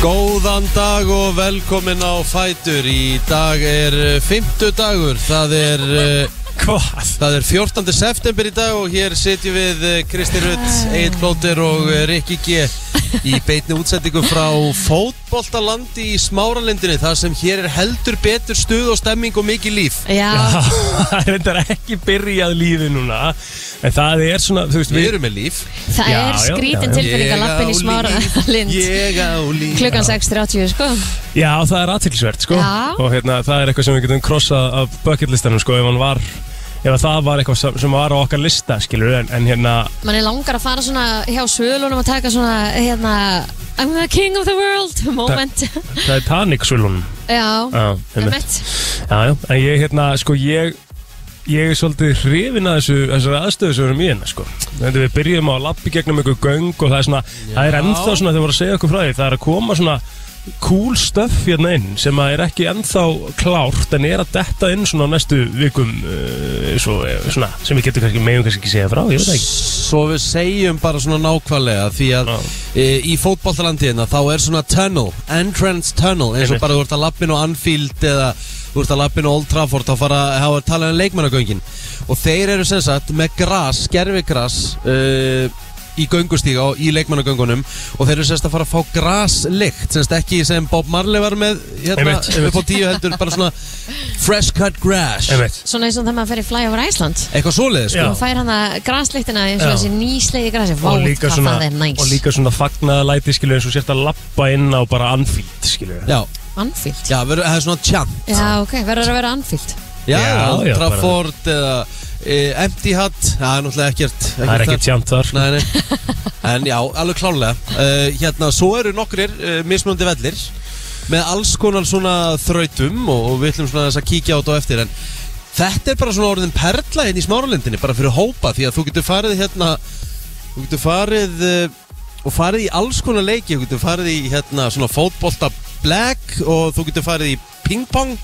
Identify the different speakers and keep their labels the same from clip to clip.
Speaker 1: Góðan dag og velkomin á Fætur Í dag er eh, fimmtudagur Það er eh,
Speaker 2: Hvað?
Speaker 1: Það er 14. september í dag og hér sitjum við eh, Kristi Rutt, Egil Plóter og eh, Rikki G í beitni útsendingu frá fótboltalandi í Smáralindinni þar sem hér er heldur betur stuð og stemming og mikið líf
Speaker 3: Já,
Speaker 2: Það er reyndar ekki byrjað lífi núna En það er svona, þú veist,
Speaker 1: Við
Speaker 2: við
Speaker 1: erum með líf
Speaker 3: það
Speaker 2: Já,
Speaker 3: er
Speaker 2: já,
Speaker 3: skrítin
Speaker 2: já.
Speaker 3: tilfinning að lappin í
Speaker 1: Ég á
Speaker 3: smára
Speaker 1: líf,
Speaker 3: lind
Speaker 1: Ég á líf
Speaker 3: klukkan 6.30 sko
Speaker 2: Já, það er aðtilsvert, sko
Speaker 3: Já.
Speaker 2: Og hérna, það er eitthvað sem við getum krossað af bucketlistanum, sko Ef hann var, ef að það var eitthvað sem- sem var á okkar lista, skilur En, en hérna,
Speaker 3: Man er langar að fara svona hjá svölunum og taka svona hérna I'm the king of the world moment
Speaker 2: það er Tanic-svölunum
Speaker 3: Já,
Speaker 2: Já, einmitt.
Speaker 3: emitt
Speaker 2: Já, já, en ég, hérna, sko, ég Ég er svolítið hrifin að þessu, þessari aðstöðu sem við erum í hérna, sko. Þegar við byrjum á lappi gegnum einhver göng og það er svona, það er ennþá svona, þegar voru að segja okkur frá því, það er að koma svona cool stuff hérna inn sem að er ekki ennþá klárt en er að detta inn svona á næstu vikum uh, svo, eh, svona, sem við getum kannski meðum kannski ekki segja frá, ég veit það ekki.
Speaker 1: Svo við segjum bara svona nákvæmlega Því að
Speaker 2: Já.
Speaker 1: e, í fótballtalandiðina þá er svona tunnel Entrance tunnel eins og
Speaker 2: Einmitt.
Speaker 1: bara þú ert að lappin á Anfield eða þú ert að lappin á Old Trafford þá fara að hafa að tala um leikmannagöngin og þeir eru sem sagt með gras, gerfigras e, í göngustíga og í leikmannagöngunum og þeir eru sem sagt að fara að fá graslikt sem sagt ekki sem Bob Marley var með hérna
Speaker 2: Einmitt, einmitt.
Speaker 1: upp á tíu heldur bara svona fresh cut grass
Speaker 2: Einmitt.
Speaker 3: Svona eins og þegar maður fer í fly over Iceland
Speaker 1: eitthvað svoleiðis sko
Speaker 2: Já.
Speaker 3: og fær hann að grasleiktina eins og
Speaker 2: Já.
Speaker 3: þessi nýslegi grasi Vá,
Speaker 2: og líka
Speaker 3: hvað
Speaker 2: svona,
Speaker 3: það er næs
Speaker 2: og líka svona fagnaðalæti, skilur, eins og sért að lappa inn á bara anfíld, skilur.
Speaker 1: Já,
Speaker 3: Anfield
Speaker 1: já, verður- það er svona tjant
Speaker 3: Já, ok, verður að vera Anfield
Speaker 1: Já,
Speaker 2: Já,
Speaker 1: já,
Speaker 2: já,
Speaker 1: Trafford eða e, Empty Hat Það er náttúrulega ekkert, ekkert
Speaker 2: Það er ekki tjant þar, sko.
Speaker 1: Nei, nei En já, alveg klálega uh, Hérna, svo eru nokkrir uh, mismunandi vellir Með alls konar svona þrautum Og, og við ætlum svona þess að kíkja á þetta á eftir En þetta er bara svona orðin perla hérna í smáralindinni Bara fyrir hópa Því að þú getur farið hérna Þú getur farið uh, Og farið í alls konar leiki Þú getur farið í hérna svona fótbolta black Og þú getur farið í pingpong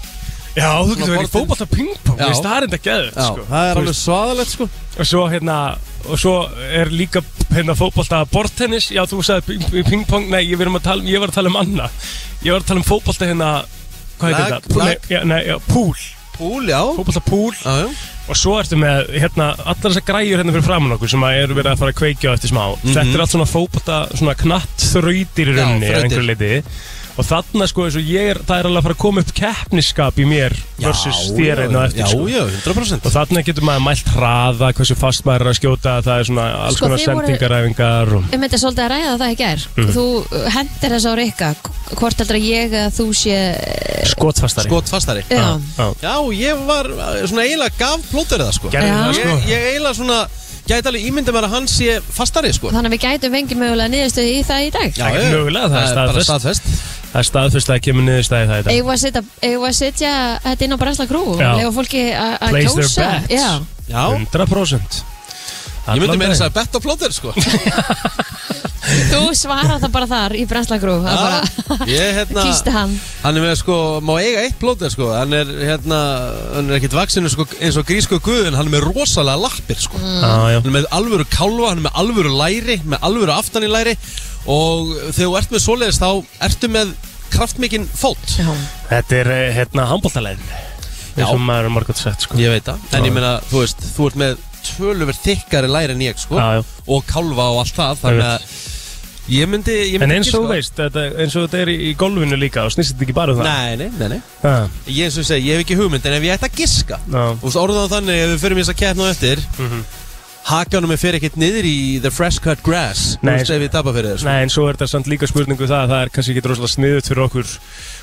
Speaker 2: Já, þú
Speaker 1: Svona
Speaker 2: getur verið í
Speaker 1: borðtennis.
Speaker 2: fótballta pingpong,
Speaker 1: Já.
Speaker 2: þú veist, það er enda geðið,
Speaker 1: Já,
Speaker 2: sko.
Speaker 1: það
Speaker 2: Þú
Speaker 1: er alveg svaðalegt sko
Speaker 2: veist, Og svo, hérna, og svo er líka hérna fótballta bortennis, já, þú sagði ping, ping- pingpong, nei, ég, um að tala, ég var að tala um anna. Ég var að tala um fótballta hérna, hvað
Speaker 1: Lag,
Speaker 2: heitir þetta? Pú-
Speaker 1: lag.
Speaker 2: Nei, já, nei, já, púl,
Speaker 1: Púl, já
Speaker 2: fótballta púl.
Speaker 1: Já, já.
Speaker 2: Og svo ertu með, hérna, allar þessar græjur hérna fyrir framann okkur sem að eru verið að fara að kveikja á eftir smá. Þetta er allt svona fótballta, svona knatt þrautir
Speaker 1: Mhm.
Speaker 2: í
Speaker 1: Já,
Speaker 2: rauninni,
Speaker 1: þrautir.
Speaker 2: að einhverju leiti. Og þarna, sko, eins og ég er, það er alveg að fara að koma upp keppnisskap í mér versus þér einn og
Speaker 1: já,
Speaker 2: eftir, sko.
Speaker 1: já, 100%
Speaker 2: Og þarna getur maður mælt hraða, hversu fast maður er að skjóta, það er svona alls
Speaker 3: Sko,
Speaker 2: konar
Speaker 3: þið voru-
Speaker 2: sendingaræfingar og...
Speaker 3: Um þetta er svolítið að ræða það í gær
Speaker 2: Mhm.
Speaker 3: Þú hendir þess á Rikka Hvort heldur að ég að þú sé
Speaker 2: Skotfastari.
Speaker 1: Skot fastari
Speaker 3: Eh, sko, Já,
Speaker 2: Já.
Speaker 1: Já, ég var eh, svona eiginlega gaf plótur það sko
Speaker 2: Gerðu
Speaker 3: Já.
Speaker 2: það,
Speaker 1: Ég,
Speaker 2: sko.
Speaker 1: ég eiginlega svona gæti alveg ímyndið mér að hann sé fastari sko
Speaker 3: þannig að við gætum vengi mögulega niðurstöði í það í dag
Speaker 1: Já,
Speaker 2: Ekkert
Speaker 1: já,
Speaker 2: mögulega, það er
Speaker 1: bara
Speaker 2: staðfest.
Speaker 1: staðfest
Speaker 2: Það er staðfyrst að kemur niður stæði það í dag.
Speaker 3: Eigum við að setja- eigum við að setja þetta inn á Brasla Grú og
Speaker 2: Já.
Speaker 3: lefa fólki a- að
Speaker 2: Place their
Speaker 3: kjósa
Speaker 2: bets.
Speaker 3: Já,
Speaker 1: Já, ég
Speaker 2: 100%.
Speaker 1: myndi
Speaker 2: Um, Allan
Speaker 1: meira þess
Speaker 2: daginn.
Speaker 1: að betta plótur sko
Speaker 3: þú svarar það bara þar í Brasla Grú að bara
Speaker 1: Já, Ég hérna
Speaker 3: kýsta hann
Speaker 1: Hann er með sko, má eiga eitt plótur sko Hann er hérna, hann er ekkit vaksinu sko eins og grísku guðin Hann er með rosalega lappir sko
Speaker 2: Já, já.
Speaker 1: hann er með alvöru kálva, hann er með alvöru læri með alvöru aftan í læri og þegar þú ert með svoleiðis þá ertu með kraftmikinn fót
Speaker 3: Já.
Speaker 2: Þetta er, eh, hérna, handbóltalegin.
Speaker 1: Já.
Speaker 2: Já. Sem maður er margótt sett, sko.
Speaker 1: ég veit það, en ég meina, þú veist þú ert með töluvert þykkari læri en ég sko,
Speaker 2: Já, já.
Speaker 1: og kálva og allt það þannig
Speaker 2: Einmitt.
Speaker 1: að ég myndi, ég myndi sko-
Speaker 2: En eins og
Speaker 1: giska
Speaker 2: þú
Speaker 1: á-
Speaker 2: veist, þetta, eins og þetta er í, í golfinu líka og snýst þetta ekki bara um það.
Speaker 1: Nei, nei, nei, nei
Speaker 2: Ah,
Speaker 1: Ég eins og ég segi, ég hef ekki hugmynd en ef ég ætti að giska
Speaker 2: Já. Mhm.
Speaker 1: og orðan þannig ef við förum í þess að keppna á eftir mm -hmm. Hakanum er fyrir ekkert niður í The Fresh Cut Grass Þú
Speaker 2: Nei,
Speaker 1: veist ef við tapa fyrir þér sko.
Speaker 2: Nei, en svo er þetta samt líka spurningu um það að það er kannski ekki rosalega sniðut fyrir okkur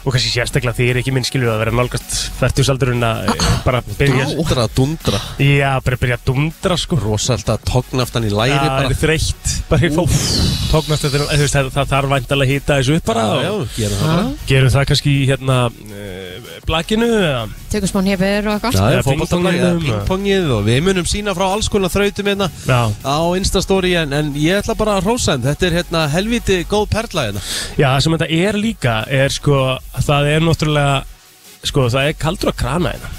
Speaker 2: og kannski sérstaklega því er ekki minn skilur að vera nálgast færtjúsaldurinn að eh,
Speaker 1: Ah,
Speaker 2: bara byrja
Speaker 1: Dundra, dundra
Speaker 2: Já, bara byrja að dundra sko
Speaker 1: Rósalt að togna aftan í
Speaker 2: Já,
Speaker 1: læri
Speaker 2: það
Speaker 1: bara
Speaker 2: er þreytt bara í fólk tóknast þetta, eh, þú veist, það, það þarf væntalega að hýta þessu upp bara
Speaker 1: Já, já,
Speaker 2: og
Speaker 1: gera það bara
Speaker 2: gerum það kannski í hérna uh, blakinu eða
Speaker 3: Tökum smá nefur og eitthvað
Speaker 1: Já, já,
Speaker 2: Eða
Speaker 1: fótboltablaðið,
Speaker 2: pingpongið.
Speaker 1: pingpongið og við munum sína frá alls konar þrautum hérna
Speaker 2: Já,
Speaker 1: á Instastory en, en ég ætla bara að rósa þeim, þetta er hérna helviti góð perla hérna
Speaker 2: já, það sem þetta er líka er sko, það er náttúrulega sko, það er kaldur að krana hérna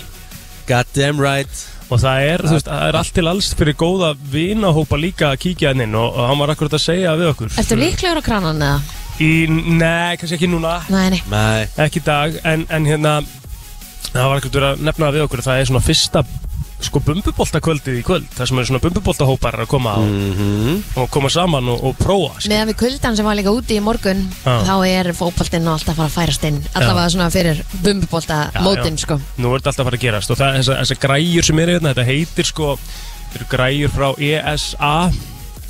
Speaker 1: God damn right
Speaker 2: Og það er, þú veist, það er allt til alls fyrir góða vinahópa líka að kíkja hann inn og, og hann var akkurat að segja við okkur
Speaker 3: Ertu líklegur á kranan eða?
Speaker 2: í, nei, kannski ekki núna
Speaker 3: Nei, nei
Speaker 1: Nei,
Speaker 2: ekki í dag, en, en hérna það var ekkert verið að nefna það við okkur það er svona fyrsta sko bumbubolta í kvöld, það sem eru svona bumbubolta að koma og, og koma saman og, og prófa sko. skilur.
Speaker 3: Meðan við kuldan sem var líka úti í morgun
Speaker 2: Já.
Speaker 3: þá er fótboltinn og alltaf að fara að færast inn allavega svona fyrir bumbubolta
Speaker 2: Já,
Speaker 3: mótin
Speaker 2: já.
Speaker 3: sko
Speaker 2: Nú er þetta alltaf að fara að gerast og það, þessa, þessa græjur sem eru hérna, þetta heitir sko þetta eru græjur frá ESA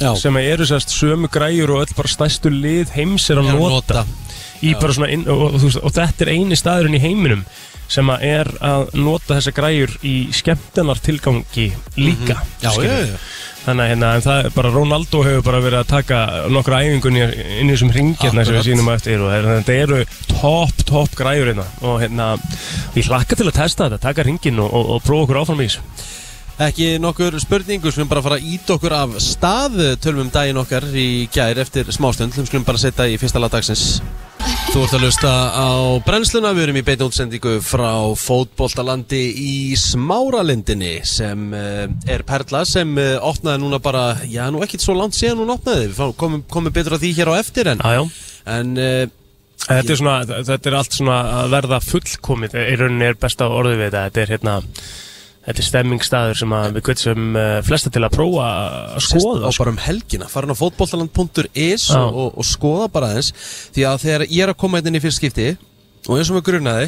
Speaker 1: já
Speaker 2: sem eru sérst sömu græjur og öll bara stæstu lið heims er að
Speaker 1: Er að
Speaker 2: nota,
Speaker 1: nota.
Speaker 2: Í bara svona inn, og, og, þú veist, og þetta er eini staðurinn í heiminum sem að er að nota þessa græjur í skemmtunar tilgangi líka
Speaker 1: Mhm. Já, já,
Speaker 2: skilurðu.
Speaker 1: já.
Speaker 2: þannig að hérna, en það er bara Ronaldo hefur bara verið að taka nokkra æfingunni inn í þessum ringirna sem við
Speaker 1: Akkurat.
Speaker 2: sínum á eftir og hérna, þetta eru topp, topp græjur hérna og hérna, ég hlakka til að testa þetta, taka ringin og, og, og prófa okkur áfram í þessu
Speaker 1: Ekki nokkur spurningu, skulum bara fara að íta okkur af stað Tölum um daginn okkar í gær eftir smástund Við Skulum bara setja í fyrsta lagdagsins Þú ert að lusta á brennsluna Við erum í beinu útsendingu frá fótboltalandi í Smáralindinni Sem uh, er perla sem uh, opnaði núna bara Já, nú ekkit svo langt síðan hún opnaði Við fá- komum, komum betur að því hér á eftir En,
Speaker 2: Jájá
Speaker 1: en uh,
Speaker 2: Þetta er, svona, þetta er allt svona að verða fullkomið í rauninni er besta orðið við þetta þetta er, hérna, þetta er stemmingstaður sem að við kvitsum uh, flesta til að prófa
Speaker 1: skoða
Speaker 2: að skoða sko.
Speaker 1: á bara um helgina farin á fótbollaland.is
Speaker 2: Já.
Speaker 1: og, og, og skoða bara aðeins því að þegar ég er að koma hérna inn í fyrst skipti og eins og mér grunaði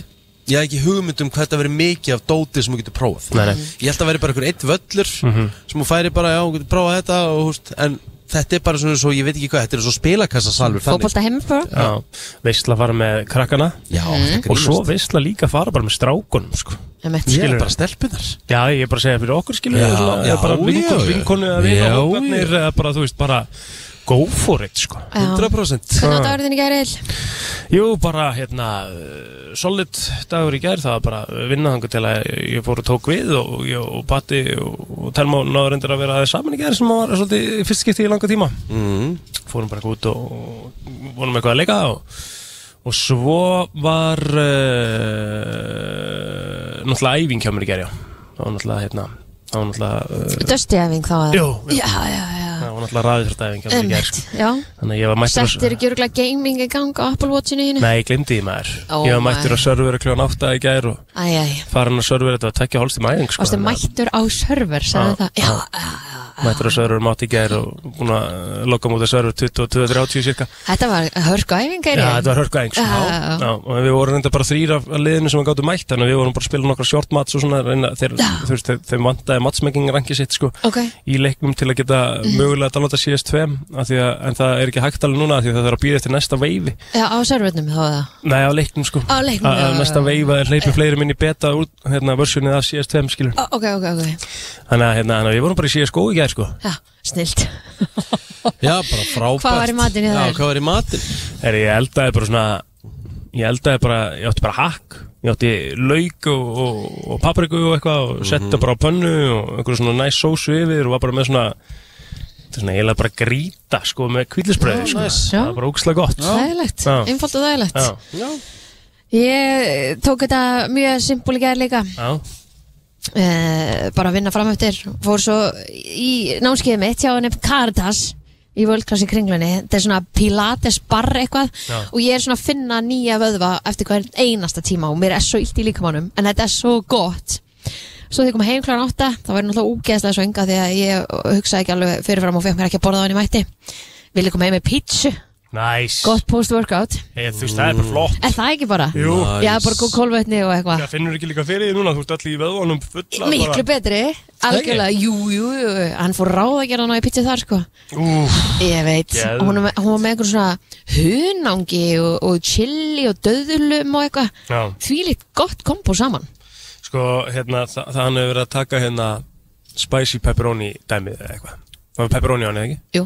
Speaker 1: ég hef ekki hugmynd um hvað þetta verið mikið af dóti sem þú getur prófað
Speaker 2: Nei, nei. Mhm.
Speaker 1: ég held að verið bara einhver eitt völlur sem þú færi bara, já, þú getur prófað þetta og, húst, en þetta er bara svona svo, ég veit ekki hvað þetta er svo spilakassasalur þannig.
Speaker 3: Fótbolta sko. heimfra
Speaker 2: Já, veistla fara með krakkana
Speaker 1: já,
Speaker 3: Mhm.
Speaker 1: mm.
Speaker 2: og svo veistla líka fara bara með strákunum sko.
Speaker 1: ég
Speaker 2: skilurðu.
Speaker 1: er bara stelpunar
Speaker 2: Já, ég er bara að segja fyrir okkur skilur
Speaker 1: Já,
Speaker 2: við, svona,
Speaker 1: já,
Speaker 2: eða bara
Speaker 1: já,
Speaker 2: vinkonu,
Speaker 1: já.
Speaker 2: vinkonu eða
Speaker 1: Já, já.
Speaker 2: vinahókarnir eða bara, þú veist, bara go for it sko.
Speaker 1: 100%
Speaker 3: Hvernig á dagurðin í gærið?
Speaker 2: Jú, bara hérna eh, solid dagur í gær, það var bara vinnaðangu til að ég fór og tók við og, ég- og Patti og, og Telma náður endur að vera aðeins saman í gær sem var svolítið í fyrst skipti í langa tíma
Speaker 1: mm.
Speaker 2: fórum bara eitthvað út og og vorum eitthvað að leika og, og svo var uh, náttúrulega æfing hjá mér í gær, já það var náttúrulega hérna það var náttúrulega,
Speaker 3: Dösti æfing þá að
Speaker 2: Jú, jú.
Speaker 3: Já, já,
Speaker 2: uh,
Speaker 3: já
Speaker 2: náttúrulega ræðisrættæfing hjá mér í gær
Speaker 3: Einmitt,
Speaker 2: sko.
Speaker 3: já
Speaker 2: þannig að ég var mættur
Speaker 3: Settir ekki örgulega gaming í gang á Apple Watchinu hínu?
Speaker 2: Nei, ég glemdi því maður
Speaker 3: Ó,
Speaker 2: Ég var mættur
Speaker 3: maður.
Speaker 2: að servera kljóðan 8 í gær og
Speaker 3: Æ, æ, æ
Speaker 2: farin að server þetta var tekja hálstum æfing sko,
Speaker 3: Varstu
Speaker 2: þannig að
Speaker 3: mættur á server, sagði það Já, já, já
Speaker 2: mættur að server mátt í gær og búin að eh, lokka mútið server 22-30 cirka
Speaker 3: Þetta var hörku æfing
Speaker 2: Já,
Speaker 3: gærið
Speaker 2: þetta var hörku æfing sko.
Speaker 3: Já, já, já.
Speaker 2: Já, og við vorum reynda bara þrýra liðinu sem við gáttum mætt þannig að við vorum bara að spila nokkra short mats og svona reyna, þeir,
Speaker 3: Já.
Speaker 2: þú veist, þeir, þeir vantaði matsmaking rangi sitt sko
Speaker 3: Ok, Mm.
Speaker 2: í leiknum til að geta mögulega að downloada CS2 af því að, en það er ekki hægt alveg núna af því að það þarf að býða eftir næsta veifi
Speaker 3: já, á servernum þá það
Speaker 2: Nei, á leiknum sko
Speaker 3: Á leiknum,
Speaker 2: Að- að
Speaker 3: já, já,
Speaker 2: Næsta
Speaker 3: já.
Speaker 2: veifa er hleypið fleiri minni beta út hérna, versjónið af CS2 skilur
Speaker 3: Ó, Ok, ok, ok
Speaker 2: Þannig að hérna, þannig að við vorum bara í CSGO í gær sko
Speaker 3: Já, snilt
Speaker 1: já, bara frábært
Speaker 3: Hvað var í matinn hjá
Speaker 1: já,
Speaker 3: þér?
Speaker 1: hvað var í matin?
Speaker 2: Herri, ég eldaði bara svona Ég eldaði bara, ég átti bara hakk Ég átti lauk og, og, og papriku og eitthvað og setti bara á pönnu og einhverju svona næs sósu yfir og var bara með svona þetta er svona, ég bara gríta sko með
Speaker 3: Ah,
Speaker 2: kvíðlisbröði sko.
Speaker 1: nice.
Speaker 2: það var bara ógislega gott
Speaker 3: Þægilegt,
Speaker 2: Já.
Speaker 3: einfalt og þægilegt
Speaker 2: Já,
Speaker 1: já,
Speaker 3: Ég tók þetta mjög simpúl í gær líka
Speaker 2: já,
Speaker 3: eh, bara að vinna fram eftir fór svo í námskeiði mitt hjá henni Caritas í völdklass í kringlunni, þetta er svona pilates bar eitthvað
Speaker 2: Já.
Speaker 3: og ég er svona að finna nýja vöðva eftir hvern einasta tíma og mér er svo illt í líkamannum en þetta er svo gott svo þegar ég kom heim kláran átta þá var ég náttúrulega úgeðslega svönga því að ég hugsaði ekki alveg fyrirfram og fekk mér ekki að borða á henni mætti vilja koma heim með pítsu,
Speaker 2: næs
Speaker 3: gott post-workout
Speaker 2: ég, Þú veist, það er bara flott
Speaker 3: er það ekki bara?
Speaker 2: Jú,
Speaker 1: Nice.
Speaker 3: Já, bara góð kólvetni og eitthvað
Speaker 2: það finnur ekki líka fyrir því núna, þú ert allir í veðvonum fulla
Speaker 3: Miklu betri, algjörlega, jú, jú, jú, hann fór ráð að gera hann á í pítsu þar, sko.
Speaker 2: Úf,
Speaker 3: Ég veit,
Speaker 2: Geðveikt.
Speaker 3: og hún, var með- hún var með einhvern svona hunangi og, og chili og döðlum og eitthvað.
Speaker 2: já
Speaker 3: Þvílitt gott kombo saman.
Speaker 2: Sko, hérna, þa það hann hefur verið að taka hérna spicy pepperoni dæmið eða eitthvað. Það var pepperoni á hann, eða ekki?
Speaker 3: Jú,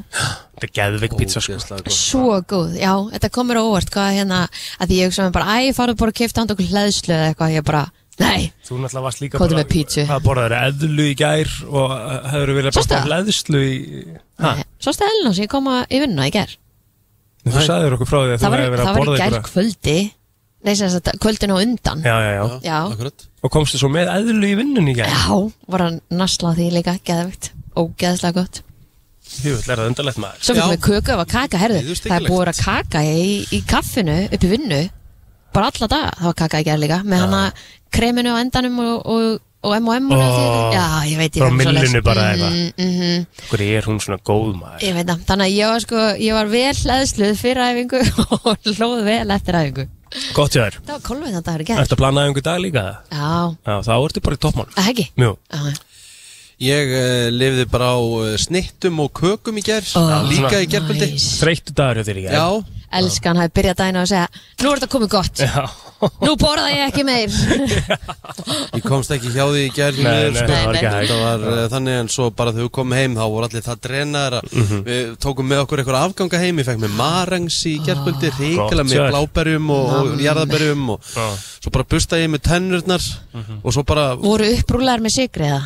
Speaker 2: Þetta er geðvig pizza, sko.
Speaker 1: Ógeðslega gott.
Speaker 3: svo góð, já, þetta komur á óvart, hvað hérna, að því ég hugsa með bara, æ, farðu bara að kifta hann okkur hlæðslu eða eitthvað, ég bara, nei,
Speaker 2: Þú náttúrulega varst líka
Speaker 3: Komdu með pizzu.
Speaker 2: að borða þér eðlu í gær og uh, hefur verið
Speaker 3: Sástu
Speaker 2: bara
Speaker 3: það?
Speaker 2: leðslu í... Ha,
Speaker 3: nei. svo stæði Elna sem ég kom að- í vinnuna í ger.
Speaker 2: þú sagðir okkur frá því að þú
Speaker 3: Það var,
Speaker 2: hefur verið
Speaker 3: það
Speaker 2: að
Speaker 3: var í sko.
Speaker 2: borða
Speaker 3: ger
Speaker 2: eitthvað.
Speaker 3: kvöldi, nei, sem sagt, kvöldin á undan.
Speaker 2: Já, já, já.
Speaker 3: Já.
Speaker 1: akkurat
Speaker 2: Og komstu svo með eðlu í vinnun í gær.
Speaker 3: Já, var hann naslað því líka, geðvikt, ógeðslega gott
Speaker 2: Jú, er það undarlegt maður sko.
Speaker 3: Svo fyrir
Speaker 1: Já.
Speaker 3: við köku af að kaka, herðu,
Speaker 1: Nei, þú veist
Speaker 3: það er
Speaker 1: ekki
Speaker 3: búið að vera kaka í, í kaffinu, upp í vinnu, bara alla daga, það var kaka í gerð líka, með hana kreminu á endanum og, og, og M&M og
Speaker 2: Ó,
Speaker 3: því- Já, ég veit, ég
Speaker 2: frá
Speaker 3: veit svoleiðis.
Speaker 2: myllunni bara eitthvað.
Speaker 3: Mm, mhm.
Speaker 2: Hver er hún svona góð maður?
Speaker 3: Ég veit það, þannig að ég var sko, ég var vel hlæðsluð fyrir æfingu og hlóð vel eftir æfingu.
Speaker 2: Gott hjá þér
Speaker 3: Það var kolvið þannig að það er gerð.
Speaker 2: Ertu að plana einhver dag líka?
Speaker 3: Já,
Speaker 2: Já, þá ertu bara í toppmálum
Speaker 3: að ekki?
Speaker 2: Jú
Speaker 3: Já,
Speaker 1: Ég uh, lifði bara á uh, snittum og kökum í gerð
Speaker 3: Ó,
Speaker 1: Líka í gerðböldi
Speaker 3: Nice.
Speaker 2: Þreyttu dagur hjá þér í gær.
Speaker 1: Já,
Speaker 3: Elskan hafi byrjað dæna og segja, nú er þetta komið gott,
Speaker 2: Já
Speaker 3: nú borða ég ekki meir.
Speaker 1: ég komst ekki hjá því í gerð
Speaker 2: Nei, nei, það var ekki hægt
Speaker 1: Það var uh, þannig en svo bara þegar við komum heim þá voru allir það drenaðar
Speaker 2: Mhm.
Speaker 1: Við tókum með okkur eitthvað afganga heim Ég fekk með marengs í gerðböldi
Speaker 3: Ah.
Speaker 1: Ríkilega
Speaker 2: Gott,
Speaker 1: með
Speaker 2: sér.
Speaker 1: bláberjum og, og jarðaberjum og,
Speaker 2: Já. Mhm.
Speaker 1: Svo bara busta ég með tennurnar Og svo bara, uh,
Speaker 3: Voru upprúlar með sigri eða?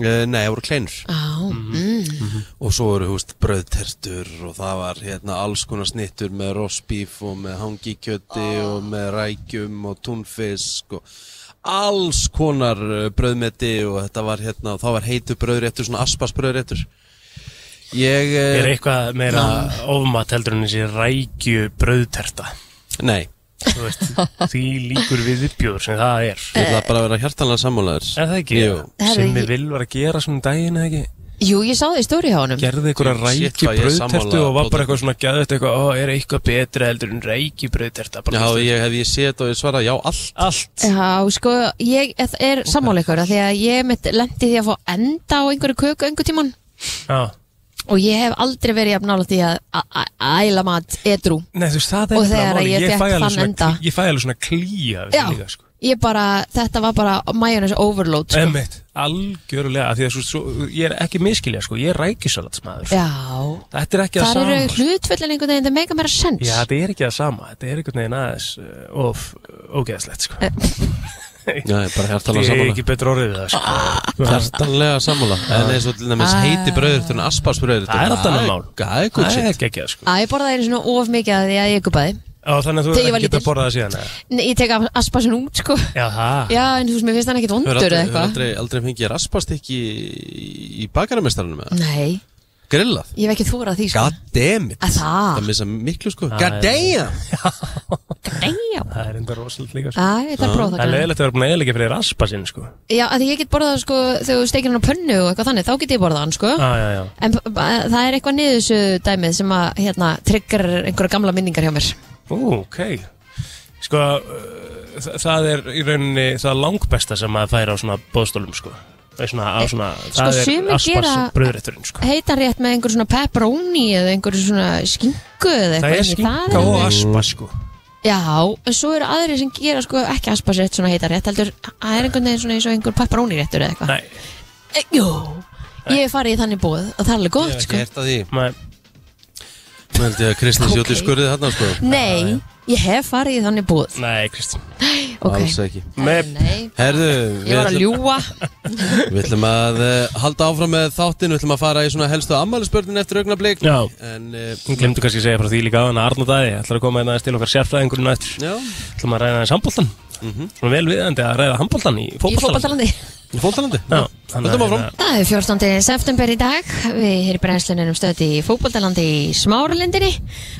Speaker 1: nei, það voru kleinur
Speaker 3: Já, mm.
Speaker 1: Og svo eru, þú veist, bröðtertur og það var hérna alls konar snittur með rostbíf og með hangikjöti og með rækjum og túnfisk og alls konar uh, brauðmeti og þetta var hérna, þá var heitu bröðréttur, svona aspas bröðréttur. Ég,
Speaker 2: Er
Speaker 1: eh,
Speaker 2: eitthvað meira ofmat heldur en þessi rækju brauðterta
Speaker 1: nei,
Speaker 2: Þú veist, því líkur við uppbjóður sem það er
Speaker 1: ég ætla bara að vera hjartalega sammálaður.
Speaker 2: Er það ekki?
Speaker 1: Jú.
Speaker 3: Herri,
Speaker 2: Simmi
Speaker 3: ég-
Speaker 2: vil var að gera svona um daginn eða ekki
Speaker 3: Jú, ég sá það í stóri hjá honum.
Speaker 2: gerði einhverja
Speaker 1: Shit,
Speaker 2: rækju
Speaker 1: hvað ég er
Speaker 2: bröðtertu
Speaker 1: sammála
Speaker 2: og var
Speaker 1: Plóter.
Speaker 2: bara eitthvað svona gæðið eitthvað, ó, er eitthvað betra heldur en rækju bröðterta
Speaker 1: Já,
Speaker 2: bara þú veist,
Speaker 1: ég hef ég séð þetta og ég svara, já, allt.
Speaker 2: allt
Speaker 3: Já, sko, ég er, er sammála ykkur af því að ég mitt lendi því að fá enda á einhverju köku einhver tíman
Speaker 2: Já.
Speaker 3: og ég hef aldrei verið jafn nála því að að- að- að æla mat edru.
Speaker 2: Nei, þú veist, það er
Speaker 3: Og
Speaker 2: nefnilega
Speaker 3: þegar
Speaker 2: málið.
Speaker 3: ég
Speaker 2: ég fæ
Speaker 3: fékk
Speaker 2: alveg
Speaker 3: þann
Speaker 2: svona klí-
Speaker 3: enda.
Speaker 2: ég fæ alveg svona klíja við
Speaker 3: Já,
Speaker 2: það líka, sko Eh.
Speaker 3: ég bara, þetta var bara mayonnaise overload sko.
Speaker 2: Emmett, algjörlega, af því að svo, svo, ég er ekki miskilja, sko, ég er rækjusalatsmaður
Speaker 3: Já,
Speaker 2: Þetta er ekki að
Speaker 3: þar
Speaker 2: sama
Speaker 3: eru hlutföllin einhvern veginn, það meika meira sens
Speaker 2: Já, þetta er ekki að sama, þetta er einhvern veginn aðeins uh, of, ógeðslegt,
Speaker 3: Eh,
Speaker 2: sko
Speaker 1: Já, ég er bara hjartalega
Speaker 2: Ég er
Speaker 1: sammála.
Speaker 2: ekki betra orðið við um- það, sko
Speaker 1: Hjartalega sammála. Ah. En eins og til dæmis heiti bröðréttur og aspas bröðréttur.
Speaker 2: Það er allt annað mál.
Speaker 1: Það er
Speaker 2: Það er
Speaker 1: gútsið.
Speaker 2: ekki ekki að, sko
Speaker 3: Að ég borðaði einu svona of mikið að því að ég gubaði
Speaker 2: Á, Þannig að þú
Speaker 3: Þegar ég
Speaker 2: er
Speaker 3: var
Speaker 2: ekki að
Speaker 3: lítil.
Speaker 2: borða það síðan, eða?
Speaker 3: Nei, ég tek aspasin út sko
Speaker 2: Já, það
Speaker 3: Já, en þú veist, mér finnst hann ekkit vondur
Speaker 1: Hefur
Speaker 3: eða
Speaker 1: aldrei, hefur
Speaker 3: eitthvað
Speaker 1: aldrei, aldrei fengið raspastykki í, í bakaramestarunum eða?
Speaker 3: Nei,
Speaker 1: Grillað?
Speaker 3: ég hef ekki þórað því sko
Speaker 1: God damn it
Speaker 3: Að það?
Speaker 1: Það missa miklu sko
Speaker 2: Ah,
Speaker 1: God
Speaker 2: já.
Speaker 1: damn
Speaker 3: Damn.
Speaker 2: Það er enda rosalega líka sko.
Speaker 3: Æ, þetta er prófa
Speaker 2: Það er leiðilegt að vera búin að eðilega fyrir raspa sinn sko.
Speaker 3: Já, að því ég get borðað sko, þegar þú steikir hann á pönnu og eitthvað þannig, þá get ég borðað hann sko
Speaker 2: ah, já, já.
Speaker 3: En b- b- það er eitthvað niðursu dæmið sem að, hérna, trigger einhverja gamla minningar hjá mér
Speaker 2: Ú, ok Sko, uh, þa- það er í rauninni það langbesta sem maður fær á svona bóðstólum sko. Það er svona, á svona, það
Speaker 3: Eh, sko, sumir
Speaker 2: er aspas
Speaker 3: gera- Eh,
Speaker 2: bröðrétturinn sko.
Speaker 3: Heitar rétt með einhver svona pepperoni eða einhver svona skinku
Speaker 2: Það
Speaker 3: eða eitthvað
Speaker 2: er
Speaker 3: sem
Speaker 2: skinka
Speaker 3: er
Speaker 2: og
Speaker 3: alveg-
Speaker 2: aspas sko.
Speaker 3: Já, en svo eru aðrir sem gera sko ekki aspasrétt svona heitar rétt heldur, það er einhvern veginn svona eins og einhver pepperoni réttur eða eitthvað
Speaker 2: Nei,
Speaker 3: E, Jú, ég hef farið í þannig búið og það er alveg
Speaker 1: Ég
Speaker 3: gott
Speaker 1: hef
Speaker 3: sko
Speaker 1: ekki hert að því
Speaker 2: maður,
Speaker 1: Nú held ég að Kristins
Speaker 3: Ok.
Speaker 1: Jóti skurði þarna sko
Speaker 3: Nei, ég hef farið í þannig búið
Speaker 2: nei Kristján
Speaker 3: Ok,
Speaker 1: Alls ekki
Speaker 2: Með
Speaker 3: nei,
Speaker 1: Herðu,
Speaker 3: ég
Speaker 1: við
Speaker 3: var að
Speaker 1: ætlum,
Speaker 3: ljúa
Speaker 1: við ætlum að uh, halda áfram með þáttin Við ætlum að fara í svona helstu ammælisbörnin eftir augnablik
Speaker 2: Já,
Speaker 1: En uh,
Speaker 2: hún glemdu kannski að segja frá því líka á hann að Arnur Dæði ætlar að koma einhvers til okkar sérfræðingurinn á eftir
Speaker 1: já, Mhm.
Speaker 2: ætlum að ræða hans handbóltan Svona vel viðandi að ræða handbóltan í
Speaker 3: í
Speaker 2: fótbóltan
Speaker 3: fótballtalandi
Speaker 1: í fóltalandi
Speaker 2: Já, þannig
Speaker 1: Höldum
Speaker 2: að- hérna-
Speaker 1: áfram.
Speaker 3: Það er 14. september í dag Við hér í brennslunum erum stöði í fótboltalandi í Smáralindinni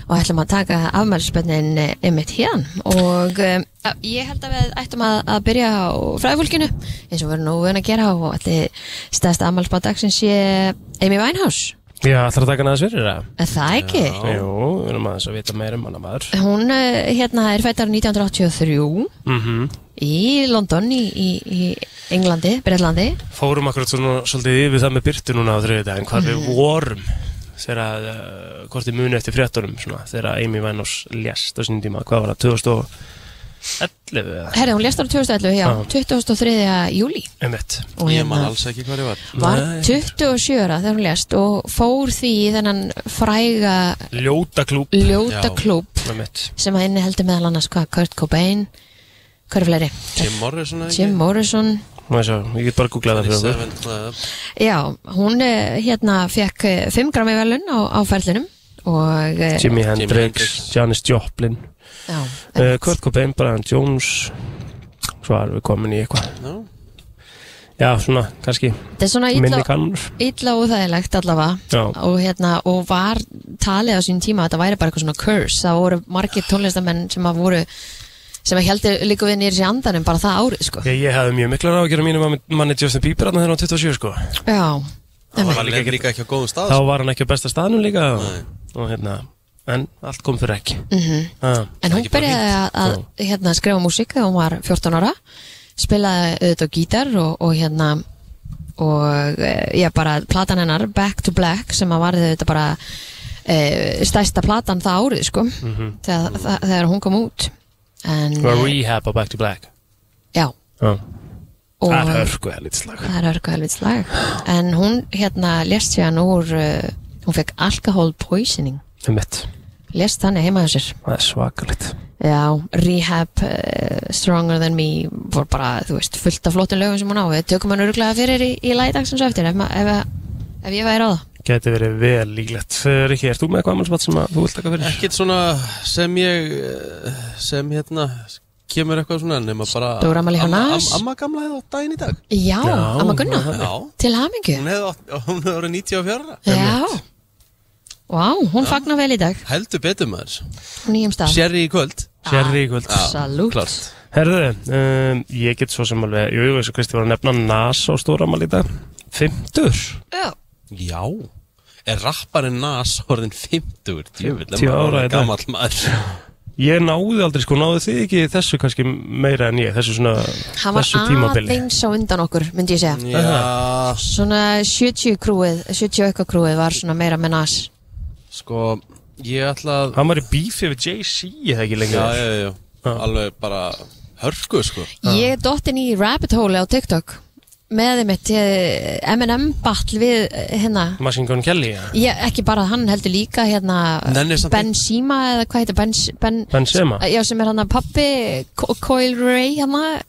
Speaker 3: og ætlum að taka afmælspennin einmitt hér og um, að- ég held að við ættum að, að byrja á fræðfólkinu eins og við erum nú vön að gera og allir stæðst afmælspenn dagsins sé Amy Winehouse
Speaker 2: Já, ætlar að taka hann aðeins fyrir það?
Speaker 3: Er það ekki?
Speaker 2: Jú, við erum aðeins að vita meira um hana maður
Speaker 3: Hún uh, hérna er fættar 1983
Speaker 2: mm
Speaker 1: Mhm.
Speaker 3: í London í, í, í Englandi, Breitlandi
Speaker 2: Fórum akkurat svona svolítið yfir það með Byrtu núna á þriðið daginn Hvað
Speaker 1: Mhm.
Speaker 2: við vorum Þegar að, uh, hvort þið muni eftir fréttunum svona, Þegar að Amy Winehouse lést á sinni tíma Hvað var það, 2011 eða?
Speaker 3: Herri, hún lést ára 2011, já,
Speaker 2: Já.
Speaker 3: 23. júli
Speaker 2: Einmitt
Speaker 3: Og
Speaker 1: Ég man
Speaker 3: hérna-
Speaker 1: alls ekki hvað ég var
Speaker 3: var
Speaker 2: Nei.
Speaker 3: 27 ára þegar hún lést og fór því í þennan fræga
Speaker 2: Ljóta klúb
Speaker 3: ljóta
Speaker 1: Já.
Speaker 3: klúb
Speaker 2: Einmitt
Speaker 3: sem að inni heldur meðal annars hvað Kurt Cobain hver er fleiri?
Speaker 1: Jim Morrison eða
Speaker 3: Jim
Speaker 1: ekki
Speaker 3: Morrison
Speaker 2: Má ég sjá, Ég get bara að googla það fyrir okkur
Speaker 1: Seven Club.
Speaker 3: já, hún eh, hérna fekk 5 grammi velun á, á ferlinum og eh,
Speaker 2: Jimi
Speaker 1: Hendrix.
Speaker 2: Hendrix, Janis Joplin Eh,
Speaker 3: já,
Speaker 2: uh, Kurt Cobain, Brian Jones Svo erum við komin í eitthvað
Speaker 1: Já.
Speaker 2: Já, svona, kannski
Speaker 3: Þetta er svona
Speaker 2: minni
Speaker 3: illa,
Speaker 2: kannur
Speaker 3: illa óþægilegt allavega
Speaker 2: Já,
Speaker 3: og, hérna, og var talið á sínum tíma að þetta væri bara eitthvað svona curse það voru margir tónlistamenn sem að voru sem að heldur líka við nýri sér andanum bara það árið sko
Speaker 2: ég, ég hefði mjög miklar á að gera mínu manni Justin Bieber þarna þegar hann var 27 sko
Speaker 3: Já,
Speaker 1: Það
Speaker 3: emmi,
Speaker 1: var líka, líka ekki á góðum stað
Speaker 2: Þá
Speaker 1: sko.
Speaker 2: var hann ekki á besta staðnum líka og, og hérna, en allt kom fyrir ekki mm -hmm.
Speaker 3: Mhm. en hún
Speaker 1: ekki bara
Speaker 3: byrjaði að, að hérna, skrifa músík þegar hún var 14 ára spilaði auðvitað á gítar og, og hérna og eh, ég bara, platan hennar Back to Black sem að varði þetta bara e, stærsta platan það árið sko þegar, það, þegar hún kom út en,
Speaker 2: Það var
Speaker 3: eh,
Speaker 2: Rehab á Back to Black
Speaker 3: já,
Speaker 2: Já,
Speaker 3: og
Speaker 2: það er örgu eða lítið slag
Speaker 3: Það er örgu helvits lag En hún hérna lest sér hann úr uh, Hún fekk alkohol poisoning
Speaker 2: Það er mitt,
Speaker 3: Lest þannig heima hjá sér
Speaker 2: það er svakalegt
Speaker 3: Já, Rehab, uh, Stronger Than Me Vor bara, þú veist, fullt af flottum lögum sem hún á Við tökum hann örglega fyrir í, í lægdagsins eftir ef, ma- ef, ef ég væri á það
Speaker 2: Gæti verið vel líklegt Eh, Rikki, ert þú með eitthvað ammálsmatt sem að þú vilt taka fyrir?
Speaker 1: Ekkert svona sem ég eh, sem hérna kemur eitthvað svona nema bara
Speaker 3: Stór afmæli hjá
Speaker 1: Amma-
Speaker 3: Nas.
Speaker 1: am- Amma gamla hefði átt daginn í dag
Speaker 3: Já,
Speaker 2: Já,
Speaker 3: amma Gunna,
Speaker 2: það-
Speaker 1: Já,
Speaker 3: til hamingju
Speaker 1: hún hefði átt- hún hefði árið 94
Speaker 3: Já Vá, hún fagnar vel í dag,
Speaker 1: Heldur betur maður
Speaker 3: nýjum stað
Speaker 1: Sherry í kvöld
Speaker 2: Sherry í
Speaker 1: Ah.
Speaker 2: kvöld
Speaker 3: Absolutt
Speaker 1: Klart
Speaker 2: Herðu, um, ég get svo sem alveg Jú, jú, eins og Kristi var að nefna Nas á stóra ammál í dag Fymtur
Speaker 3: Já,
Speaker 1: Já Er rapparinn Nas orðin 50 Djöfull, er
Speaker 2: 10
Speaker 1: maður
Speaker 2: ára í dag.
Speaker 1: Gamall maður
Speaker 2: Ég náði aldrei, sko, náðu þið ekki þessu kannski meira en ég, þessu svona
Speaker 3: hann var
Speaker 2: þessu tímabili
Speaker 3: aðeins á undan okkur, myndi ég segja
Speaker 1: Já
Speaker 3: Svona 70 krúið, 70 og eitthvað krúið var svona meira með nas
Speaker 1: Sko Ég ætla að
Speaker 2: Hann var í bífi við Jay-Z eða ekki lengur
Speaker 1: Já, já, já, já Alveg bara Hörku sko
Speaker 3: Ég er dottin í rabbit hole á TikTok með þeim mitt M&M battle við eh, hérna
Speaker 2: Machine Gun Kelly ja.
Speaker 3: ég, ekki bara hann heldur líka hérna
Speaker 1: Nenni samt
Speaker 3: Ben Sima eða hvað heitir Ben, ben,
Speaker 2: Benzema
Speaker 3: já, sem er hann að pappi Co- Coil Ray hérna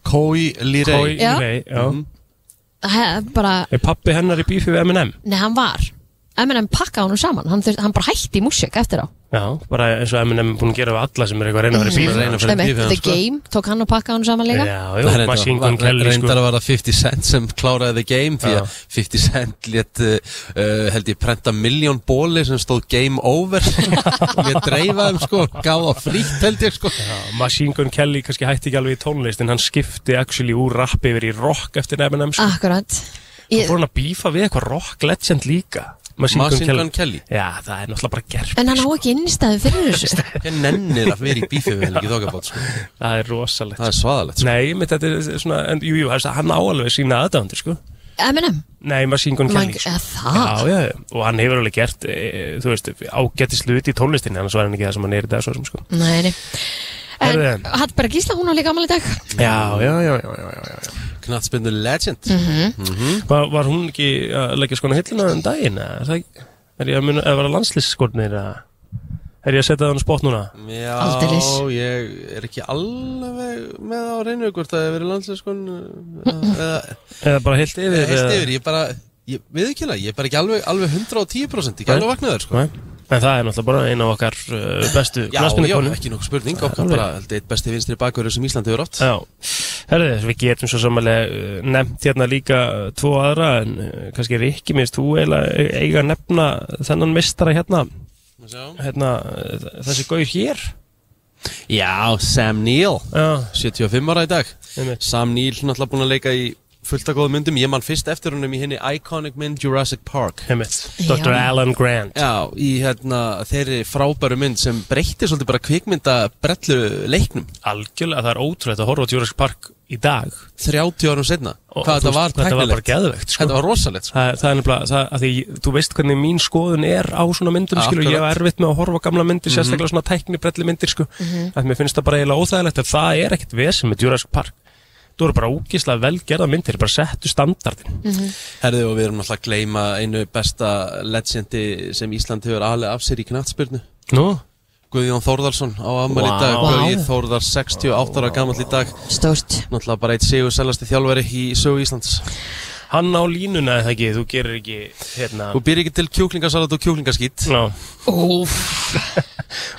Speaker 1: Koi
Speaker 2: Koi
Speaker 1: Lirei
Speaker 3: Já.
Speaker 2: Ray, E, já
Speaker 1: Mhm.
Speaker 3: he, bara,
Speaker 2: Er pappi hennar í bífi við M&M?
Speaker 3: nei hann var M&M pakkaði honum saman, hann, þurft, hann bara hætti í músík eftir á
Speaker 2: Já, bara eins og M&M er búin að gera við alla sem er eitthvað að reyna að vera í
Speaker 1: Sem er að
Speaker 2: bífi
Speaker 1: reyna að fara í
Speaker 3: Nei,
Speaker 1: bífið
Speaker 3: The
Speaker 1: hans, sko.
Speaker 3: Game, tók hann og pakkaði honum saman líka
Speaker 2: Já, jú, Machine Gun Kelly, sko
Speaker 1: Reyndar var það 50 Cent sem kláraði the game Því að 50 Cent let uh, uh, Held ég prenta miljón bóli sem stóð game over Við dreifaðum sko Gaf á frítt held ég sko
Speaker 2: Já, Machine Gun Kelly kannski hætti ekki alveg í tónlist en hann skipti actually úr rapp yfir í rock eftir M&M sko.
Speaker 3: Akkurat
Speaker 2: Svo
Speaker 3: Ah, ég,
Speaker 2: fór hann að bífa við eitthvað rock legend líka Machine,
Speaker 1: Machine
Speaker 2: Gun,
Speaker 1: Gun Kelly.
Speaker 2: Kelly Já, það er náttúrulega bara gerf
Speaker 3: En hann á ekki innstæðu fyrir þessu
Speaker 1: Ég nennir að vera í bífið við Helgi Þokkabótt sko
Speaker 2: Það er rosalegt
Speaker 1: Það er svaðalegt sko
Speaker 2: Nei, mitt, þetta er svona, en, jú, jú, það er svo- hann á alveg sína aðdæðandi, sko
Speaker 3: Eminem
Speaker 2: Nei, Machine Gun
Speaker 3: Man,
Speaker 2: Kelly sko.
Speaker 3: eða það
Speaker 2: Já, já, já, og hann hefur alveg gert, e, þú veist, ágætti sluti í tónlistinni, annars var hann ekki það sem hann er í dag, svo sem, sko.
Speaker 3: Nei, nei En
Speaker 2: Herðu.
Speaker 3: Hallberg Gísla, hún á líka gammal í dag
Speaker 2: Já, já, já, já, já, já, já.
Speaker 1: Knatsbyndu legend
Speaker 2: Var, var hún ekki að leggja skona hillina um daginn, eða? Er það ekki- Er ég að muna, eða var það landslýsskornir, eða? Er ég að setja það á spott núna?
Speaker 1: Já,
Speaker 3: Aldeilis.
Speaker 1: ég er ekki alveg með á reynu hvort að það hefur verið landslæskon eða
Speaker 2: Eða bara heilt yfir?
Speaker 1: heilt
Speaker 2: eða-
Speaker 1: yfir, ég bara ég, við ekki alveg, ég er bara ekki alveg, alveg 110% ekki
Speaker 2: Nei.
Speaker 1: alveg vaknaður sko
Speaker 2: Nei. En það er náttúrulega bara eina af okkar uh, bestu
Speaker 1: Já, já,
Speaker 2: knattspyrnukonum.
Speaker 1: ekki nokkuð spurning
Speaker 2: Já,
Speaker 1: okkar
Speaker 2: alveg. Eh.
Speaker 1: bara held eitt besti vinstri bakverður sem Íslandi hefur átt
Speaker 2: Já, herðu þess, við getum svo samanlega nefnt hérna líka uh, tvo aðra en uh, kannski Rikki, minnst þú eiginlega e- eiga að nefna þennan mistara hérna,
Speaker 1: Já,
Speaker 2: hérna uh, þessi gauð hér
Speaker 1: Sam Neill
Speaker 2: Já,
Speaker 1: 75 ára í dag
Speaker 2: einmitt.
Speaker 1: Sam Neill náttúrulega búin að leika í fullt af góðum myndum ég man fyrst eftir húnum í henni Iconic mynd Jurassic Park
Speaker 2: Einmitt.
Speaker 3: Já.
Speaker 2: Dr. Alan Grant
Speaker 1: Já, í hérna þeirri frábæru mynd sem breytti svolítið bara kvikmynda brellu leiknum
Speaker 2: Algjörlega, það er ótrúlegt að horfa á Jurassic Park í dag
Speaker 1: 30 árum setna
Speaker 2: Og-
Speaker 1: Hvað
Speaker 2: og þú
Speaker 1: þetta var
Speaker 2: veist, þetta var bara geðveikt, sko.
Speaker 1: Þetta var rosalegt sko.
Speaker 2: Það, það er nefnilega, það, að því þú veist hvernig mín skoðun er á svona myndum, skilur, ég
Speaker 1: Akkurat. Mhm.
Speaker 2: er erfitt með að horfa á gamla myndir, sérstaklega svona tæknibrelli myndir, sko, mm að mér finnst það bara eiginlega óþægilegt að það er ekkert vesem með Jurassic Park. Þú eru bara ógislega velgerða myndir, bara settu standardin.
Speaker 1: Mhm. Herðu og við erum alltaf að gleyma einu besta legendi sem Ísland hefur alveg af sér í knattspyrnu
Speaker 2: Nú,
Speaker 1: Guðjón Þórðarsson á afmæli í dag
Speaker 2: Vá.
Speaker 1: Guðjón Þórðar 68 ára gamall í dag
Speaker 3: Stórt
Speaker 1: Náttúrulega bara eitt sigur seljasti þjálfari í sögu Íslands
Speaker 2: hann á línuna eða ekki, þú gerir ekki, hérna,
Speaker 1: Þú býr ekki til kjúklingasalat og kjúklingaskít
Speaker 2: ná,
Speaker 3: Úf,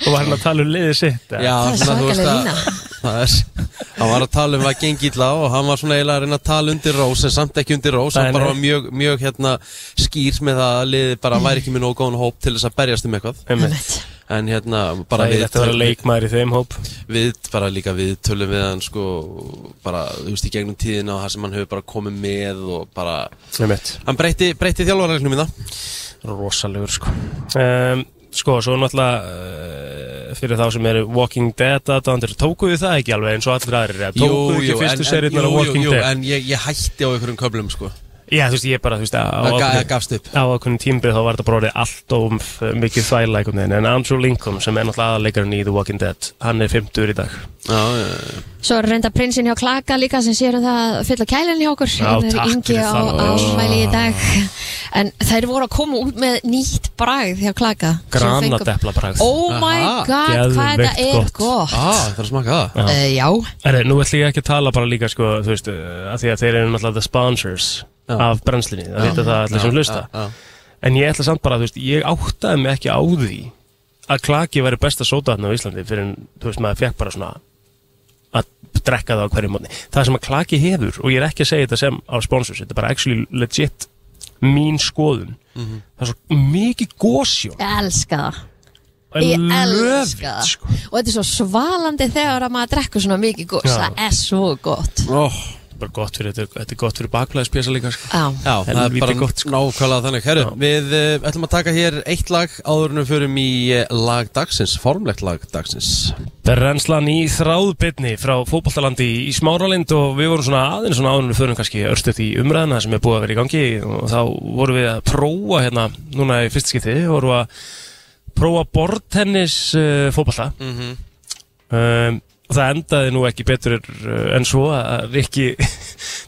Speaker 2: og var hann að tala um liðið sitt. eða?
Speaker 1: Já,
Speaker 3: Það er
Speaker 1: svona, þú veist
Speaker 3: svakaleg
Speaker 1: að-
Speaker 3: lína.
Speaker 1: Það er Hann var að tala um að gengi illa á og hann var svona eiginlega að reyna að tala undir rós en samt ekki undir rós, hann
Speaker 2: Nei,
Speaker 1: bara
Speaker 2: nei.
Speaker 1: var mjög, mjög hérna skýr með það að liði bara væri ekki með nógu góðan hóp til þess að berjast um eitthvað
Speaker 2: Einmitt.
Speaker 1: en hérna bara
Speaker 2: Það er þetta að vera leikmaður í þeim hóp
Speaker 1: við bara líka við tölum við hann sko bara, þú veist, í gegnum tíðina og það sem hann hefur bara komið með og bara,
Speaker 2: Einmitt.
Speaker 1: hann breytti, breytti þjálfarreglunum í það
Speaker 2: Rosalegur sko um, Sko, svo náttúrulega uh, fyrir þá sem eru Walking Dead aðdándir, tókuðu þið það ekki alveg eins og allir aðrir eða tókuðu ekki fyrstu seríunar af Walking
Speaker 1: jú,
Speaker 2: Dead
Speaker 1: en ég, ég hætti á einhverjum köflum sko,
Speaker 2: Já, þú veist, ég bara, þú veist, á
Speaker 1: það ga-
Speaker 2: ákveðnu-
Speaker 1: gafst upp
Speaker 2: á ákveðnum tímbrið þá var þetta bara orðið allt og um mikið þvæla einhvern veginn en Andrew Lincoln sem er náttúrulega aðalegurinn í The Walking Dead hann er 50 í dag
Speaker 1: já, já, já.
Speaker 3: Svo er reynda prinsinn hjá Klaka líka sem sér um það að fylla kælinn hjá okkur Hérna
Speaker 2: Já, takk fyrir
Speaker 3: Ingi á
Speaker 2: það.
Speaker 3: ámæli í dag En þeir voru að koma út með nýtt bragð hjá Klaka sem við fengum.
Speaker 2: Granadepla bragð
Speaker 3: Oh my
Speaker 1: Aha,
Speaker 3: god, hvað
Speaker 2: geðveikt
Speaker 3: þetta er
Speaker 2: gott.
Speaker 3: gott
Speaker 1: ah, það er að smaka það
Speaker 3: Eh, Já,
Speaker 2: Erri, nú ætlum ég ekki að tala bara líka sko, þú veist, uh, að því að þeir eru náttúrulega the sponsors
Speaker 1: Já.
Speaker 2: af brennslinni, það vita það allir sem hlusta
Speaker 1: Já, já.
Speaker 2: en ég ætla samt bara, þú veist, ég áttaði mig ekki á því að klaki væri besta sótaðna á Íslandi fyrir en, þú veist, maður fekk bara svona að drekka það á hverju mótni það sem að klaki hefur, og ég er ekki að segja þetta sem á sponsors, þetta er bara actually legit mín skoðun það er svo mikið gósjón
Speaker 3: ég elska það
Speaker 2: en
Speaker 3: Ég
Speaker 2: löfitt,
Speaker 3: elska það
Speaker 2: sko.
Speaker 3: Og þetta er svo svalandi þegar að maður drekkur svona mikið gos
Speaker 2: Já.
Speaker 3: Það er svo gott
Speaker 1: Oh,
Speaker 2: Þetta er bara gott fyrir, þetta er- þetta er gott fyrir baklæðispjasa líka sko.
Speaker 3: Já,
Speaker 1: já, það er
Speaker 2: Helvíti
Speaker 1: bara
Speaker 2: gott, sko.
Speaker 1: nákvæmlega þannig Herru, við uh, ætlum að taka hér eitt lag áðurinnum förum í uh, lag dagsins, formlegt lag dagsins
Speaker 2: Brennslan í þráðbytni frá fótboltalandi í Smáralind og við vorum svona aðeins svona áðunum fyrir kannski örstuðt í umræðina sem er búið að vera í gangi og þá vorum við að prófa hérna núna í fyrst skipti, vorum við að prófa bortennis uh, fótbolta um, og það endaði nú ekki betur uh, en svo að Rikki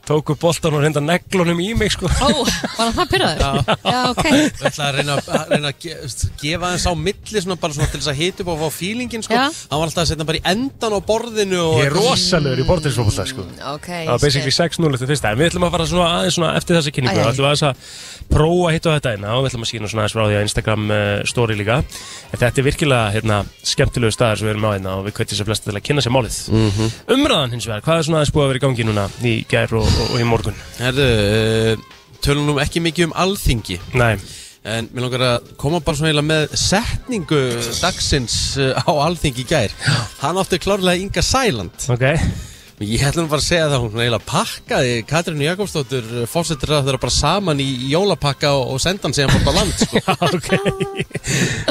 Speaker 2: tóku boltan og reynda neglunum í mig sko
Speaker 3: Ó, var það það pyrraður? Já, ok
Speaker 1: Við ætla að reyna að, reyna að ge- gefa þess á milli svona bara svona til þess að hita upp og fá feelingin sko.
Speaker 3: Já.
Speaker 1: Hann var alltaf að setja bara í endan á borðinu og
Speaker 2: Ég er rosalur í bortennisfótbolta sko
Speaker 3: Ok,
Speaker 2: Það var basically 6-0 eftir fyrsta En við ætlum að fara svona aðeins svona eftir þessa kynningu
Speaker 3: Æ, æ.
Speaker 2: Það ætlum aðeins að prófa hitt á þetta eina Og við ætlum að sína svona aðeins frá því að Instagram uh, story líka en Þetta er virkilega hérna, skemmtilegu staðar sem við erum á hérna Og við kvættum sem flesta til að kynna sér málið
Speaker 1: Mhm.
Speaker 2: Umræðan hins vegar, hvað er svona aðeins búið að vera í gangi núna Í gær og, og, og í morgun
Speaker 1: Herðu, uh, tölum nú ekki mikið um alþingi
Speaker 2: Nei,
Speaker 1: En mér langar að koma bara svona eiginlega með setningu dagsins uh, á alþingi í gær Hann átti klárlega Inga Sæland
Speaker 2: ok
Speaker 1: Ég ætla nú bara að segja það að hún eiginlega pakkaði Katrínu Jakobsdóttur fórsetur að þeirra bara saman í jólapakka og, og senda hann síðan bort á land sko.
Speaker 2: Ok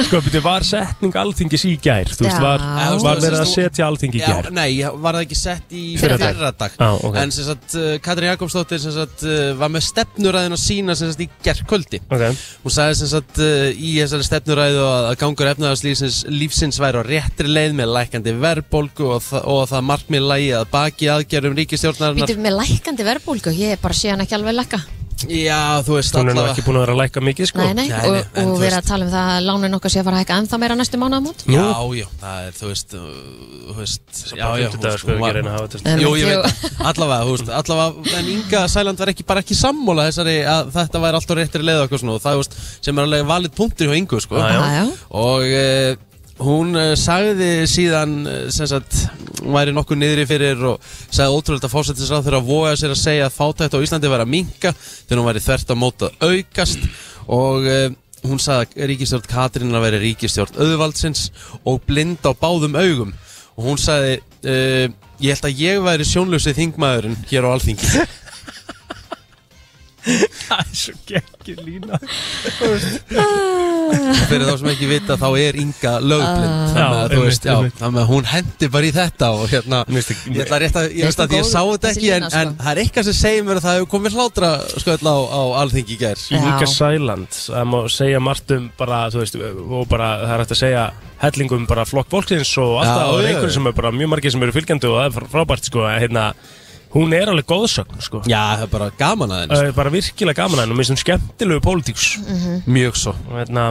Speaker 2: Sko, betur, var setning alþingis í gær Þú veist,
Speaker 3: Já.
Speaker 2: var,
Speaker 3: Já,
Speaker 2: var verið að
Speaker 1: þú-
Speaker 2: setja alþingi í
Speaker 1: Já,
Speaker 2: gær
Speaker 1: nei, var það ekki sett í
Speaker 2: Fyrradag.
Speaker 1: fyrradag
Speaker 2: Já, ok.
Speaker 1: En sem sagt, uh, Katrín Jakobsdóttir sem sagt, uh, var með stefnuræðina sína sem sagt í gerðkvöldi
Speaker 2: Ok,
Speaker 1: Hún sagði sem sagt uh, í þessari stefnuræðu að að gangur efnaðarslífsins lífsins væri á réttri leið með lækandi verðbólgu og, þa og það markmið lægi að baki aðgerðum ríkistjórnarinnar
Speaker 3: Býtum með lækandi verðbólgu, ég er bara síðan ekki alveg lækka
Speaker 1: Já, þú veist
Speaker 2: hún er nú
Speaker 1: allavega
Speaker 2: ekki búin að vera að lækka mikið sko
Speaker 3: Nei, nei,
Speaker 1: Nei, nei,
Speaker 3: og,
Speaker 1: en
Speaker 3: og
Speaker 1: þú
Speaker 3: við erum
Speaker 1: veist-
Speaker 3: að tala um það að lánin okkar sé að fara að hækka ennþá meira næstu mánuðamót
Speaker 1: Já,
Speaker 2: Nú,
Speaker 1: já, það er, þú veist, uh, þú veist Já,
Speaker 2: bara
Speaker 1: já,
Speaker 2: 50
Speaker 1: hún-
Speaker 2: dagar, sko,
Speaker 1: hún
Speaker 2: ekki
Speaker 1: var-
Speaker 2: reyna að hafa þetta-
Speaker 3: Nei,
Speaker 1: Jú,
Speaker 3: nei,
Speaker 1: ég veit,
Speaker 3: jú.
Speaker 1: það. allavega, þú veist, allavega, en Inga Sæland var ekki, bara ekki sammála þessari að þetta væri alltaf réttir leið og eitthvað svona og það, þú veist, sem er alveg valið punktur hjá Ingu, sko.
Speaker 2: Já,
Speaker 3: já.
Speaker 1: Og eh, hún eh, sagði síðan, eh, sem sagt, hún væri nokkuð niðri fyrir og sagði ótrúlega að fósættisráð þegar að voga sér að segja að fátækt á Íslandi væri að minka þegar hún væri þvert á móti að aukast og... Eh, Hún sagði að ríkistjórn Katrín að vera ríkistjórn auðvaldsins og blind á báðum augum og hún sagði uh, ég held að ég væri sjónlösi þingmaðurinn hér á alþingi
Speaker 2: Það er svo geggir lína
Speaker 1: fyrir þá sem ekki vita þá er Inga lögblind
Speaker 2: Ah.
Speaker 1: þannig, að,
Speaker 2: Já,
Speaker 1: þú veist, já,
Speaker 2: einmitt, einmitt.
Speaker 1: þannig að hún hendi bara í þetta og hérna
Speaker 2: Mér finnst ekki-
Speaker 1: ég ætla rétt að, ég
Speaker 3: Mér
Speaker 1: veist að ég
Speaker 3: finnst
Speaker 1: sá
Speaker 3: hún góð,
Speaker 1: þetta
Speaker 3: þessi
Speaker 1: ekki en,
Speaker 3: lína, sko.
Speaker 1: en það er eitthvað sem segir mér að það hefur komið hlátra sköll á, á alþingi í gær
Speaker 3: Já.
Speaker 2: Líka sæland Það má segja margt um bara, þú veist Og bara, það er hægt að segja Hellingum bara flokk fólksins og allt
Speaker 1: Já,
Speaker 2: það Og
Speaker 1: já, já.
Speaker 2: einhverjum sem er bara mjög margir sem eru fylgjandi Og það er fr- frábært, sko að, hérna, Hún er alveg góðsögn, sko
Speaker 1: já, það er bara gaman að henni
Speaker 2: Það er bara virkilega gaman að henni Og minnst hún skemmtilegu pólitíks
Speaker 1: Mm.
Speaker 3: Mm.
Speaker 1: mjög svo
Speaker 2: Og hérna,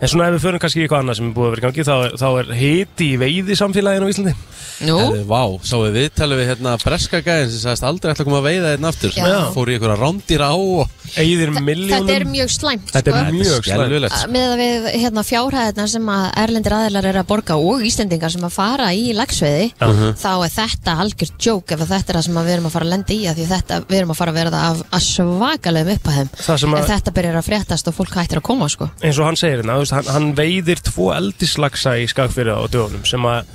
Speaker 2: En svona ef við förum kannski í eitthvað annað sem er búið að vera í gangi Þá, þá er hiti í veiði samfélaginu á Íslandi
Speaker 3: Nú,
Speaker 1: Herri, Vá, sáum við viðtalið við hérna breska gæðin sem sagðist aldrei ætla að koma að veiða hérna aftur
Speaker 3: Já.
Speaker 1: fór í einhverja rándýra á og
Speaker 2: eigðir miljónum
Speaker 3: Þetta er mjög slæmt
Speaker 2: Þetta
Speaker 3: sko.
Speaker 2: er mjög slæmt
Speaker 1: skelvilegt
Speaker 3: með það við hérna, fjárhæðina sem að erlendir aðilar er að borga og Íslendingar sem að fara í lagsveiði
Speaker 2: Uh-huh.
Speaker 3: þá er þetta algjör djók ef að þetta er það sem að við erum að fara að lenda í af því þetta við erum að fara að verða af að svakalegum upphæðum
Speaker 2: Það sem
Speaker 3: ef
Speaker 2: að,
Speaker 3: þetta byrjar að fréttast og fólk hættir að koma sko.
Speaker 2: eins og hann segir hérna, þú veist, hann, hann veiðir tvo eldislagsa í skagfyrða á dögunum sem að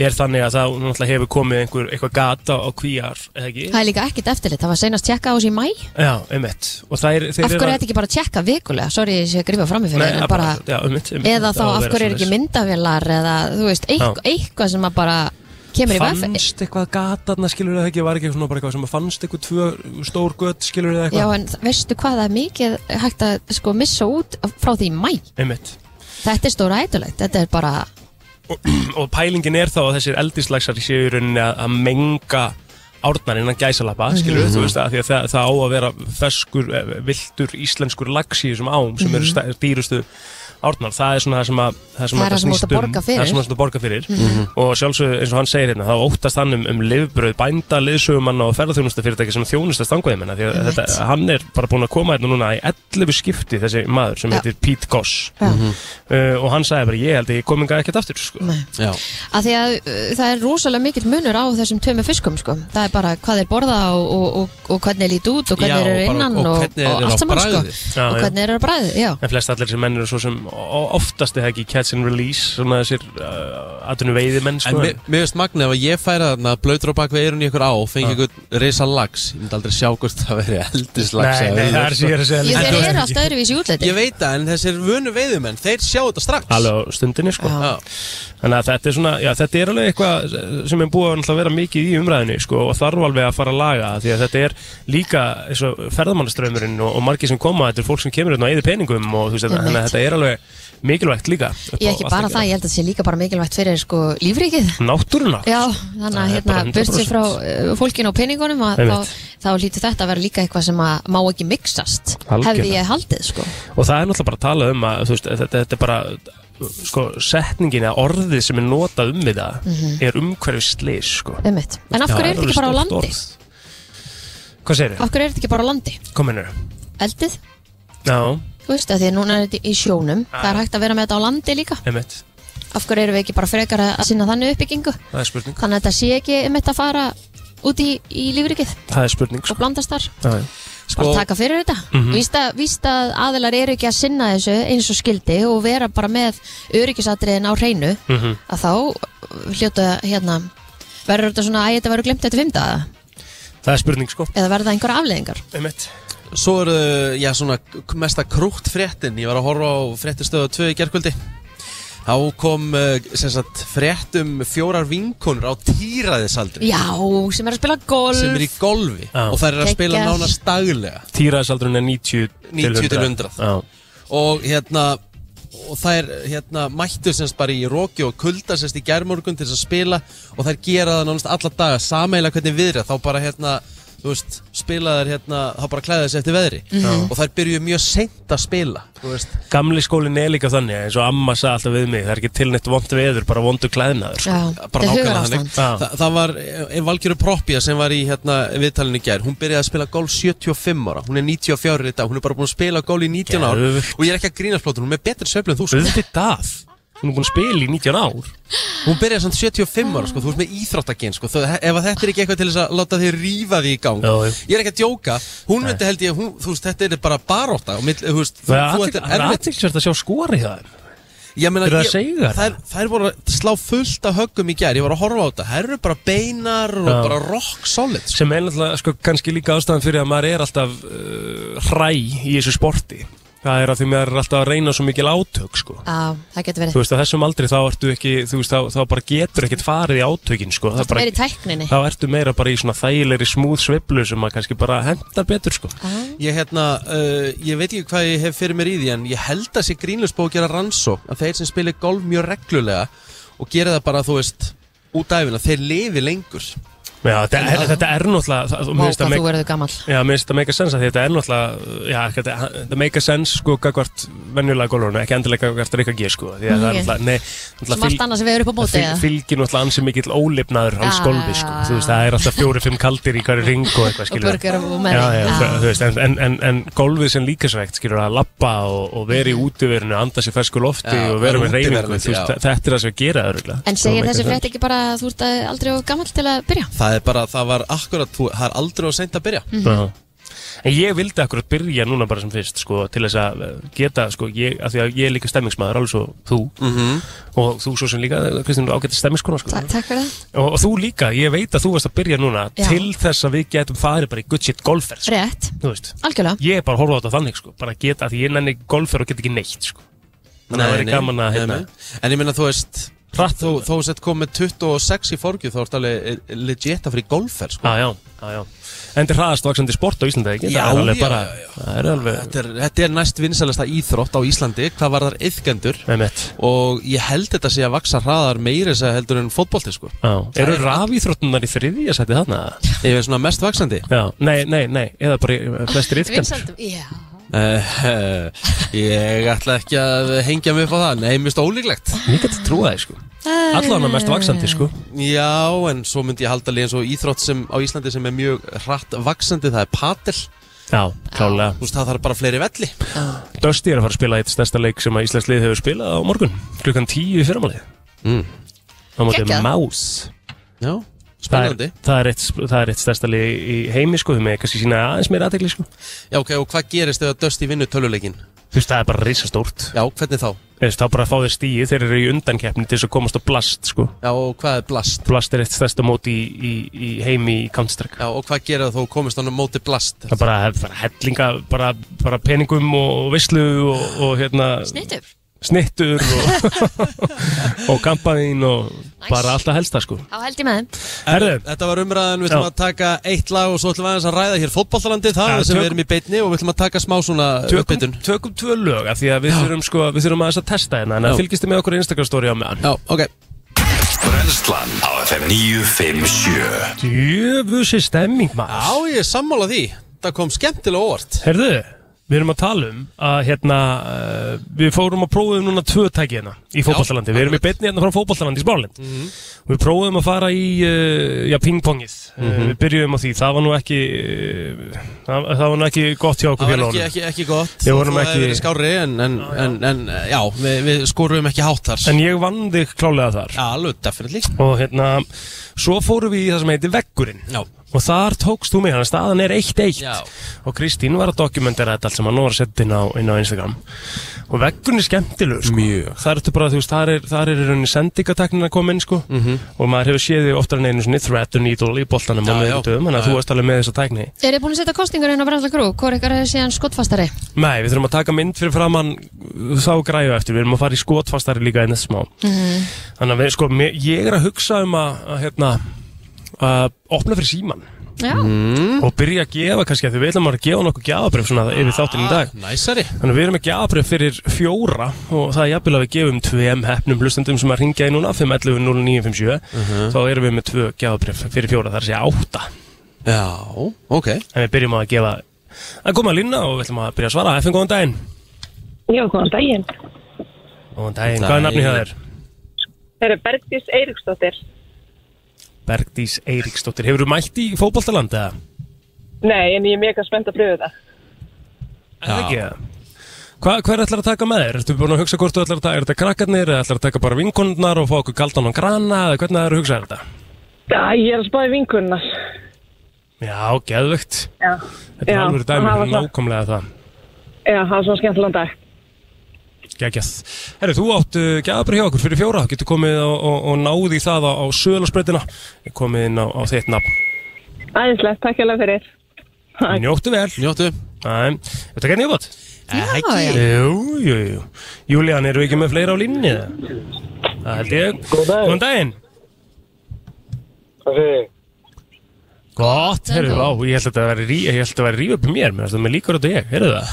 Speaker 2: er þannig að það náttúrulega hefur komið einhver, eitthvað gata á kvíjar, eða ekki?
Speaker 3: Það er líka ekkit eftirlit, það var seinast tjekka á þessu í mæ
Speaker 2: Já, einmitt. Og það er, þeir
Speaker 3: Af
Speaker 2: eru
Speaker 3: hverju er
Speaker 2: að-
Speaker 3: þetta ekki bara að tjekka vikulega? Sorry, ég sé að grífa fram í fyrir
Speaker 2: Nei,
Speaker 3: þér, en
Speaker 2: að
Speaker 3: bara,
Speaker 2: já, einmitt, einmitt,
Speaker 3: Eða þá
Speaker 2: það á að
Speaker 3: af
Speaker 2: vera
Speaker 3: hverju er ekki
Speaker 2: svoleiðis.
Speaker 3: myndavélar eða þú veist, eitthvað, eitthvað sem að bara kemur í vef
Speaker 2: fannst eitthvað gataðna skilur það ekki, var ekki svona bara eitthvað sem að fannst eitthvað tvö stór gött skilur það
Speaker 3: Já,
Speaker 2: eitthvað
Speaker 3: en þ- veistu hvað það er mikið hægt að sko missa út frá því í mæ
Speaker 2: einmitt
Speaker 3: Þetta er stóra ætulegt, þetta er bara
Speaker 2: og pælingin er þá að þessir eldislagsar séu í rauninni að, að menga árnar innan gæsalappa,
Speaker 3: Mhm.
Speaker 2: skilur þú veist að því að það, það á að vera feskur, viltur íslenskur lags í þessum ám sem eru stæ- dýrustu árnar, það er svona það sem að það, sem
Speaker 3: Mhm.
Speaker 2: að
Speaker 3: Það er það sem þú
Speaker 2: snýst
Speaker 3: ert að
Speaker 2: um.
Speaker 3: borga fyrir. Mhm.
Speaker 2: það sem þú ert að borga fyrir og sjálfsög eins og hann segir hérna, þá óttast hann um, um lifbröð bænda, liðsögumanna og ferðarþjónustafyrirtæki sem þjónustast angóðimenn því að
Speaker 3: Einmitt.
Speaker 2: þetta, hann er bara búin að koma hérna núna í 11 skipti þessi maður sem
Speaker 3: Já.
Speaker 2: heitir Pete Goss
Speaker 3: já,
Speaker 2: uh, og hann sagði bara ég held að ég kom enga ekkert aftur sko.
Speaker 3: nei.
Speaker 1: Já,
Speaker 3: að því að uh, það er rosalega mikill munur á þessum tveimu fiskum sko. það er bara hvað þeir borða og, og, og, og hvernig þeir lít út
Speaker 1: Já,
Speaker 3: og hvernig þeir
Speaker 1: og
Speaker 3: eru
Speaker 1: bara-
Speaker 3: innan
Speaker 1: og
Speaker 3: og,
Speaker 1: hvernig þeir eru á
Speaker 3: og allt saman sko.
Speaker 1: bragðið.
Speaker 2: Já,
Speaker 3: og
Speaker 2: já.
Speaker 3: hvernig þeir eru að bræði já.
Speaker 2: En flest allir sem menn eru svo sem o- oftast er það ekki catch and release svona þessir uh, atvinnu
Speaker 1: En
Speaker 2: veiðimenn sko.
Speaker 1: mér mér finnst magnið ef að ég færa þarna blöytur á bak við eirun í ykkur á fengi ykkur risa lags ég myndi aldrei sjá hvort það veri eldislags
Speaker 2: Nei,
Speaker 1: eða
Speaker 2: nei, það er
Speaker 1: veiðir.
Speaker 2: sér að segja
Speaker 3: Jú,
Speaker 2: líka.
Speaker 3: þeir eru alltaf öðruvísi í útliti
Speaker 1: Ég veit það, en þessir vunu veiðumenn þeir sjá þetta strax
Speaker 2: Alveg á stundinni sko
Speaker 3: Já.
Speaker 1: Já.
Speaker 2: Þannig að þetta er svona, já þetta er alveg eitthvað sem er búið að náttúrulega vera mikið í umræðinni sko og þarf alveg að fara að laga því að þetta er líka eins og ferðamannaströmmurinn og, og margir sem koma, þetta er fólk sem kemur hérna á eða peningum og þú veist þetta,
Speaker 3: Einmitt.
Speaker 2: þannig að þetta er alveg mikilvægt líka upp á
Speaker 3: ég
Speaker 2: allt
Speaker 3: ekki
Speaker 2: að
Speaker 3: bara
Speaker 2: gera.
Speaker 3: það, ég held að það sé líka bara mikilvægt fyrir sko, lífríkið
Speaker 2: Náttúruna
Speaker 3: Já, þannig að
Speaker 2: Það er
Speaker 3: hérna,
Speaker 2: bara 100%.
Speaker 3: burt sér frá uh, fólkinu og peningunum að þá,
Speaker 2: Einmitt.
Speaker 3: þá lítur þetta að vera líka eitthvað sem að má ekki mixast
Speaker 2: Algjörlega.
Speaker 3: hefði ég haldið sko.
Speaker 2: og það er náttúrulega bara að tala um að þú veist, þetta, þetta er bara sko, setningin eða orðið sem er notað um við það er umhverfisleis sko.
Speaker 3: Einmitt. En Mhm. af
Speaker 2: Já,
Speaker 3: hverju er
Speaker 2: það
Speaker 3: þetta ekki bara á
Speaker 2: stórt
Speaker 3: landi?
Speaker 2: orð. Hvað segir þið?
Speaker 3: Af hverju er þetta ekki bara á landi?
Speaker 2: Kominur
Speaker 3: Eldið?
Speaker 2: Já,
Speaker 3: Þú veist að því að núna er þetta í sjónum
Speaker 2: Ah.
Speaker 3: Það er hægt að vera með þetta á landi líka
Speaker 2: einmitt,
Speaker 3: Af hverju erum við ekki bara frekar að sinna þannig uppbyggingu
Speaker 2: það er spurning
Speaker 3: Þannig að þetta sé ekki um þetta að fara út í, í lífrikið
Speaker 2: Það er spurning sko.
Speaker 3: og blandast þar
Speaker 2: Já, já.
Speaker 3: Bara
Speaker 1: Sko-
Speaker 3: taka fyrir þetta mm -hmm. víst, að, víst að aðilar eru ekki að sinna þessu eins og skildi og vera bara með öryggisatriðin á hreinu
Speaker 2: Mhm.
Speaker 3: að þá uh, hljóta hérna verður þetta svona að þetta verður glemt eftir fymta
Speaker 2: Það er spurning sko
Speaker 3: eða verða einhverja afleðingar
Speaker 2: Einmitt
Speaker 1: Svo eru, já, svona k- mesta krútt fréttin Ég var að horfa á fréttistöðu 2 í gerkvöldi Þá kom, eh, sem sagt, frétt um fjórar vinkonur á týraðisaldri
Speaker 3: Já, sem er að spila golf
Speaker 1: sem er í golfi
Speaker 2: Já.
Speaker 1: og þær eru að spila
Speaker 3: Geggjað.
Speaker 1: nánast daglega
Speaker 2: Týraðisaldurinn er 90
Speaker 1: 90 til 100.
Speaker 2: Já,
Speaker 1: og hérna og þær hérna mættu semst bara í róki og kulda semst í gærmorgun til þess að spila og þær gera það nánast alla daga sameiginlega hvernig viðra þá bara hérna þú veist, spila þær hérna þá bara klæða þessi eftir veðri
Speaker 3: Mhm.
Speaker 1: og þær byrju mjög seint að spila þú veist
Speaker 2: Gamli skólinn er líka þannig eins og amma sagði alltaf við mig Það er ekki tilnætt vond veður, bara vondu klæðnaður sko.
Speaker 3: Já,
Speaker 1: bara
Speaker 3: þetta er
Speaker 1: nákvæmlega
Speaker 3: hugarástand.
Speaker 1: þannig Þa, það var einn valgjöru Propja sem var í hérna, viðtalinu í gær hún byrjaði að spila golf 75 ára hún er 94 ára í dag, hún er bara búin að spila golf í 19 ára
Speaker 2: Geðveikt.
Speaker 1: og ég er ekki að grínast plótur, hún er með betri söflu en þú sko.
Speaker 2: Auðvitað Hún er búin að spila í 19 ár
Speaker 1: hún byrjaði samt 75 ára, sko, þú veist með íþróttaginn sko. Þó- ef að þetta er ekki eitthvað til þess að láta þig rífa því í gang
Speaker 2: Já, já.
Speaker 1: ég er ekki að djóka, hún myndi held ég hún, þú veist, þetta er bara baróta og mill- þú veist, þú-
Speaker 2: Það
Speaker 1: þú-
Speaker 2: er
Speaker 1: þetta
Speaker 2: athygl- það er
Speaker 1: erfitt.
Speaker 2: aðtilsvært að sjá skori það
Speaker 1: Ég meina,
Speaker 2: Eru það
Speaker 1: ég-
Speaker 2: seigar?
Speaker 1: þær, þær voru að slá fullt af höggum í gær, ég var að horfa á þetta þær eru bara beinar og
Speaker 2: Já.
Speaker 1: bara rock solid sko.
Speaker 2: sem er náttúrulega sko, kannski líka ástæðan fyrir að maður er alltaf uh, hræ í þessu sporti það er að því maður er alltaf að reyna svo mikil átök sko.
Speaker 3: Já, það getur verið
Speaker 2: þú veist að þessum aldri þá ertu ekki þú veist þá, þá bara getur ekkert farið í átökin sko. Það
Speaker 3: Það
Speaker 2: bara,
Speaker 3: er í tækninni
Speaker 2: þá ertu meira bara í svona þægilegri smúð sviblu sem maður kannski bara hendar betur sko.
Speaker 3: ah.
Speaker 1: Ég, hérna, uh, ég veit ekki hvað ég hef fyrir mér í því en ég held að sé grínlust búið að gera rannsók að þeir sem spilir golf mjög reglulega og gera það bara, þú veist, út af æfina, þeir lifi lengur
Speaker 2: Já, þetta, er, þetta er náttúrulega það- mér
Speaker 3: Má
Speaker 2: finnst það
Speaker 3: hvað
Speaker 2: make-
Speaker 3: þú verður gamall
Speaker 2: Já, mér finnst þetta make a sense að því þetta er náttúrulega Já, þetta þetta make a sense sko gagvart venjulega gólurinu, ekki endilega gagvart Rikka G sko, því að það er
Speaker 3: Ok.
Speaker 2: náttúrulega Nei,
Speaker 3: Sem allt
Speaker 2: náttúrulega
Speaker 3: annað sem við erum upp á móti
Speaker 2: fylg,
Speaker 3: eða?
Speaker 2: fylgir náttúrulega ansi mikill ólifnaður hans
Speaker 3: Já,
Speaker 2: gólfi
Speaker 3: já,
Speaker 2: sko,
Speaker 3: já.
Speaker 2: þú veist, það er alltaf fjóri-fimm kaldir í hverju ring og eitthvað
Speaker 3: Og
Speaker 2: skilur
Speaker 3: burger og
Speaker 2: Já,
Speaker 3: með
Speaker 2: já, þú- þú veist, en, en, en, en gólfið sem líkasvægt skilur að lappa og, og vera í
Speaker 3: Mhm.
Speaker 2: útiverinu anda sér fersku lofti
Speaker 1: Já,
Speaker 2: og vera
Speaker 1: vera
Speaker 2: með
Speaker 1: útiverandi,
Speaker 2: reyningu þú veist,
Speaker 1: já.
Speaker 2: þa- þetta er það sem við gera örugglega.
Speaker 3: En
Speaker 2: Svo
Speaker 3: segir
Speaker 2: make a
Speaker 3: þessi
Speaker 2: sense.
Speaker 3: frétt ekki bara að þú ert eh, aldrei of gamall til að byrja?
Speaker 1: Það er bara, það var akkurat, þú, það er aldrei á seint að byrja
Speaker 3: Mhm.
Speaker 2: Já. En ég vildi akkurat byrja núna bara sem fyrst sko, til þess að eh, geta sko, ég, að því að ég er líka stemmingsmaður alveg svo þú
Speaker 1: -hmm.
Speaker 2: og þú svo sem líka, eh, Kristín, ágætti stemmingskona sko.
Speaker 3: Ta- Takk fyrir það
Speaker 2: og, og þú líka, ég veit að þú varst að byrja núna
Speaker 3: Já.
Speaker 2: til þess að við getum farið bara í good shit golfferð sko.
Speaker 3: Rétt,
Speaker 2: Þú veist,
Speaker 3: algjörlega
Speaker 2: ég er bara að horfa á þetta þannig sko, bara að geta, að því ég nenni golfferð og get ekki neitt sko. Þannig að það væri gaman að hérna
Speaker 1: En ég minna, þú veist,
Speaker 2: Hratt.
Speaker 1: þú, þú sett komið 26 í forgju, þá ert alveg eh, legit að fyrir golfer, sko
Speaker 2: Já, já, já, já En þetta er hraðast vaksandi sport á Íslandi, ekki?
Speaker 1: Já,
Speaker 2: það er alveg
Speaker 1: já,
Speaker 2: bara,
Speaker 1: já, já.
Speaker 2: það er alveg,
Speaker 1: Þetta er, þetta er næst vinsalasta íþrótt á Íslandi, hvað var þar yðgendur
Speaker 2: með mitt
Speaker 1: og ég held þetta sé að vaksa hraðar meiri þess að heldur en fótbolti, sko
Speaker 2: Eru rafíþróttunar í þriðja sæti þarna?
Speaker 1: Ég veist svona mest vaksandi
Speaker 2: Já, nei, nei, nei, eða bara í- flestir yfkendur
Speaker 3: Vinsældum, já
Speaker 1: uh, Ég ætla ekki að hengja mig upp á það, nei, mjög stólíklegt
Speaker 2: Ég geti trúa það, sko Allan að mest vaksandi, sko
Speaker 1: Já, en svo myndi ég halda alveg eins og íþrótt sem á Íslandi sem er mjög hratt vaksandi, það er patel
Speaker 2: Já, klálega
Speaker 1: Þú veist, það þarf bara fleiri velli
Speaker 2: Dusty er að fara að spila eitt stærsta leik sem að Íslands lið hefur spilað á morgun Klukkan tíu í fyrramalið
Speaker 1: Mm.
Speaker 2: Á móti
Speaker 3: Geggjað.
Speaker 2: Más
Speaker 1: Já,
Speaker 2: það er,
Speaker 1: spennandi
Speaker 2: það, er eitt, það er eitt stærsta lið í heimi, sko Þú með kannski sína aðeins meira aðtegli, sko Þú
Speaker 1: Já, ok, og hvað gerist ef að Dusty vinnur töluleikin?
Speaker 2: veist, það er bara risastórt
Speaker 1: Já, hvernig þá?
Speaker 2: Þú veist, þá bara að fá þér stíð Þeir eru í undankeppni til þess að komast á Blast, sko
Speaker 1: Já, og hvað er blast?
Speaker 2: Blast er eitt stærsta móti í, í, í heimi í Counter-Strike
Speaker 1: Já, og hvað gerir það þó komist hann á móti blast?
Speaker 2: Það er bara, bara hellinga, bara, bara peningum og visslu og, og hérna,
Speaker 3: Snittur
Speaker 2: snittur og, og kampaðín og bara alltaf helsta sko.
Speaker 3: Þá held ég með þeim
Speaker 2: Herðu,
Speaker 1: Þetta var umræðan, við ætlum
Speaker 2: Já.
Speaker 1: að taka eitt lag og svo ætlum við aðeins að ræða hér fótbollalandi það
Speaker 2: Já,
Speaker 1: sem
Speaker 2: tökum-
Speaker 1: við erum í beinni og við ætlum að taka smá svona
Speaker 2: tökum,
Speaker 1: uppbytun
Speaker 2: tökum tvö lög af því að við þurfum, sko, við þurfum aðeins að testa hérna, en
Speaker 1: Já.
Speaker 2: að fylgistu með okkur í Instagram story á meðan.
Speaker 1: Já, ok
Speaker 4: Brennslan á FM 957
Speaker 2: Djöfusi stemming
Speaker 1: Já,
Speaker 2: maður.
Speaker 1: ég er sammála því Það kom skemmtilega óvart
Speaker 2: Herðu, við erum að tala um að hérna, uh, við fórum að prófum núna tvö tæki hérna í fótballtalandi. Við erum í beinni hérna frá fótballtalandi í Smáralind.
Speaker 1: Mhm.
Speaker 2: Við prófum að fara í uh, já, pingpongið
Speaker 1: Mhm.
Speaker 2: uh, Við byrjuðum á því, það var nú ekki uh, það, það var nú ekki gott hjá okkur
Speaker 1: Það var ekki,
Speaker 2: félagum
Speaker 1: ekki, ekki gott
Speaker 2: Við vorum
Speaker 1: Þú hefði
Speaker 2: ekki-
Speaker 1: verið skárri en, en, en, en já, við, við skorum ekki hátt þar
Speaker 2: En ég vann þig klálega þar
Speaker 1: Já, alveg, definitely
Speaker 2: Og hérna, svo fórum við í það sem heitir Veggurinn
Speaker 1: Já,
Speaker 2: Og þar tókst þú mig, þannig að staðan er eitt eitt
Speaker 1: Já.
Speaker 2: Og Kristín var að dokumentera þetta allt sem hann var að setja inn á, inn á Instagram Og veggurinn er skemmtilegur sko.
Speaker 1: Mjög.
Speaker 2: Þar ertu bara, þú veist, þar er, þar er í rauninni sendingateknina komin sko. -hmm. Og maður hefur séð þig oftar en einu svona thread og needle í boltanum
Speaker 1: Já,
Speaker 2: á
Speaker 1: já.
Speaker 2: miðvikudögum, Þannig
Speaker 1: Já,
Speaker 2: að þú varst alveg með þessa tekni
Speaker 3: Eru þið búin að setja kostingur inn á Brensla Grú? Hvor ykkar er síðan skottfastari?
Speaker 2: Nei, við þurfum að taka mynd fyrir framann uh, þá græðu eftir, við erum að fara í skotfastari líka einn smá. Þannig að við, sko, mér, ég er að hugsa um að, að hérna, að opna fyrir síman
Speaker 3: Já
Speaker 2: og byrja að gefa kannski að því við ætlum að vera að gefa nokkuð gjafabrif svona yfir þáttinn í dag.
Speaker 1: næsari
Speaker 2: Þannig að við erum með gjafabrif fyrir fjóra og það er jafnvel að við gefum tveim hefnum hlustendum sem að ringja í núna 511 0957 þá erum við með tvö gjafabrif fyrir fjóra, þar sé átta.
Speaker 1: Já, ok
Speaker 2: En við byrjum á að gefa að koma að línna og við ætlum að byrja að svara. FN, góðan daginn.
Speaker 5: Já, góðan daginn.
Speaker 2: Góðan daginn. Hvað er nafni hjá þér?
Speaker 5: Það er Bergdís Eiríksdóttir.
Speaker 2: Bergdís Eiríksdóttir, hefur þú mætt í fótboltaland eða?
Speaker 5: Nei, en ég er mega spennt að pröfu það.
Speaker 2: Er það ekki það? Hva, hver ætlar að taka með þér? Ertu búin að hugsa hvort þú ætlar að taka, er þetta krakkarnir eða ætlar að taka bara vinkonurnar og fá okkur kaldan og grana eða hvernig það er að hugsa þetta?
Speaker 5: Já, ég er að spáði vinkunnar.
Speaker 2: Já, geðvögt.
Speaker 5: Já.
Speaker 2: Þetta er
Speaker 5: Já,
Speaker 2: alveg dæmi,
Speaker 5: það var
Speaker 2: þetta er
Speaker 5: það.
Speaker 2: nákvæmlega það.
Speaker 5: Já, það var svona skemmtilega dag.
Speaker 2: Gægjað. Herru, þú átt uh, gæðabri hjá okkur fyrir fjóra, getur komið og, og, og náði það á, á söðlarspreytina, komið inn á, á þitt nafn.
Speaker 5: Æðislegt, takk hjá fyrir. Takk.
Speaker 2: Njóttu vel.
Speaker 1: Njóttu Eh,
Speaker 2: Æ, þetta er ekki nýjabot.
Speaker 3: Já, já.
Speaker 2: Jú, jú, jú. Júlían, eru við ekki með fleira á línni? eða? Það held ég.
Speaker 6: Góðan daginn.
Speaker 2: Góðan daginn.
Speaker 6: Hvað segir þið?
Speaker 2: Gott, herru,
Speaker 3: Góðan
Speaker 2: vá, ég held að þetta væri, rí- ég held að þetta væri ríf upp í mér, mér finnst þetta með líkur þetta ég, heyrðu það?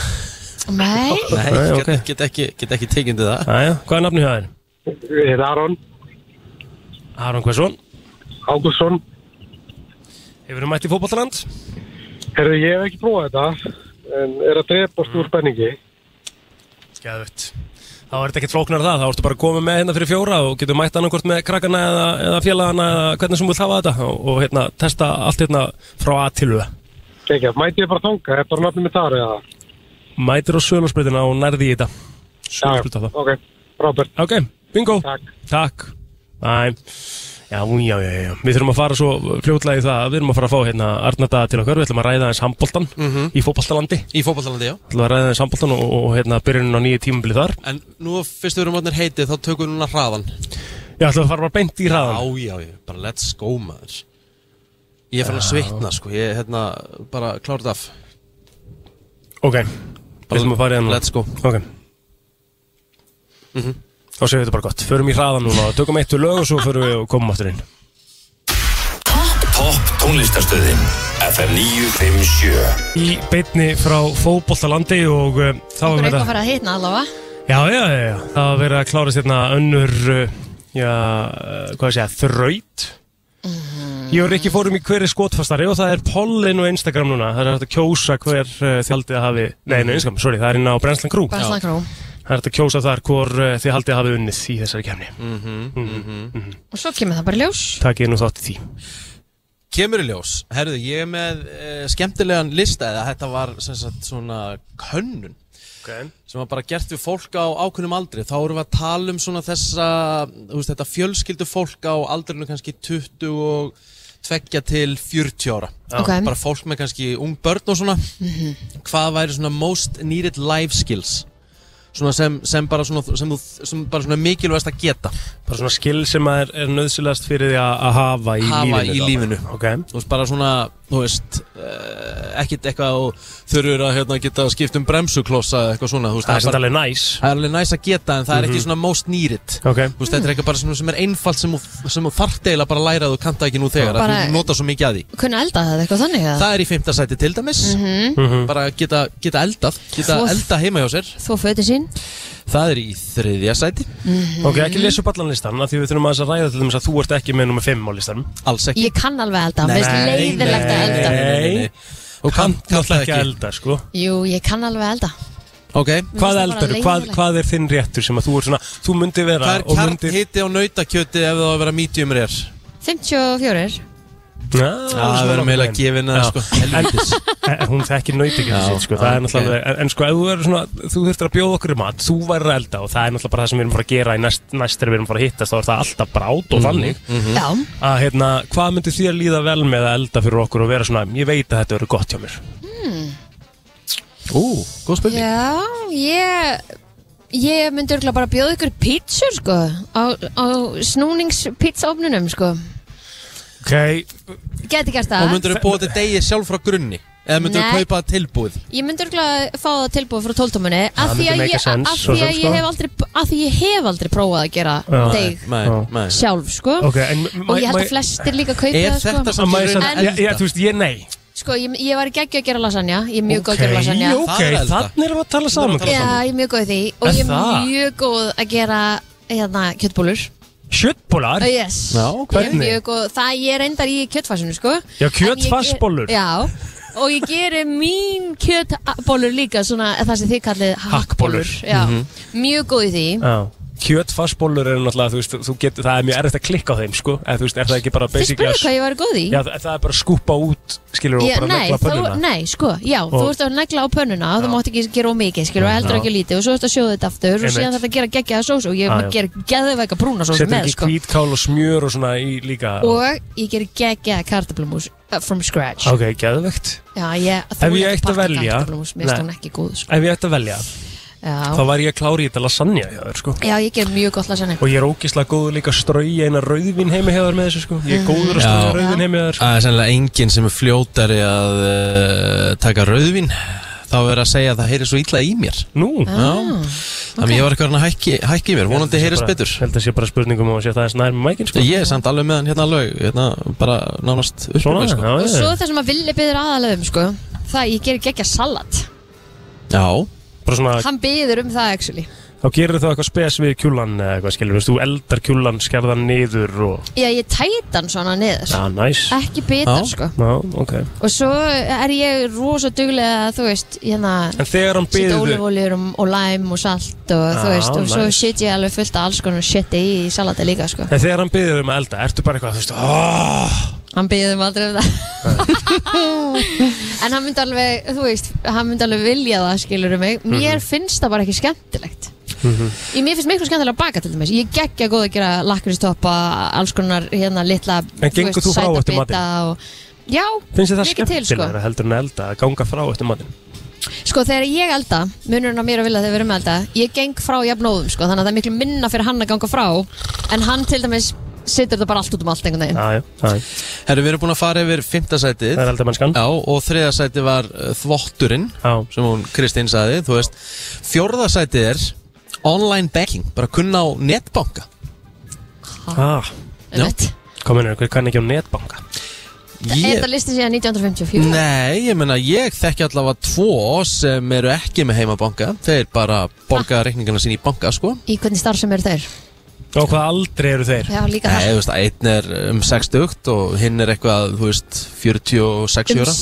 Speaker 3: Nei
Speaker 1: Nei,
Speaker 2: Nei,
Speaker 1: get,
Speaker 2: ok.
Speaker 1: get ekki, get ekki tekindið það
Speaker 2: Æja, hvað er nafnið hjá þér?
Speaker 6: Ég er Eh, Aron
Speaker 2: Aron Hversson,
Speaker 6: Ágússon
Speaker 2: Hefur þú mætt í fótballaland?
Speaker 6: Herðu, ég hef ekki prófað þetta, en er að drepast úr spenningi.
Speaker 2: Skæðvett Þá er þetta ekkert flóknar það, þá ertu bara að koma með hérna fyrir fjóra og getur mætt annarkvort með krakkana eða, eða félagana eða hvernig sem þú vilt hafa þetta og, og hérna testa allt hérna frá að til við
Speaker 6: Ekki, mæti ég bara þanga, er bara nafnum mitt þar eða?
Speaker 2: Mætir á sölurspritina og nærði í þetta Sölursprita það
Speaker 6: ok, Robert,
Speaker 2: Ok, bingo
Speaker 6: takk.
Speaker 2: Takk Næ Já, já, já, já, við þurfum að fara svo fljótlega í það, við erum að fara að fá hérna Arnarda til okkar, við ætlum að ræða eins handbóltan
Speaker 1: Mhm.
Speaker 2: í fótballtalandi,
Speaker 1: Í fótballtalandi, já
Speaker 2: ætlum að ræða eins handbóltan og, og hérna byrjunin á nýju tímubli þar.
Speaker 1: En nú fyrst við erum átnir heitið þá tökum við núna hraðan
Speaker 2: Já, ætlum að fara bara beint í hraðan.
Speaker 1: Já, já, já, bara let's go maður Ég er fann að svitna sko, ég er hérna bara klárið af
Speaker 2: Ok, við ætlum að fara í hann
Speaker 1: Let's go Mhm.
Speaker 2: Ok Þá séum við þetta bara gott Förum í hraðan núna, tökum eitt úr lög og svo förum við og komum aftur inn
Speaker 4: Topp tónlistarstöðin FM 957
Speaker 2: Í beinni frá fótboltalandi og uh, þá er
Speaker 3: Það er
Speaker 2: verið
Speaker 3: eitthvað að
Speaker 2: að
Speaker 3: fara að hitna allavega
Speaker 2: Já, já, já, já, það er verið að klára sérna önnur uh, Já, uh, hvað sé ég, þraut
Speaker 1: Mhm.
Speaker 2: Ég og Rikki fórum í hver er skotfastari og það er pollin og Instagram núna Það er hægt að kjósa hver uh, þjaldið hafi Nei, nei, Instagram, sorry, það er inn á Brenslan Krú
Speaker 3: Brænslan Krú
Speaker 2: Það er hægt að kjósa þar hvor uh, þið haldið hafi unnið í þessari kemni
Speaker 3: Og svo kemur það bara í ljós
Speaker 2: Takið nú þátt í því
Speaker 1: Kemur í ljós, herðu, ég er með uh, skemmtilegan lista eða þetta var sem sagt svona könnun
Speaker 2: okay.
Speaker 1: sem var bara gert við fólk á ákveðnum aldri þá erum við að tala um svona þessa þú veist, þetta fjölskyldu fólk á aldrinu kannski 20 og tvekja til 40 ára
Speaker 3: Ok.
Speaker 1: bara fólk með kannski ung börn og svona hvað væri svona most needed life skills svona sem, sem bara svona sem, þú- sem bara svona mikilvægast að geta
Speaker 2: Bara svona skil sem er, er nöðsilegast fyrir því að að hafa í
Speaker 1: Hafa í
Speaker 2: lífinu. þá.
Speaker 1: lífinu.
Speaker 2: Ok.
Speaker 1: þú veist bara svona þú veist uh, ekkit eitthvað og þurfur að hérna, geta skipt um bremsuklossa eða eitthvað svona þú veist,
Speaker 2: Það er
Speaker 1: bara-
Speaker 2: samt alveg næs.
Speaker 1: það er alveg næst að geta en það er ekki svona most needed
Speaker 2: Ok.
Speaker 1: Þú veist, þetta er eitthvað bara sem, sem er einfalt sem, þú- sem þú þarft eiginlega bara að læra að þú kanta ekki nú þegar bara...
Speaker 3: Bara-
Speaker 1: þú nota svo mikið að því
Speaker 3: Kunna elda það eitthvað þannig að
Speaker 1: Það er í fimmta sæti til dæmis
Speaker 3: Mhm.
Speaker 2: Mhm.
Speaker 1: bara geta, geta eldað geta
Speaker 3: Þú-
Speaker 1: elda heima hjá sér
Speaker 3: Þú fötin sín
Speaker 1: Það er í þriðja sæti Mhm.
Speaker 2: Ok, ekki lesa upp allan listan af því við þurfum aðeins að ræða til þess að þú ert ekki með nummer 5 á listanum.
Speaker 1: Alls ekki
Speaker 3: Ég kann alveg elda Mér finnst
Speaker 2: nei,
Speaker 3: leiðilegt að elda
Speaker 2: nei.
Speaker 1: Og kann
Speaker 2: Náttúrulega
Speaker 1: alltaf
Speaker 2: ekki
Speaker 1: ekki
Speaker 2: að elda, sko.
Speaker 3: Jú, ég kann alveg elda
Speaker 1: Ok
Speaker 2: Hvað
Speaker 3: bara
Speaker 2: eldaru? Hvað,
Speaker 3: leiðinlegt.
Speaker 2: hvað er þinn réttur sem að þú ert svona, þú myndi vera
Speaker 1: Hvað er
Speaker 2: og
Speaker 1: kjarn
Speaker 2: myndir...
Speaker 1: hiti á nautakjöti ef það á að vera medium rare?
Speaker 3: 54
Speaker 2: Já,
Speaker 1: Það verður meila að gefa henni
Speaker 2: Já.
Speaker 1: sko Helvítis
Speaker 2: En hún þekkir naut ekki
Speaker 1: Já,
Speaker 2: þessi, sko, það er
Speaker 1: ok.
Speaker 2: náttúrulega, en, en sko, ef þú verður svona, þú þurftir að bjóða okkur í mat, þú verður að elda og það er náttúrulega bara það sem við erum að fara að gera í næst, næst þegar við erum að fara að hittast, þá er það alltaf bara át og þannig.
Speaker 3: Já,
Speaker 2: að hérna, hvað myndir þér líða vel með að elda fyrir okkur og vera svona, ég veit að þetta verður gott hjá mér
Speaker 1: Ú, góð spurning
Speaker 3: já Ég Ég myndi örgulega bara bjóða ykkur pítsur sko á, á snúningspítsaofnunum sko
Speaker 2: Ok,
Speaker 3: Geti
Speaker 1: Og
Speaker 3: gert það
Speaker 1: myndur þau búið til degið sjálf frá grunni Eða myndur þau
Speaker 3: Nei.
Speaker 1: kaupa það tilbúið
Speaker 3: Ég myndi örgulega fá það tilbúið frá tóltómunni
Speaker 2: Það
Speaker 3: af því að
Speaker 2: myndi
Speaker 3: ég,
Speaker 2: make sense,
Speaker 3: af
Speaker 2: svo
Speaker 3: því
Speaker 2: sem,
Speaker 3: að
Speaker 2: sko.
Speaker 3: ég hef aldrei af því ég hef aldrei prófað að gera
Speaker 2: Já.
Speaker 3: deg
Speaker 1: Nei,
Speaker 2: Já.
Speaker 1: nei
Speaker 3: sjálf sko
Speaker 2: ok, en
Speaker 3: og ég held að flestir líka kaupi
Speaker 1: Er
Speaker 3: það sko
Speaker 1: þetta
Speaker 2: að
Speaker 1: samt í
Speaker 2: maður
Speaker 1: raun
Speaker 2: sann,
Speaker 1: elda?
Speaker 2: ég, ég, þú veist, ég nei
Speaker 3: sko ég, ég var í geggju að gera lasagna ég er mjög góð að gera lasagna
Speaker 2: ok,
Speaker 1: Það er elda.
Speaker 2: þannig erum við að tala saman
Speaker 1: Þannig
Speaker 3: já ég er mjög góð í því og
Speaker 2: Er
Speaker 3: ég
Speaker 2: það?
Speaker 3: er mjög góð að gera hérna kjöttbólur
Speaker 2: Kjöttbólar?
Speaker 3: uh, yes
Speaker 2: Já,
Speaker 3: ég er
Speaker 2: hvernig?
Speaker 3: mjög góð það ég reyndar í kjöttfarsinu sko
Speaker 2: Já,
Speaker 3: En ég ger-
Speaker 2: kjötfarsbollur.
Speaker 3: já og ég geri mín kjöttbólur líka svona það sem þið kallið
Speaker 2: Hakkbollur.
Speaker 3: hakkbólur já
Speaker 2: Mhm.
Speaker 3: mjög góð í því
Speaker 2: Já Kjötfassbólur eru náttúrulega, þú veist, þú getur, það er mjög erfitt að klikka á þeim, sko eða þú veist, er það ekki bara
Speaker 3: Þið
Speaker 2: basically
Speaker 3: spurðu
Speaker 2: að-
Speaker 3: hvað ég var góð í?
Speaker 2: Já, það það er bara að skúpa út, skilur, og
Speaker 3: Ég,
Speaker 2: bara
Speaker 3: nei,
Speaker 2: negla
Speaker 3: þú,
Speaker 2: pönnuna
Speaker 3: nei, sko, já, þú
Speaker 2: Og-
Speaker 3: ert að negla á pönnuna og þú mátt ekki gera ómikið, skilur, og heldur
Speaker 2: Já.
Speaker 3: ekki lítið og svo ert að sjóða þetta aftur og
Speaker 2: Einmitt.
Speaker 3: síðan þarf þetta að gera geggjaða sós og ég
Speaker 2: Já, já.
Speaker 3: ger geðveika brúna sós
Speaker 2: Setur
Speaker 3: með,
Speaker 2: ekki
Speaker 3: sko
Speaker 2: hvítkál og smjör og svona í líka
Speaker 3: og ég ger geggjaða kartablumús uh, from scratch
Speaker 2: Ok, geðvegt
Speaker 3: Já, ég, þú
Speaker 2: ég ætti að velja-
Speaker 3: kartablumús, mér
Speaker 2: Nei.
Speaker 3: finnst hún ekki góð, sko
Speaker 2: Ef ég ætti að velja, þá
Speaker 3: Já,
Speaker 2: var ég að klára í þetta lasagna hjá þér, sko
Speaker 3: já ég ger mjög gott lasagna
Speaker 2: Og ég er ógislega góður líka að strauja eina rauðvin heimi hefur með þessu sko Ég er góður að strauja
Speaker 1: Já.
Speaker 2: rauðvin heimi hefur
Speaker 1: Það er sennilega enginn sem er fljótari að uh, taka rauðvin þá er að segja að það heyri svo illa í mér
Speaker 2: Nú
Speaker 1: Já, þannig ég var eitthvað hann að hækki, hækki í mér, vonandi heyris betur
Speaker 2: Ég held að sé bara spurningum og sé það aðeins nær með mækin sko
Speaker 1: Ég er samt alveg með hann hérna alveg, hérna, bara nánast
Speaker 2: Svona,
Speaker 1: uppbyggur sko.
Speaker 2: já,
Speaker 3: Og svo
Speaker 2: já
Speaker 3: það sem að villi byður aðalegum, sko það ég ger geggjaða salat
Speaker 1: Já,
Speaker 2: Bara svona,
Speaker 3: Hann byður um það, actually
Speaker 2: þá gerir það eitthvað spes við kjúlan eða eitthvað skilur, veist, þú eldar kjúlan, skerðar niður og,
Speaker 3: Já, ég tæta hann svona niður
Speaker 2: já, næs nice.
Speaker 3: Ekki bitar,
Speaker 1: Já.
Speaker 3: sko
Speaker 2: já, ok,
Speaker 3: Og svo er ég rosa duglega, þú veist, hérna
Speaker 2: en þegar hann
Speaker 3: Sýta
Speaker 2: byður
Speaker 3: ólífóljur og, og læm og salt og þú
Speaker 2: Ah,
Speaker 3: veist Og svo
Speaker 2: nice.
Speaker 3: setja ég alveg fullt af alls konar shiti í salata líka, sko
Speaker 2: en þegar hann byður um að elda, ertu bara eitthvað, þú veist, aaaah
Speaker 3: Hann býðum aldrei um það En hann myndi alveg, þú veist, hann myndi alveg vilja það, skilur mig
Speaker 2: Mhm.
Speaker 3: Mér finnst það bara ekki skemmtilegt Í mér finnst miklu skemmtilega að baka til dæmis Ég geggja góð að gera lakkristoppa, alls konar hérna litla
Speaker 2: En gengur þú frá
Speaker 3: sæta
Speaker 2: eftir
Speaker 3: bita og- Já,
Speaker 2: Finnst þið það
Speaker 3: mikið til, sko.
Speaker 2: skemmtilegra heldur en að elda að ganga frá eftir matinn?
Speaker 3: Sko þegar ég elda, munurinn á mér og vilja þegar við erum að elda Ég geng frá jafnóðum sko Þannig að það er miklu minna fyrir hann að ganga frá En hann til dæmis setur þetta bara allt út um allt einhvern veginn
Speaker 2: Já, já, já,
Speaker 1: Herru, við erum búin að fara yfir fymtasætið
Speaker 2: það er eldamennskan
Speaker 3: Mhm.
Speaker 1: Já, og þriðasætið var uh, þvotturinn
Speaker 2: Já,
Speaker 1: sem hún Kristín saði, þú veist Fjórðasætið er online banking bara kunna á netbanka
Speaker 2: ah,
Speaker 1: Já.
Speaker 3: Einmitt.
Speaker 2: komin einhver kann ekki á netbanka
Speaker 3: Er þetta listi síðan 1954?
Speaker 1: Nei, ég menna, ég þekki allavega tvo sem eru ekki með heimabanka Þeir bara
Speaker 3: Ah.
Speaker 1: borga reikningana sín í banka, sko
Speaker 3: Í hvernig starf sem eru þeir?
Speaker 2: Og hvað aldrei eru þeir?
Speaker 3: Já, líka
Speaker 1: Nei,
Speaker 3: það
Speaker 1: þú veist, einn er um 60 og hinn er eitthvað, þú veist, 46
Speaker 3: Um
Speaker 1: ára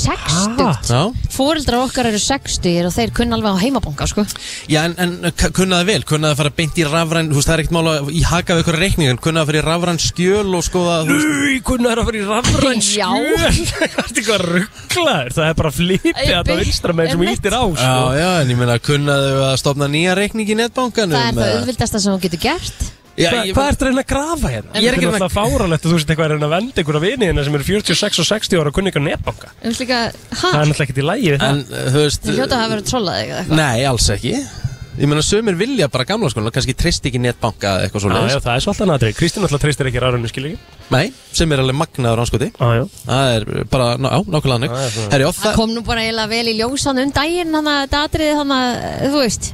Speaker 3: 60
Speaker 1: Já,
Speaker 3: Fóreldrar okkar eru 60 og þeir kunna alveg á heimabanka sko
Speaker 1: Já en, en k- kunnaði vel, kunnaði að fara beint í rafræn Þú veist, það er ekkert mála í haka við ykkur reikning En kunnaði að fara í rafræn skjöl og skoða þú veist,
Speaker 2: Új, hvernig er að fara í rafræn
Speaker 3: Já.
Speaker 2: skjöl? Það er eitthvað rugglaður, það er bara flipið
Speaker 3: Ei,
Speaker 2: að það
Speaker 3: byrj-
Speaker 2: vinstra með sem
Speaker 3: einmitt.
Speaker 2: ítir á
Speaker 1: Já,
Speaker 2: sko.
Speaker 1: já, en ég menna, kunnaði að stopna nýja reikning í netbankanum
Speaker 3: Það er það
Speaker 1: eða-
Speaker 3: auðvildasta sem hún getur gert
Speaker 1: Já,
Speaker 2: Hva,
Speaker 1: ég-
Speaker 2: hvað ertu að reyna að grafa hérna?
Speaker 1: Ég er ekki að
Speaker 2: Þetta náttúrulega fáralegt að þú sett eitthvað að reyna að venda einhverja vini hérna sem eru 46 og 60 ára og kunni ekki á netbanka
Speaker 3: Um slíka,
Speaker 2: Það er
Speaker 3: hæ?
Speaker 2: náttúrulega ekki í lægi við það
Speaker 1: En, uh, þú veist
Speaker 3: Þeir hljóta að hafa verið trollað eða eitthvað
Speaker 1: Nei, alls ekki Ég meina, sömur vilja bara gamla skólan Kannski treyst ekki netbanka eða eitthvað svo
Speaker 2: Já, já, það er svolítið aðrið Kristín náttúrulega treystir ekki rafrænu skilíki
Speaker 1: Nei, sem er alveg magnaður anskoti
Speaker 2: Ah, Já, já
Speaker 1: Það er bara, ná, já, nákvæmlega
Speaker 2: Já, já,
Speaker 1: hannig
Speaker 2: svona.
Speaker 1: Herjó,
Speaker 3: Það
Speaker 1: það
Speaker 3: kom nú bara eiginlega vel í ljósan um daginn þannig að datrið þannig að eh, þú veist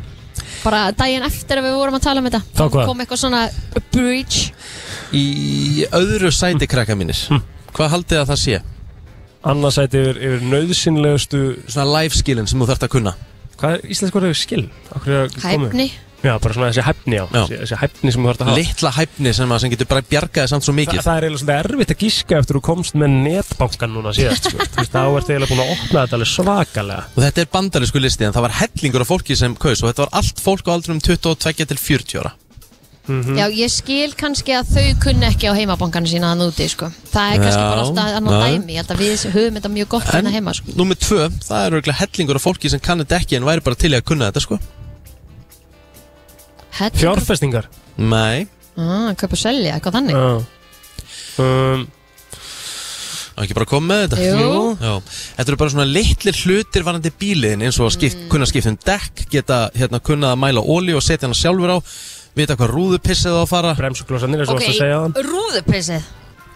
Speaker 3: bara daginn eftir að við vorum að tala um þetta
Speaker 2: Þá hvað?
Speaker 3: kom eitthvað svona breach
Speaker 1: í öðru sæti krakka mínir
Speaker 2: Hm.
Speaker 1: Hvað haldið þið að það sé?
Speaker 2: Annarsæti yfir, yfir nöðsynlegustu
Speaker 1: Svona life skillin sem þú þarft að kunna
Speaker 2: Hvað er íslensk orðið yfir skil? Akkur er að koma-
Speaker 3: hæfni
Speaker 2: Já, bara svona þessi hæfni já,
Speaker 1: Já.
Speaker 2: Þessi, þessi hæfni sem þú þarf að hafa
Speaker 1: Litla hæfni sem, að- sem getur bara bjargaði samt svo
Speaker 2: Þa,
Speaker 1: mikið
Speaker 2: Það er eiginlega svolítið erfitt að gíska eftir þú komst með netbankan núna síðast sko. Þú veist, Þá ertu eiginlega búin að opna þetta alveg svakalega
Speaker 1: Og þetta er bandalisku listi en það var hellingur af fólki sem kaus Og þetta var allt fólk á aldrum 22 til 40 ára
Speaker 2: Mhm.
Speaker 3: já ég skil kannski að þau kunni ekki á heimabankana sína þannig úti sko það er kannski
Speaker 1: Já,
Speaker 3: bara alltaf annan
Speaker 1: nei.
Speaker 3: dæmi ég held að við höfum þetta mjög gott hérna heima sko
Speaker 1: númer tvö, það er örgulega hellingur af fólki sem kann þetta ekki En væri bara til í að kunna þetta sko
Speaker 3: Hellingur-
Speaker 2: Fjárfestingar
Speaker 1: Nei,
Speaker 3: ah, kaupa og selja eitthvað þannig
Speaker 2: Já um,
Speaker 1: á ekki bara að koma með þetta
Speaker 3: Jú.
Speaker 1: Já. Þetta eru bara svona litlir hlutir varandi bíliðin eins og að
Speaker 3: Mm.
Speaker 1: skip, kunna skipta um dekk geta hérna kunna að mæla óli og setja hana sjálfur á vita hvað rúðupissið á að fara
Speaker 2: Bremsuglósanir, eins og
Speaker 3: ok,
Speaker 2: varst að segja þann
Speaker 3: rúðupissið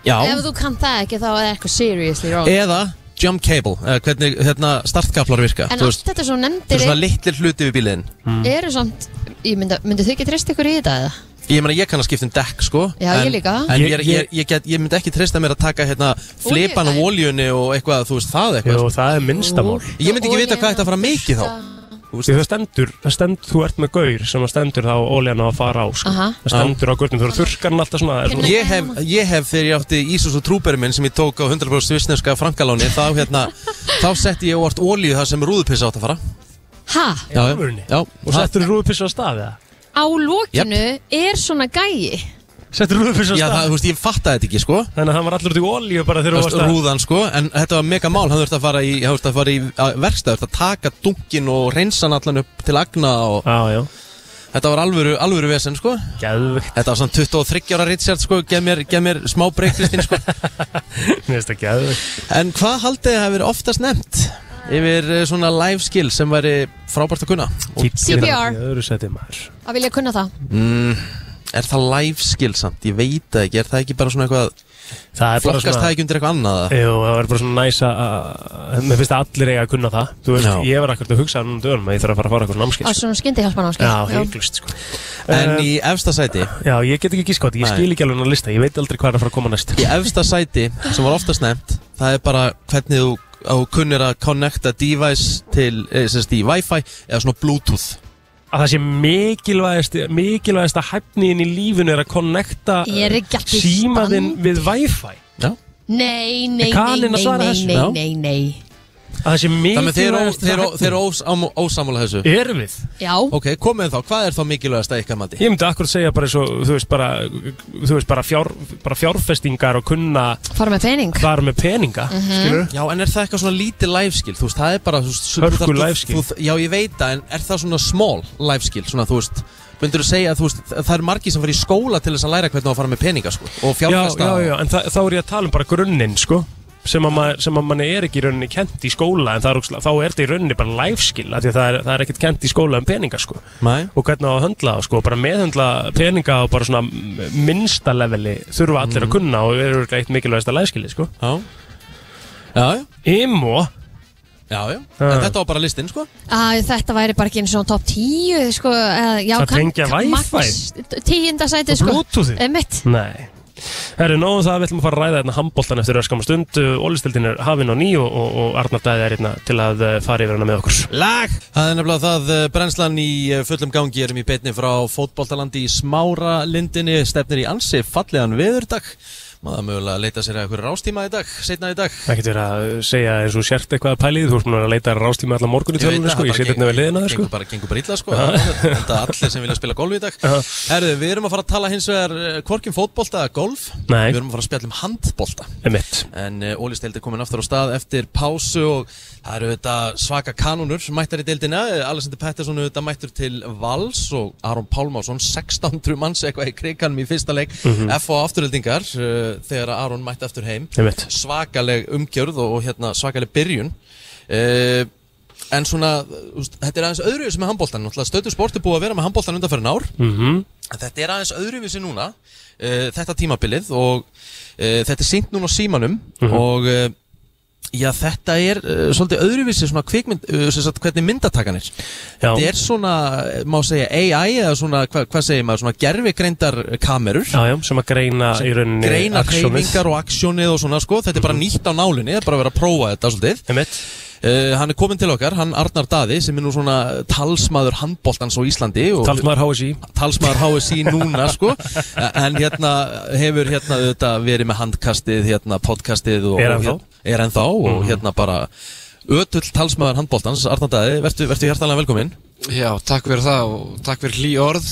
Speaker 1: Já, Eh,
Speaker 3: ef þú kann það ekki þá er eitthvað seriously wrong
Speaker 1: eða jump cable eða hvernig hérna startkaplar virka
Speaker 3: en
Speaker 1: Þú
Speaker 3: allt
Speaker 1: veist,
Speaker 3: þetta sem þú
Speaker 1: þetta eru
Speaker 3: nefndir
Speaker 1: svona litlir hluti við bíliðin
Speaker 3: eru samt ég myndi, myndi þau ekki treyst ykkur í þetta eða?
Speaker 1: Ég meina ég kann að skipta um dekk sko
Speaker 3: Já,
Speaker 1: en,
Speaker 3: ég líka.
Speaker 1: En ég,
Speaker 2: Ég-
Speaker 1: ég, ég, get, ég myndi ekki treysta mér að taka hérna flipan af
Speaker 3: Olíu-
Speaker 1: óljunni og eitthvað þú veist það eitthvað
Speaker 2: Jú, það er minnstamál
Speaker 1: Ég myndi ekki vita hvað þetta fara mikið þá
Speaker 2: Því það stendur, það stendur, þú ert með gaur sem að stendur þá óljan á að fara á sko.
Speaker 3: Aha.
Speaker 2: Það stendur á gurnum, þú eru þurrkarn alltaf svona, það er svona
Speaker 1: Ég hef, ég hef þegar ég átti Ísus og trúberi minn sem ég tók á 100% vissneska frankaláni þá, hérna, þá setti ég óvart ólíu þar sem rúðupissa átt að fara
Speaker 3: Hæ?
Speaker 1: Já, já,
Speaker 2: alvörunni?
Speaker 1: já
Speaker 2: Og
Speaker 1: það-
Speaker 2: settur rúðpissu á stað eða?
Speaker 3: á lókinu er svona gæi
Speaker 2: Settur rúðpissu á
Speaker 1: Já, það,
Speaker 2: stað
Speaker 1: þú veist, ég fattaði þetta ekki, sko
Speaker 2: Þannig að hann var allur út í olíu bara þegar
Speaker 1: Þú
Speaker 2: þú
Speaker 1: veist,
Speaker 2: varst að
Speaker 1: Rúðan, sko, en þetta var mega mál Hann þurfti að fara í, hann þurfti að fara í að verkstæð Þurfti að taka dunkin og reynsa hann allan upp til agna og
Speaker 2: Já, já,
Speaker 1: Þetta var alvöru, alvöru vesen, sko
Speaker 2: geðvikt
Speaker 1: Þetta var svona 23 ára Richard, sko Gef mér, gef mér smá breyklistin, sko
Speaker 2: Mér finnst það geðvikt
Speaker 1: En hvað haldið hafi verið oftast nefnt Yfir eh, svona life skill sem væri frábært að kunna Og
Speaker 3: CPR.
Speaker 2: Í öðru seti maður
Speaker 3: að vilja kunna það
Speaker 1: Er það life skill samt? Ég veit það ekki, er það ekki bara svona eitthvað
Speaker 2: Það er bara
Speaker 1: Flokkast það Eh,
Speaker 2: svona
Speaker 1: ekki undir eitthvað annað? eða?
Speaker 2: Jú, það er bara svona næs að að- Mér finnst það allir eiga að kunna það Þú veist,
Speaker 1: Já.
Speaker 2: ég var akkur að hugsa um dögum að ég þarf að fara að fara eitthvað
Speaker 3: á
Speaker 2: námskeið sko.
Speaker 3: svona skyndi hjálpa námskeið
Speaker 2: Já, heiklust sko
Speaker 1: En
Speaker 2: Eh,
Speaker 1: í efsta sæti
Speaker 2: Já, ég get ekki gíska á þetta, ég
Speaker 1: Nei.
Speaker 2: skil ekki alveg hann að lista Ég veit aldrei hvað er að fara að koma næst
Speaker 1: Í efsta sæti sem var oftast nefnt Það er bara hvernig þú á kunnir að connecta device til, eh, sem sagt í Wi-Fi eða svona Bluetooth
Speaker 2: að það sé mikilvægast mikilvægast að hæfniðin í lífinu er að connecta
Speaker 3: Ég er ekki allir
Speaker 2: símaðinn
Speaker 3: stand.
Speaker 2: við Wi-Fi
Speaker 1: Já.
Speaker 3: Nei, nei, nei,
Speaker 2: Er Kalin að
Speaker 3: nei,
Speaker 2: svara
Speaker 3: nei,
Speaker 2: þessu?
Speaker 3: nei,
Speaker 1: Já.
Speaker 3: nei, nei
Speaker 2: að það sé
Speaker 1: Þannig að þeir, ó-
Speaker 2: mikilvægast
Speaker 1: þeir, ó- þeir ós, ám- ósammála þessu
Speaker 2: er við
Speaker 3: Já,
Speaker 1: Ok, komið þá, hvað er þá mikilvægast að ykkar mati?
Speaker 2: Ég myndi akkur segja bara eins og þú veist bara, þú veist, bara, fjár, bara fjárfestingar og kunna
Speaker 3: fara með pening
Speaker 2: fara með peninga
Speaker 3: Mhm.
Speaker 2: mm skilur
Speaker 1: Já, en er það eitthvað svona lítið lifeskill? Þú veist, það er bara þú veist,
Speaker 2: Hörku
Speaker 1: þú þarft-
Speaker 2: lifeskill.
Speaker 1: þú- Já, ég veit það, en er það svona small lifeskill? Svona, þú veist, myndur þú segja að þú veist, það er margir sem fyrir í skóla til þess að læra hvernig á að fara með peninga, sko Og
Speaker 2: Já,
Speaker 1: fjárfesta
Speaker 2: já, já, en þa þá er ég að tala um bara grunninn sko sem að, maður, sem að manni er ekki í rauninni kent í skóla en það er, ógeðslega- þá er þetta í rauninni bara life skill af því að það er, það er ekkert kent í skóla um peninga sko
Speaker 1: Mæ?
Speaker 2: og hvernig á að höndla það sko, bara meðhöndla peninga á bara svona m- minnsta leveli þurfa allir að kunna og er örugglega eitt mikilvægasta læskili sko.
Speaker 1: Já, já, já,
Speaker 2: Imo,
Speaker 1: já, já.
Speaker 2: Já.
Speaker 1: En þetta var bara listin, sko
Speaker 3: Æ, þetta væri bara ekki eins og top 10 sko, eða, já,
Speaker 2: Það tengja Wi-Fi.
Speaker 3: Tíunda sæti
Speaker 2: Og
Speaker 3: sko
Speaker 2: Bluetoothið.
Speaker 3: Einmitt.
Speaker 2: nei Herru, nóðum það, við ætlum að fara að ræða hérna handbóltan eftir öskama stund, ólistildin er hafin á ný og, og, og Arnar Dæði er hérna til að eh, fara yfir hana með okkur.
Speaker 1: Lag! Það er nefnilega það, eh, brennslan í eh, fullum gangi erum í beinni frá fótboltalandi í smára lindinni, stefnir í ansi fallegan veðurdag Maður mögulega leita sér að eitthvað rástíma í dag, setna í dag
Speaker 2: Ekkert verið að segja eins og sért eitthvað að pælið, þú ert búin að vera að leita að ráslíma allan morgun í
Speaker 1: Ég veit
Speaker 2: tölunum
Speaker 1: það,
Speaker 2: sko,
Speaker 1: það
Speaker 2: ég seti
Speaker 1: bara
Speaker 2: hérna við liðina það sko.
Speaker 1: Gengur bara, gengur bara illa sko Þetta allir sem vilja spila golf í dag Herðu, við erum að fara að tala hins vegar eh, Hvorkim fótbolta eða golf
Speaker 2: Nei.
Speaker 1: Við erum að fara að spjalla um handbolta
Speaker 2: Emitt.
Speaker 1: En uh, Óli Steild er komin aftur á stað eftir pásu og það eru þetta svaka kanunur sem mættar í deildina. Eh, Alexander Pettersson er þetta mættur til Vals og Aron Pálmásson, 1600 manns eitthvað í kriganum í fyrsta leik FH afturöldingar uh, þegar að Aron mætti aftur heim.
Speaker 2: Einmitt.
Speaker 1: Svakaleg umgjörð og, og hérna, svakaleg byrjun. Uh, en svona, þú veist, þetta er aðeins öðruvísi með handbóltan. Stöðu sport er búið að vera með handbóltan undanferðin ár.
Speaker 2: Mhm.
Speaker 1: En Þetta er aðeins öðruvísi núna, uh, þetta tímabilið og uh, þetta er sínt núna á símanum og uh, já, þetta er uh, svolítið öðruvísi svona kvikmynd, uh, sem sagt, hvernig myndatakan er.
Speaker 2: Já,
Speaker 1: Þetta er svona, eh, má segja AI eða svona, hva, hvað segir maður, svona gerfigreindar kamerur.
Speaker 2: já, já, sem að greina í rauninni
Speaker 1: Greina
Speaker 2: aksjónið.
Speaker 1: hreyfingar og aksjónið og svona sko, þetta er bara nýtt á nálinni, það er bara að vera að prófa þetta svolítið.
Speaker 2: Einmitt.
Speaker 1: Uh, hann er komin til okkar, hann Arnar Daði sem er nú svona talsmaður handboltans á Íslandi og
Speaker 2: Talsmaður HSI.
Speaker 1: talsmaður HSI núna sko en hérna hefur hérna auðvitað verið með handkastið, hérna podcastið og, hérna-
Speaker 2: Er ennþá. Mhm.
Speaker 1: er ennþá og hérna bara ötull talsmaður handbóltans, Arnandaði, vertu, vertu hjartalega velkominn
Speaker 7: Já, takk fyrir það og takk fyrir hlý orð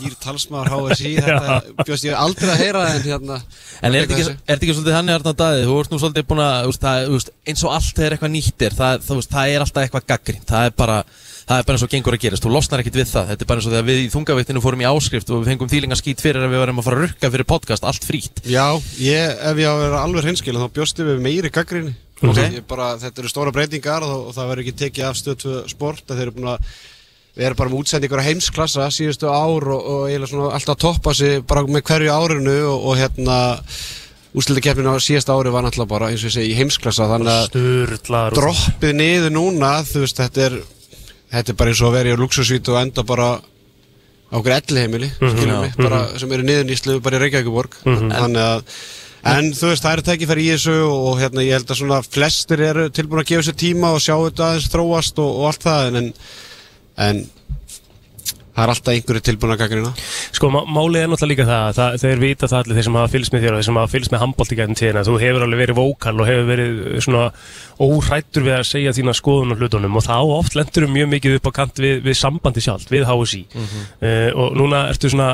Speaker 7: Nýr talsmaður HSI Þetta bjóst ég aldrei að heyra en hérna
Speaker 1: En er þetta ekki,
Speaker 7: tekur þessu.
Speaker 1: er þetta ekki svolítið þannig Arnandaði, þú ert nú svolítið búin að þú veist, það, þú veist, eins og allt er eitthvað nýttir það, það, það er alltaf eitthvað gaggrín það er bara Það er bara eins og gengur að gerast, þú losnar ekkit við það Þetta er bara eins og þegar við í þungavættinu fórum í áskrift og við fengum þýlinga skýt fyrir að við varum að fara að rukka fyrir podcast allt frýtt
Speaker 7: Já, ég, ef ég á að vera alveg hreinskil þá bjóst ég við meiri gaggrinni
Speaker 1: Ok.
Speaker 7: okay. bara, Þetta eru stóra breytingar og, og það verður ekki tekið af stöð 2 sport að þeir eru búin að við erum bara með útsendingur á heimsklassa síðustu ár og, og eiginlega svona alltaf að toppa sig bara með hverju árinu og, og hérna úrslitakeppnin á síðasta ári var náttúrulega bara eins og ég segi í heimsklassa þannig að
Speaker 2: Sturlaður.
Speaker 7: droppið niður núna þú veist, þetta er þetta er bara eins og að vera í luxusvítu og enda bara á okkur elli heimili skiljum mig, bara sem eru niður nýslu bara í Reykjavíkuborg þannig að En þú veist, það eru tækifæri í þessu og hérna, ég held að svona flestir eru tilbúin að gefa sér tíma og sjá þetta aðeins þróast og, og allt það en, en, en það er alltaf einhverju tilbúin að gaggrina.
Speaker 2: Sko, má- málið er náttúrulega líka það, að það þeir vita það allir þeir sem hafa fylgst með þér og þeir sem hafa fylgst með handbólt í gæðum tíðina, þú hefur alveg verið vókal og hefur verið uh, svona órættur við að segja þína skoðun og hlutunum og þá oft lendur þú mjög mikið upp á kant við, við sambandi sjálft, við HSI uh, og núna ertu svona,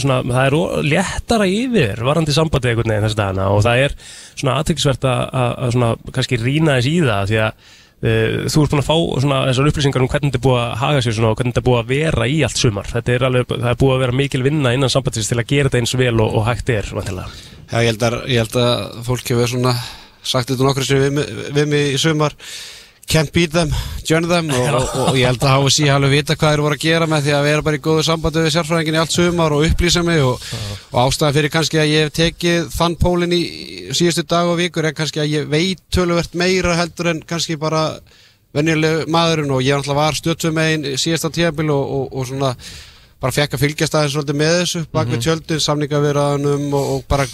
Speaker 2: svona það er ó- léttara yfir varandi sambandi einhvern veginn þess dagana og það er svona aðtryggsvert að, að, að svona kannski rýna þess í það því að Uh, þú ert búin að fá svona, þessar upplýsingar um hvernig þetta er búið að haga sér svona, og hvernig þetta er búið að vera í allt sumar þetta er alveg, það er búið að vera mikil vinna innan sambandsins til að gera þetta eins vel og, og hægt er vantilega.
Speaker 7: Já, ég held að, ég held að fólk hefur svona sagt þetta nokkru sem við, mig- við mig í sumar can't beat them, join them og, og, og ég held að hafa síðan alveg vita hvað þeir voru að gera með því að vera bara í góðu sambandi við sérfræðingin í allt sumar og upplýsa mig og, og ástæðan fyrir kannski að ég hef tekið þann pólinn í síðustu dag og vikur en kannski að ég veit töluvert meira heldur en kannski bara venjulegu maðurinn og ég náttúrulega var stöttum megin síðasta tíðabil og, og, og svona bara fekk að fylgjast aðeins svolítið með þessu bak við tjöldin, samningavirðanum og, og bara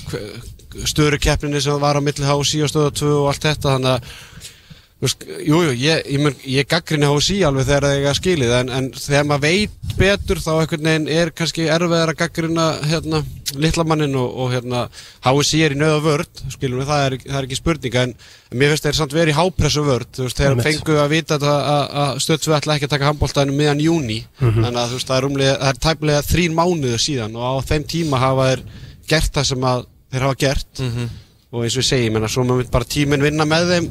Speaker 7: störu keppninni sem var á milli hási og stöða 2 og allt þetta þannig að Þú veist, Jú, jú, ég, ég, mun- ég gaggrinni á sí alveg þegar það eiga skilið en, en þegar maður veit betur þá einhvern veginn er kannski erfiðar að gaggrina hérna, litla mannin og, og hérna, HSI er í nöða vörd skilum við, það er, það er ekki spurning en mér finnst þeir samt verið í hápressu vörd þú veist, þegar
Speaker 2: Einmitt.
Speaker 7: fengu að vita þetta að- að stöðsvið ætla ekki að taka handbóltanum miðan júni þannig að þú veist, það er, umlega, það er tæmlega þrín mánuður síðan og á þeim tíma hafa þeir gert það sem að þeir hafa gert og eins og ég segi, ég menna, svo maður bara tíminn vinna með þeim,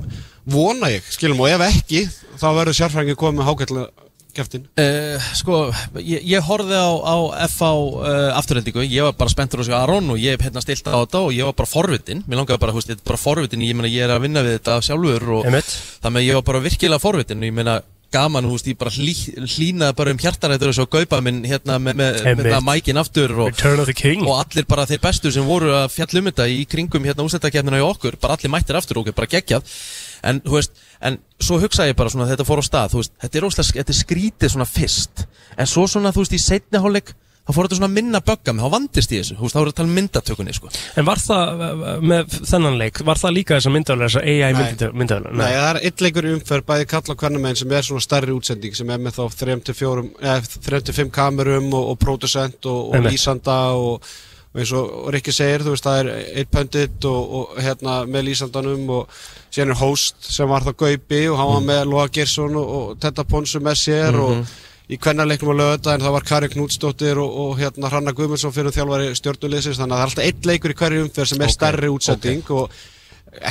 Speaker 7: vona ég, skilum, og ef ekki, þá verður sérfræðingi komið með hákvæmlega kæftin.
Speaker 1: Uh, sko, ég, ég horfði á, á FH uh, afturhendingu, ég var bara spenntur á þessu Aron og ég hef hérna stilt á þetta og ég var bara forvitin, mér langaði bara, þú veist, þetta er bara forvitin ég meina, ég er að vinna við þetta sjálfur og
Speaker 2: Einmitt.
Speaker 1: þannig að ég var bara virkilega forvitin og ég meina, gaman, þú veist, ég bara hlý, hlýnaði bara um hjartarættur og svo gaupa minn hérna með, með,
Speaker 2: Einmitt.
Speaker 1: með mækin aftur og,
Speaker 2: Return of the King
Speaker 1: og allir bara þeir bestu sem voru að fjalla um þetta í kringum hérna úsættakefnina í okkur, bara allir mættir aftur og okkur, bara geggjað en, þú veist, en svo hugsaði ég bara svona þetta fór á stað, þú veist, þetta er, óslega, þetta er skrítið svona fyrst, en svo svona þú veist í seinni hálfleik, þá fór þetta svona að minna bögga mig, þá vandist ég þessu, þú veist, þá voru að tala um myndatökunni sko.
Speaker 2: En var það, eh, með þennan leik, var það líka þessar myndavlega, þessar AI myndavlega?
Speaker 7: Nei, það er eitt leikur í umferð, bæði kalla og hvernig meginn sem er svona stærri útsending, sem er með þá 3-4, eða 3-5 kamerum og, og pródusent og, og
Speaker 2: Einmitt.
Speaker 7: lýsanda og, og eins og, og Rikki segir, þú veist, það er eitt pöndit og, og hérna með lýsandanum og síðan er host sem var þá Gaupi og hann var með Loa Gersson og, og Tetta Ponsu með sér og í kvennarleiknum á lögadaginn það var Kari Knútsdóttir og, og hérna Hranna Guðmundsson fyrir þjálfari stjórnuleysins þannig að það er alltaf eitt leikur í hverju umferð sem er stærri útsending og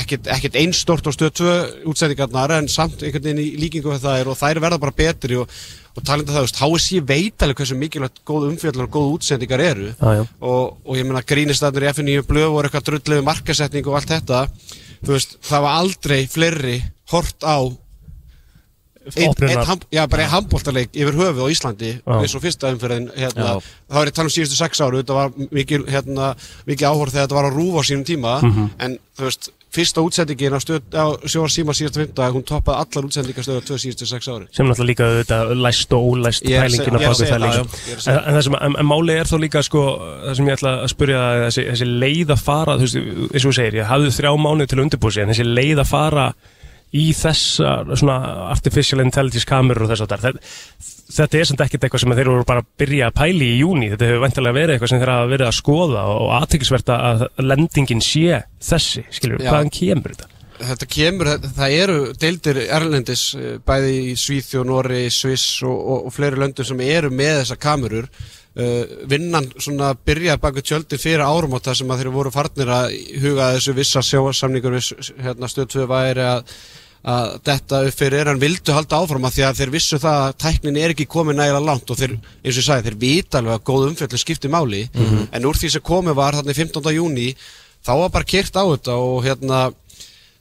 Speaker 7: ekkert, ekkert einstort og stöð tvö útsendingarnar en samt einhvern veginn í líkingu við það er og þær verða bara betri og, og talandi um það, þú veist, HSI veit alveg hversu mikilvægt góð umfjöldunar og góð útsendingar eru
Speaker 2: Já, já.
Speaker 7: og, og ég meina grínistandur í FNÍ blöð voru eitthvað drullið við markasetning og allt þetta þú veist, það var aldrei fleiri hort á einn
Speaker 2: Opnunar.
Speaker 7: ein, ham, já, bara einn handbóltarleik yfir höfuð á Íslandi
Speaker 2: Já.
Speaker 7: eins og fyrsta umferðin hérna,
Speaker 1: Já.
Speaker 7: þá er ég að tala um síðustu sex áru þetta var mikil, hérna, mikil áhorf þegar þetta var að rúfa á sínum tíma en þú veist, fyrsta útsendingin á, stöð, á sjóar síma síðasta fymta hún toppaði allar útsendingastöðu á tvö síðustu sex áru
Speaker 2: sem náttúrulega líka auðvitað læst og ólæst
Speaker 7: Ég er að
Speaker 2: pælingin að
Speaker 7: segja- ég er að
Speaker 2: baka það líka en,
Speaker 7: segja það, já, ég er að segja
Speaker 2: en það sem, en, en máli er þá líka sko, það sem ég ætla að spyrja þig, þessi, þessi leið að fara þú veist, eins og þú segir, ég hafði þrjá mánuð til að undirbúið sig en þessi leið að fara í þessar svona artificial intelligence kamerur og þess að þetta þetta er samt ekkert eitthvað sem þeir voru bara að byrja að pæli í júni, þetta hefur vantilega verið eitthvað sem þeir hafa verið að skoða og aðteklisvert að lendingin sé þessi skilur,
Speaker 7: Já.
Speaker 2: hvaðan kemur þetta?
Speaker 7: þetta kemur, það, það eru deildir erlendis, eh, bæði í Svíþjó, Nóri, Sviss og, og, og fleiri löndum sem eru með þessa kamerur uh, vinnan svona byrjaði baku tjöldin fyrir árumóta sem að þeir voru farnir að huga að þessu vissa sjóarsamningur viss, hérna stöðtöðu væri að að detta upp fyrir en vildu halda áfram að því að þeir vissu það að tæknin er ekki komin nægilega langt og þeir, eins og ég sagði, þeir vita alveg að góð umfjöldu skipti máli en úr því sem komið var þarna í 15. júni þá var bara kyrt á þetta og hérna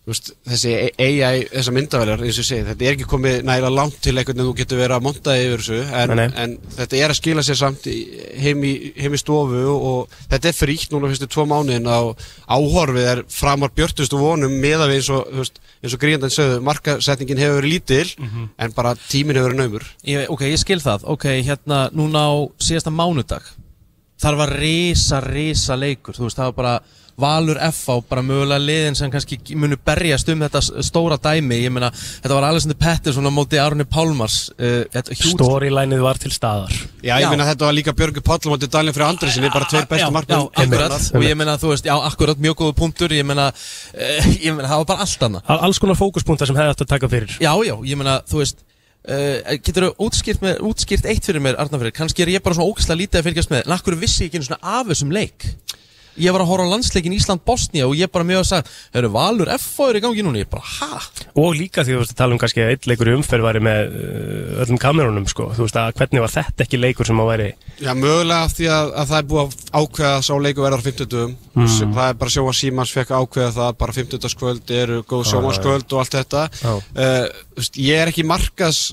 Speaker 7: þú veist, þessi AI, þessar myndavælar eins og ég segi, þetta er ekki komið nægilega langt til einhvern veginn þú getur verið að monta yfir þessu en,
Speaker 2: Nei, nei.
Speaker 7: en þetta er að skila sér samt í, heim, í, heim í stofu og þetta er fríkt núna fyrstu tvo mánuðin og áhorfið er framar björtust og vonum meða við eins og, þú veist, eins og gríðandan sögðu, markasetningin hefur verið lítil
Speaker 1: Mhm.
Speaker 7: en bara tíminn hefur verið naumur
Speaker 1: ég, ok, ég skil það, ok, hérna núna á síðasta mánudag þar var risa, risa leikur þú veist, það var bara Valur FH bara mögulega liðin sem kannski munu berjast um þetta s- stóra dæmi, ég meina þetta var Alexander Pettersson á móti Arne Pálmars uh, þetta er huge-
Speaker 2: Storylineið var til staðar
Speaker 7: Já,
Speaker 1: Já.
Speaker 7: ég meina þetta var líka Björgur Páll og Daniel fyrir Andresin, bara tveir bestu
Speaker 1: Já,
Speaker 7: markmenn
Speaker 1: Já, akkurat,
Speaker 7: deildarinnar.
Speaker 1: og ég meina þú veist, já, akkurat, mjög góða punktur Ég meina, uh, ég meina, það var bara allt annað
Speaker 2: Al- alls konar fókuspunktar sem hefði átt að taka fyrir
Speaker 1: Já, já, ég meina, þú veist uh, Getur þú útskýrt, með, útskýrt eitt fyrir mér, Arnafyrir Kannski er ég bara svona ógæslega lítið að fylgjast með En akkur vissi ég ekki einu svona af þessum leik Ég var að horfa á landsleikin Ísland-Bosnia Og ég bara mjög að sagði, eru Valur F.O. er í gangi núna Ég bara, ha?
Speaker 2: og líka því þú veist að tala um kannski að eitt leikur í umferð væri með uh, öllum kamerunum sko, þú veist að hvernig var þetta ekki leikur sem að væri
Speaker 7: Já, mögulega af því að, að það er búið að ákveða að sá leiku verður á 50 dögum mm. það er bara sjóa símans fekk að ákveða það bara 50 skvöld eru góð sjómanskvöld og allt þetta
Speaker 2: Já.
Speaker 7: uh, þú veist, ég er ekki markas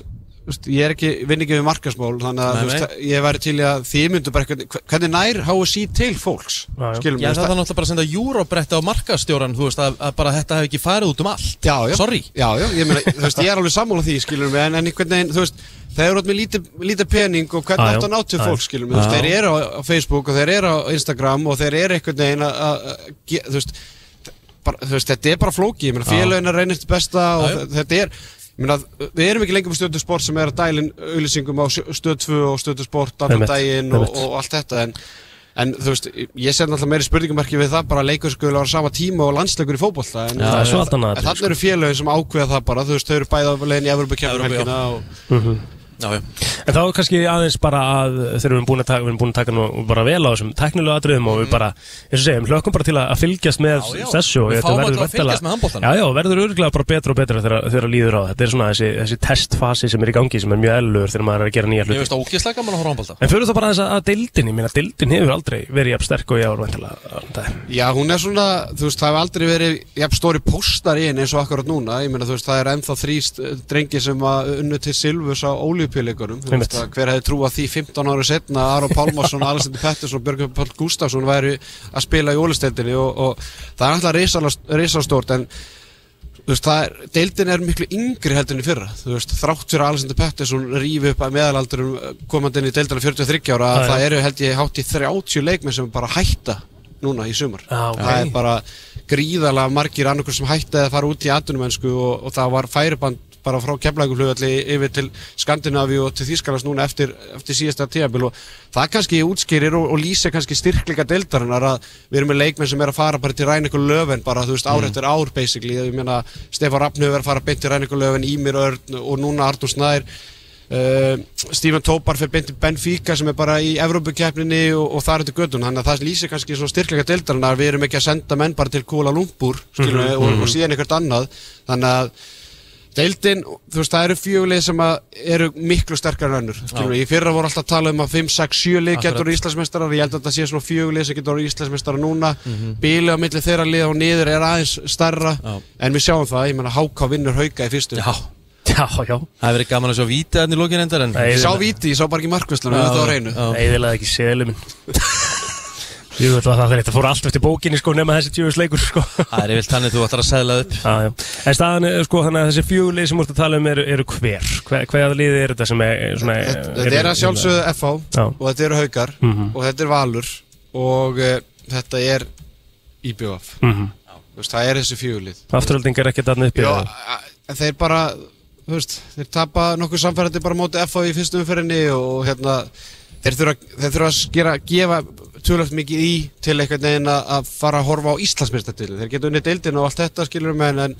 Speaker 7: þú veist, ég er ekki, vinn ekki við markasmál þannig að
Speaker 1: Nei,
Speaker 7: þú veist, ég væri til í að þið myndu bara hvernig, hvernig nær HSI til fólks
Speaker 2: Já, já.
Speaker 7: skilum
Speaker 1: Já,
Speaker 7: við
Speaker 1: það er náttúrulega bara að senda júróbretta á markastjóran Þú veist, að, að bara þetta hef ekki farið út um allt
Speaker 7: Já, já,
Speaker 1: Sorry
Speaker 7: já, já ég, meina, þú veist, ég er alveg sammála því, skilur mig En, en einhvern veginn, þú veist, þeir eru átt með lítið líti pening Og
Speaker 2: Já,
Speaker 7: hvernig
Speaker 2: já.
Speaker 7: átt að ná til
Speaker 2: Já,
Speaker 7: fólk,
Speaker 2: já.
Speaker 7: skilur mig þú
Speaker 2: Já.
Speaker 7: veist, Þeir eru á á Facebook og þeir eru á Instagram Og þeir eru einhvern veginn að, að, að ge- Þú veist, bara, þú veist, þetta er bara flóki ég meina félagin er reynist besta og
Speaker 1: Já, já.
Speaker 7: þe- þetta er ég meina, við erum ekki lengur með stöðu sport sem er að dælin auðlýsingum á sjö- stöð 2 og stöðu sport annan
Speaker 2: Einmitt,
Speaker 7: daginn og,
Speaker 2: einmitt.
Speaker 7: og allt þetta en, en þú veist, ég set náttúrulega meiri spurningumarki við það bara að leikur skuli á sama tíma og landsleikur í fótbolta en,
Speaker 2: það er svo allt
Speaker 7: en
Speaker 2: annað
Speaker 7: þannig eru félagin sem ákveða það bara þú veist, þau eru bæða legin í Evrópukefnum
Speaker 1: Evrópu, já.
Speaker 7: helgina og,
Speaker 1: Já, já
Speaker 2: En þá er kannski aðeins bara að þegar við erum búin að taka, við erum búin að taka nú bara vel á þessum teknilega atriðum og við bara, eins og segjum, hlökkum bara til að að fylgjast með
Speaker 1: Já, já.
Speaker 2: þessu og
Speaker 1: Við
Speaker 2: þetta
Speaker 1: fáum
Speaker 2: verður
Speaker 1: alltaf að
Speaker 2: væntanlega-
Speaker 1: fylgjast með handboltanum.
Speaker 2: Já, já, verður örgulega bara betra og betra þegar, þegar líður á það. Þetta er svona þessi, þessi testfasi sem er í gangi sem er mjög eðlugur þegar maður er að gera nýja
Speaker 1: Ég
Speaker 2: hluti.
Speaker 1: veist að ógeðslega gaman að horfa á handbólta
Speaker 2: En fyrir þá bara þess að, að deildin, ég meina deildin hefur aldrei verið jafn sterk og ég var vantilega.
Speaker 7: Já, hún er svona, þú veist, það hefur aldrei verið jafn stóri póstar í henni eins og akkurat núna ég meina, þú veist, það er ennþá þrýst drengi sem að unnu til Silvus á ólíupíleikunum þú veist,
Speaker 2: Einmitt.
Speaker 7: að hver hefði trúað því 15 ára setna að Aron Pálmarsson, Alessandr Pettersson og Björgum Pál Gustafsson væri að spila í ólisteldinni og, og það er alltaf risala- risastórt en þú veist, það er, deildin er miklu yngri heldur en í fyrra, þú veist, þrátt fyrir að Alessandr Pettersson rífi upp að meðalaldurum komandinn í deildina 43 ára
Speaker 2: Já,
Speaker 7: að
Speaker 2: já.
Speaker 7: það eru held ég hátt í 30 leikmenn sem bara hætta núna í sumar
Speaker 2: Já, ok.
Speaker 7: það er bara gríðalega margir annarkur sem hætta að fara út í atvinnumennsku og, og það var færiband bara frá keflæguflugalli yfir til Skandinavíu og til Þýskalands núna eftir, eftir síðasta tíabil og það kannski útskýrir og, og lýsir kannski styrkleika deildarinnar að við erum með leikmenn sem er að fara bara til Ræningur Löfven bara þú veist
Speaker 2: Mm.
Speaker 7: ár eftir ár basically ég meina Stefán Rappnöf er að fara beint til Ræningur Löfven Ímir Örn og núna Artur Snær Uh, Stephen Tópar fyrir beinti Benfica sem er bara í Evrópukeppninni og, og það er þetta göttun þannig að það lýsir kannski svona styrkleika deildarinn að við erum ekki að senda menn bara til Kóla Lumpur skilur, mm og, og síðan eitthvað annað þannig að deildin, þú veist, það eru fjöguleg sem að eru miklu sterkar en önnur skilur, í fyrra voru alltaf að tala um að 5, 6, 7 lið getur orðið Íslandsmeistarar, ég held að það sé svona fjöguleg sem getur orðið Íslandsmeistarar núna mm á milli þeirra liða og niður er aðeins starra
Speaker 1: Já.
Speaker 7: en við sjáum það, ég menna HK vinnur hauka í fyrstu
Speaker 1: Já,
Speaker 2: Já, já,
Speaker 1: það hefur verið gaman að sjá víti hann í lókin endar en
Speaker 2: Nei.
Speaker 7: Ég sá viti, ég sá bara ekki markvæslan Það var reynu
Speaker 1: Já.
Speaker 2: eiginlega ekki selið minn. Jú, þetta var það þegar þetta fór allt eftir bókinni sko nema þessi tjóðisleikur sko.
Speaker 1: Það er yfir þannig þú ætlar að segla upp
Speaker 2: Já, já. En staðan er sko þannig að þessi fjögulið sem úrst að tala um eru, eru hver? hver Hvaða liði er þetta sem er eh, svona
Speaker 1: Eh,
Speaker 7: Þetta þetta er að sjálfsögðu FH
Speaker 2: Já.
Speaker 7: og þetta eru haukar
Speaker 1: Mhm.
Speaker 7: og þetta er Valur og uh, þetta er IBF
Speaker 2: mm -hmm.
Speaker 7: Þú veist, Það er þessi fjúlið
Speaker 2: Afturölding er ekki þarna uppi
Speaker 7: Já,
Speaker 2: eða?
Speaker 7: en þeir bara þú veist, þeir tapa nokkuð samfærandi bara móti FH í fyrstu umferðinni og hérna þeir þurfa, þeir þurfa að skera, gefa tölvöld mikið í til einhvern veginn að- að fara að horfa á Íslandsmyrstatilu þeir geta unni deildin og allt þetta skilur með en,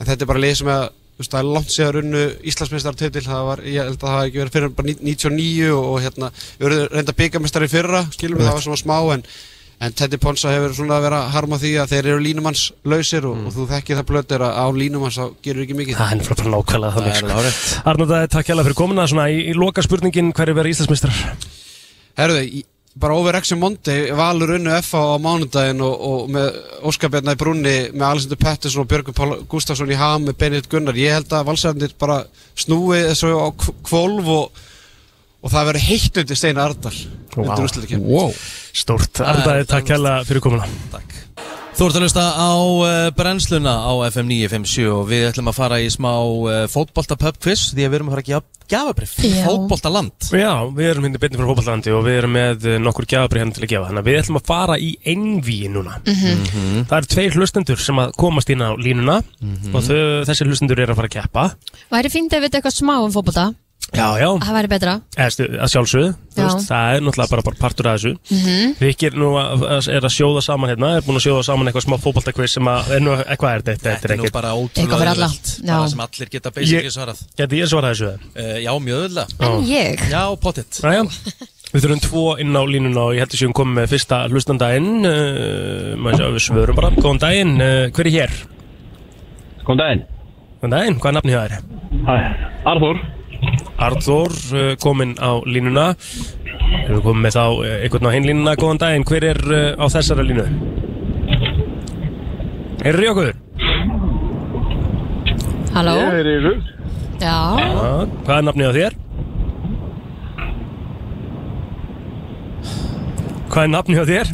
Speaker 7: en þetta er bara lið sem að þú veist, það er langt séðar unnu Íslandsmyndstartitil það var, ég held að það hafi ekki verið fyrir bara 99 og, og hérna, við vorum reynda byggamestari fyrra, skilur við það var svona smá en, en Teddy Ponsa hefur svona verið að harma því að þeir eru línumannslausir
Speaker 2: Mm.
Speaker 7: og, og þú þekkir það blötir að á línumanns þá gerur ekki mikið
Speaker 2: Það er bara nákvæmlega
Speaker 1: Það er
Speaker 2: þannig sko.
Speaker 1: hárið
Speaker 2: Arnóta, takk hérlega fyrir komuna svona í, í loka spurningin hverju verða Íslandsmeistrar?
Speaker 7: Herðu, í- bara over action Monday Valur unnu FH á mánudaginn og, og með Óskar Bjarnar í brunni með Alessandur Pettersson og Björgur Pál Gustafsson í ham með Benedikt Gunnar ég held að valsarnir bara snúi þessu á kv- hvolf og, og það verður heitt undir Steina Ardal
Speaker 2: Vá.
Speaker 7: undir úrslitakeppni.
Speaker 1: Wow
Speaker 2: Stórt, Arnóta, takk hérlega fyrir komuna
Speaker 1: Takk Þú ert að hlusta á uh, brennsluna á FM 957 og við ætlum að fara í smá uh, fótbolta pub quiz því að við erum að fara að gefa gafabrif
Speaker 3: Já.
Speaker 1: Fótboltaland
Speaker 2: Já, við erum hindi beinni frá Hópallandi og við erum með eh, nokkur gjafabri henni til að gefa þannig að við ætlum að fara í einvíi núna Það eru tveir hlustendur sem að komast inn á línuna og þau, þessi hlustendur eru að fara að keppa
Speaker 3: Væri fínt að vita eitthvað smá um fótbolta
Speaker 2: Já, já,
Speaker 3: Það væri betra
Speaker 2: Eða, Eh, stu- að sjálfsögðu, þú
Speaker 3: Já.
Speaker 2: veist, það er náttúrulega bara, bara partur af þessu mm -hmm. Rikki er nú að, að- er að sjóða saman hérna, er búin að sjóða saman eitthvað smá fótboltakveis sem að, er nú, eh, hvað er þetta, þetta,
Speaker 1: Þetta er nú
Speaker 2: ekkert
Speaker 1: bara
Speaker 3: Eitthvað
Speaker 1: ótrúlega
Speaker 3: fyrir alla.
Speaker 1: auðvelt.
Speaker 3: Já.
Speaker 1: Bara sem allir geta basically
Speaker 2: Ég-
Speaker 1: svarað
Speaker 2: Gæti ég svarað þessu?
Speaker 1: uh, Já, mjög öðvöldlega
Speaker 3: En ég
Speaker 1: Já, pottitt
Speaker 2: Næja, við þurfum tvo inn á línuna og ég heldur séum komið með fyrsta hlustanda inn uh, maður sjá, við svörum bara, góðan daginn, uh, hver er hér?
Speaker 8: Góðan daginn.
Speaker 2: Góðan daginn, hvað er nafni hjá þér?
Speaker 8: Hæ, Arþór.
Speaker 2: Arþór uh, kominn á línuna Erum við komið með þá uh, einhvern á hinn línuna, góðan daginn, hver er uh, á þessara línu? Heyrðu í okkur?
Speaker 3: Halló
Speaker 6: er í rugg
Speaker 3: Já
Speaker 2: Já, Hvað er nafnið á þér? Hvað er nafnið á þér?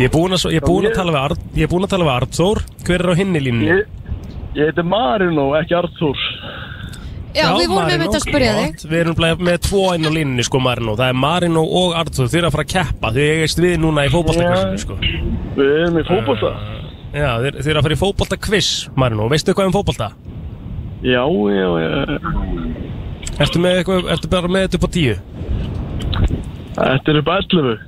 Speaker 2: Ég er búinn að, svo- ég er búinn að tala við Arð, ég er búinn að tala við Arðþór Hver er á hinni línunni?
Speaker 6: Ég heiti Marino, ekki Arthur
Speaker 3: Já, við vorum
Speaker 2: Marino.
Speaker 3: einmitt að spyrja þig.
Speaker 2: Gott. Við erum bara með tvo inn á línunni sko Marino Það er Marino og Artur, þeir eru að fara að keppa Þau eigast við núna í fótballtakvissinu sko
Speaker 8: Við erum í fókbólta
Speaker 2: Já, þeir, þeir eru að fara í fótballtakviss Marino, veistu eitthvað um fótballta?
Speaker 8: Já, já, já
Speaker 2: Ertu, með eitthvað, ertu bara með þetta upp á tíu?
Speaker 8: Þetta er upp 11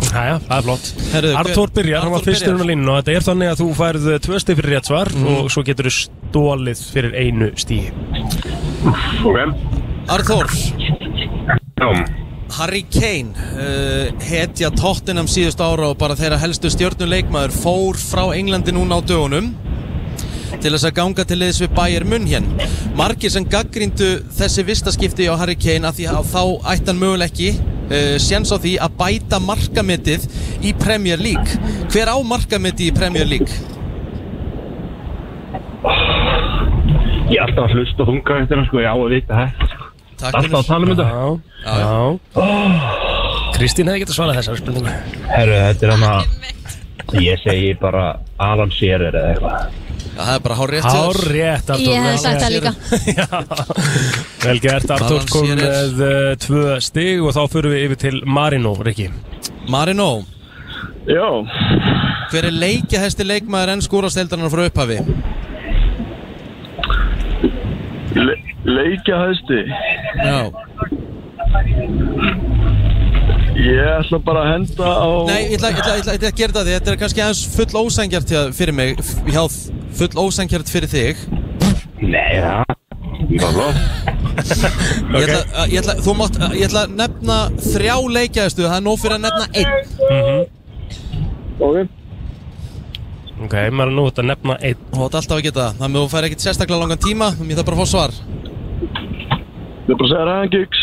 Speaker 2: Jæja, það er flott
Speaker 1: Herðu,
Speaker 2: Artur byrjar, hann var
Speaker 1: Arthur
Speaker 2: fyrstur
Speaker 1: byrjar. Mhm.
Speaker 2: um að línunni og þetta er þannig að þú færð tvö stig fyrir rétt svar og svo getur þú stólið fyrir einu stíi
Speaker 1: Arthur Harry Kane uh, hetja Tottenham síðust ára og bara þeirra helstu stjörnuleikmaður fór frá Englandi núna á dögunum til þess að ganga til liðs við Bayern München margir sem gaggríndu þessi vistaskipti á Harry Kane að því að þá ætti hann möguleg ekki uh, séns á því að bæta markametið í Premier League hver á markametið í Premier League?
Speaker 8: Ég er alltaf að hlusta og þunga eftir hann sko, já, að vita þetta sko.
Speaker 1: Takk
Speaker 8: Alltaf að tala
Speaker 1: fyrir
Speaker 8: um þetta
Speaker 2: Já, já Kristín hefði getað svarað þessari spurningu
Speaker 8: Herru, þetta er hann að Ég segi bara Alan Shearer eða eitthvað
Speaker 1: Já, Það er bara hár rétt
Speaker 2: Hár rétt Artur
Speaker 3: Ég hefði sagt það líka.
Speaker 2: Vel gert Artur
Speaker 1: Alan
Speaker 2: kom
Speaker 1: Shearer.
Speaker 2: með uh, tvö stig og þá fyrir við yfir til Marino, Rikki
Speaker 1: Marino,
Speaker 8: Já
Speaker 1: hver er leikjahæsti leikmaður enn skúrasteldarnar frá upphafi?
Speaker 8: Le Leikja hæsti
Speaker 1: Já
Speaker 8: Ég ætla bara að henda á
Speaker 1: Nei, ég ætla, ég ætla, ég ætla, ég ætla að gera það því Þetta er kannski aðeins full ósengjart hjá- fyrir mig f- hjá, þ- Full ósengjart fyrir þig
Speaker 8: Nei, já
Speaker 1: ég ætla, að- ég ætla, Þú mátt, ég ætla að nefna þrjá leikjaðistu Það er nóg fyrir að nefna einn
Speaker 8: Ok
Speaker 2: Ok, Marino, þetta nefna einn
Speaker 1: Þú átt alltaf að geta það Þannig að þú fær ekkit sérstaklega langan tíma Mér þarf bara að fá svar
Speaker 8: Þetta er bara að segja Ryan Giggs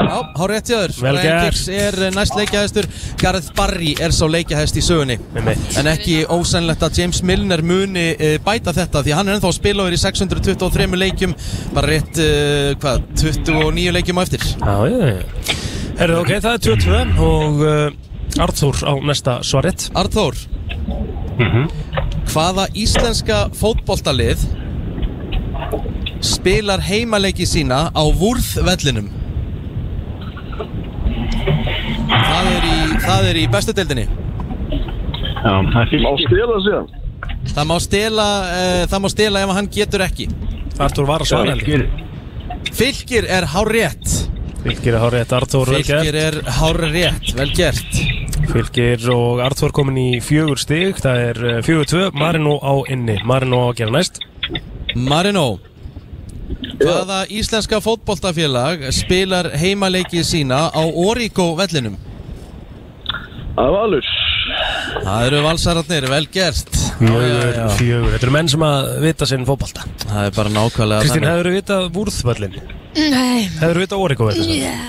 Speaker 1: Já, há rétt hjá þér
Speaker 2: Vel
Speaker 1: Ryan
Speaker 2: gert.
Speaker 1: Giggs er eh, næst leikjaðistur Gareth Barry er sá leikjaðist í sögunni
Speaker 2: með mitt
Speaker 1: En ekki ósænlegt að James Milner muni eh, bæta þetta Því hann er ennþá að spila og er í 623 leikjum Bara rétt, uh, hvað, 29 leikjum á eftir
Speaker 2: Já, já, já Herðu, ok, það er 22 og uh, Artur á næsta svarið
Speaker 1: Arþór
Speaker 8: Mhm.
Speaker 1: Hvaða íslenska fótboltalið spilar heimaleiki sína á vúrðvellinum? Það er í, það er í bestu deildinni
Speaker 8: Já, það er fíl Má stela síðan
Speaker 1: Það má stela, uh, það má stela ef hann getur ekki
Speaker 2: Artur var að svara heldur
Speaker 1: Fylgir er hárétt
Speaker 2: Fylgir er hár rétt, Artur vel
Speaker 1: Fylgir
Speaker 2: gert
Speaker 1: er hárétt, vel gert
Speaker 2: Fylgir og Artur komin í fjögur stig Það er uh, fjögur tvö, Marino á inni Marino á að gera næst
Speaker 1: Marino Hvaða íslenska fótboltafélag spilar heimaleiki sína á Origo vellinum?
Speaker 8: Það er valur
Speaker 1: Það eru valsararnir, vel gert
Speaker 2: Fjögur, fjögur Þetta eru menn sem að vita sinn fótbalta
Speaker 1: Það er bara nákvæmlega
Speaker 2: Kristín, hefur þú vitað vúrðvöllin?
Speaker 3: Nei,
Speaker 2: Hefur þú vitað Origo völlin?
Speaker 3: já.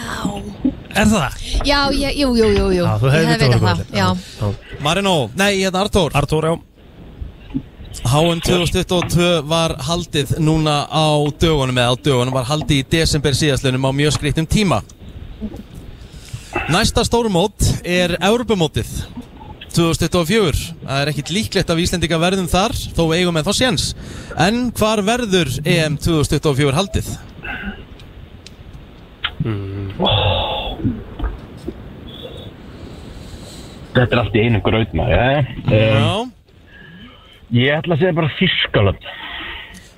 Speaker 2: Er það?
Speaker 3: Já, ég, jú, jú, jú, jú.
Speaker 2: Já, þú hefur
Speaker 3: Ég hef
Speaker 2: vitað
Speaker 3: vitað
Speaker 2: Origo
Speaker 3: það. Já.
Speaker 2: völlin Já.
Speaker 1: Marino, nei, hérna Artur
Speaker 2: Artur, já
Speaker 1: HM 2022 var haldið núna á dögunum eða á dögunum var haldið í desember síðastlunum á mjög skrýttum tíma Næsta stórmót er Europamótið 2024 Það er ekkit líklegt af Íslendinga verðum þar þó við eigum en þá séns En hvar verður E EM 2024 haldið?
Speaker 8: Þetta er allt í einu graut maður eh?
Speaker 1: Já,
Speaker 8: Ég ætla að segja bara Þískaland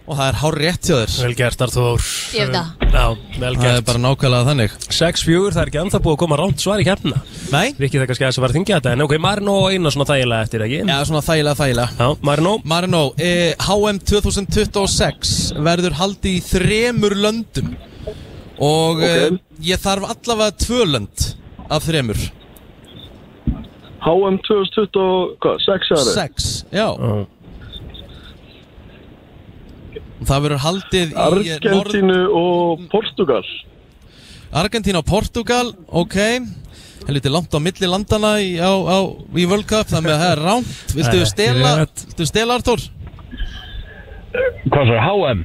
Speaker 1: og það er hár rétt hjá þér
Speaker 2: Vel gert, Artur
Speaker 3: Ég hef það.
Speaker 2: Já, vel
Speaker 1: Það er
Speaker 2: gert
Speaker 1: bara nákvæmlega þannig
Speaker 2: 6-4, það er ekki anþá búið að koma rámt svar í keppna
Speaker 1: Nei,
Speaker 2: Rikki, það er kannski aðeins að vera að þingja þetta En ok, Marino á eina svona þægilega eftir, ekki?
Speaker 1: Já, svona þægilega, þægilega
Speaker 2: Já, Marino
Speaker 1: Marino, eh, HM 2026 verður haldið í þremur löndum Og eh, ég þarf allavega tvö lönd af þremur
Speaker 8: HM 2026
Speaker 1: Sex, já
Speaker 2: Já.
Speaker 1: Það verður haldið í eh, Norð-
Speaker 8: Argentínu og Portugal
Speaker 1: Argentínu og Portugal, ok Helviti langt á milli landana í, á, á, í World Cup Þannig að það er ránt Viltu
Speaker 2: Nei,
Speaker 1: stela,
Speaker 2: rétt.
Speaker 1: viltu stela Artur?
Speaker 8: Hvað svo er HM?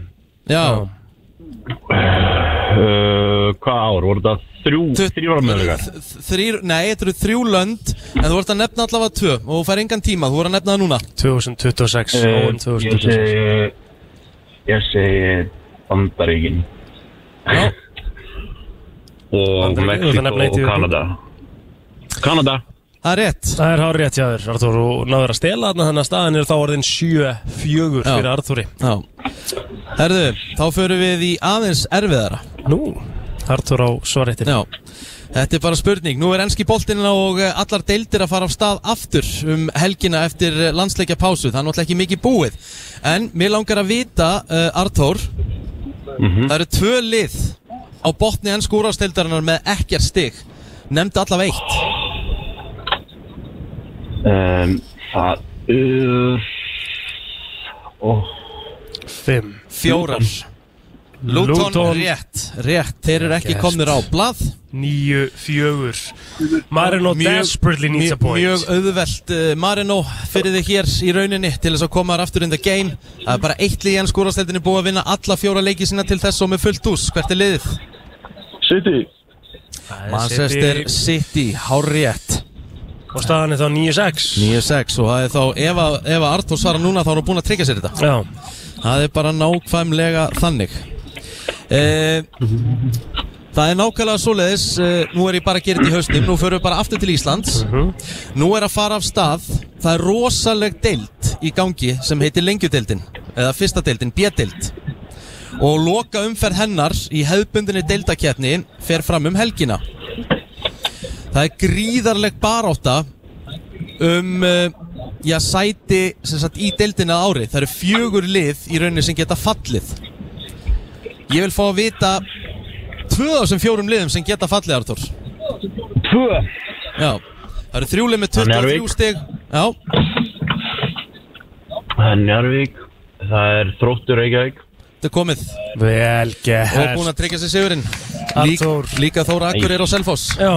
Speaker 1: Já,
Speaker 8: Uh, hvað ár? Voru þetta þrjú,
Speaker 1: Tut-
Speaker 8: þrjú ára mögulegar?
Speaker 1: þrýr, nei, þetta eru þrjú lönd En þú vart að nefna allavega tvö Og þú fær engan tíma, þú vart að nefna það núna
Speaker 2: 2026
Speaker 8: Eh,
Speaker 2: Óin
Speaker 8: Ég
Speaker 2: 2026
Speaker 8: segi Ég segi Bandaríkin
Speaker 2: Já,
Speaker 8: og
Speaker 2: Bandaríkin, þú ert að
Speaker 8: Mexiko
Speaker 2: nefna eitt í
Speaker 8: og
Speaker 2: viðbót.
Speaker 8: Kanada Kanada
Speaker 1: Það er rétt
Speaker 2: það er hár rétt hjá þér, Arþór og náður að stela þarna þannig að staðan er þá orðin 7-4
Speaker 1: Já.
Speaker 2: fyrir Arþóri
Speaker 1: Já Herðu, þá förum við í aðeins erfiðara
Speaker 2: Nú, Arþór á svarettir
Speaker 1: Já Þetta er bara spurning, nú er enski boltinn og eh, allar deildir að fara af stað aftur um helgina eftir landsleikja pásu, það er náttúrulega ekki mikið búið En mér langar að vita, uh, Arthór, það eru tvö lið á botni ennsku úrásdeildarinnar með ekkert stig Nefndi allavega eitt
Speaker 8: um, Það uh, er oh,
Speaker 2: 5
Speaker 1: Fjórar Luton,
Speaker 2: Luton.
Speaker 1: rétt, rétt, þeir eru ekki
Speaker 2: Gert.
Speaker 1: komnir á blað
Speaker 2: 9-4 Marino desperately needs a
Speaker 1: mjög,
Speaker 2: point
Speaker 1: mjög auðvelt uh, Marino fyrir þig hér í rauninni til þess að koma þar aftur in the game Það er bara eitt lið í enn skúrasteldinni búið að vinna alla fjóra leiki sína til þess og með fullt hús Hvert er liðið?
Speaker 8: City
Speaker 2: Það er
Speaker 1: Manchester
Speaker 2: City
Speaker 1: City, hárétt
Speaker 2: Og staðan er þá 9-6
Speaker 1: 9-6 og það er þá, ef, að- ef að Artur svarar núna þá er hann búin að tryggja sér þetta
Speaker 2: Já,
Speaker 1: Það er bara nákvæmlega þannig e, Það er nákvæmlega svoleiðis e, Nú er ég bara að gera þetta í hausnum Nú förum við bara aftur til Íslands Nú er að fara af stað Það er rosaleg deild í gangi sem heitir lengjudeildin eða fyrsta deildin, B-deild og loka umferð hennar í hefðbundinni deildakjarni fer fram um helgina Það er gríðarleg barátta um uh, já, sæti sem sagt, í deildinni að ári það eru fjögur lið í rauninni sem geta fallið ég vil fá að vita tvö af þessum fjórum liðum sem geta fallið Artur
Speaker 8: Tvö
Speaker 1: já. það eru þrjúlið með
Speaker 8: Njarðvík.
Speaker 1: 23 stig já,
Speaker 8: Það er Njarvík Það er Þróttur Reykjavík
Speaker 1: þetta er komið
Speaker 2: vel
Speaker 1: og
Speaker 2: gert
Speaker 1: búin að tryggja sér sigurinn
Speaker 2: Arnþór.
Speaker 1: líka Þóra Akkur er á Selfoss
Speaker 2: Já,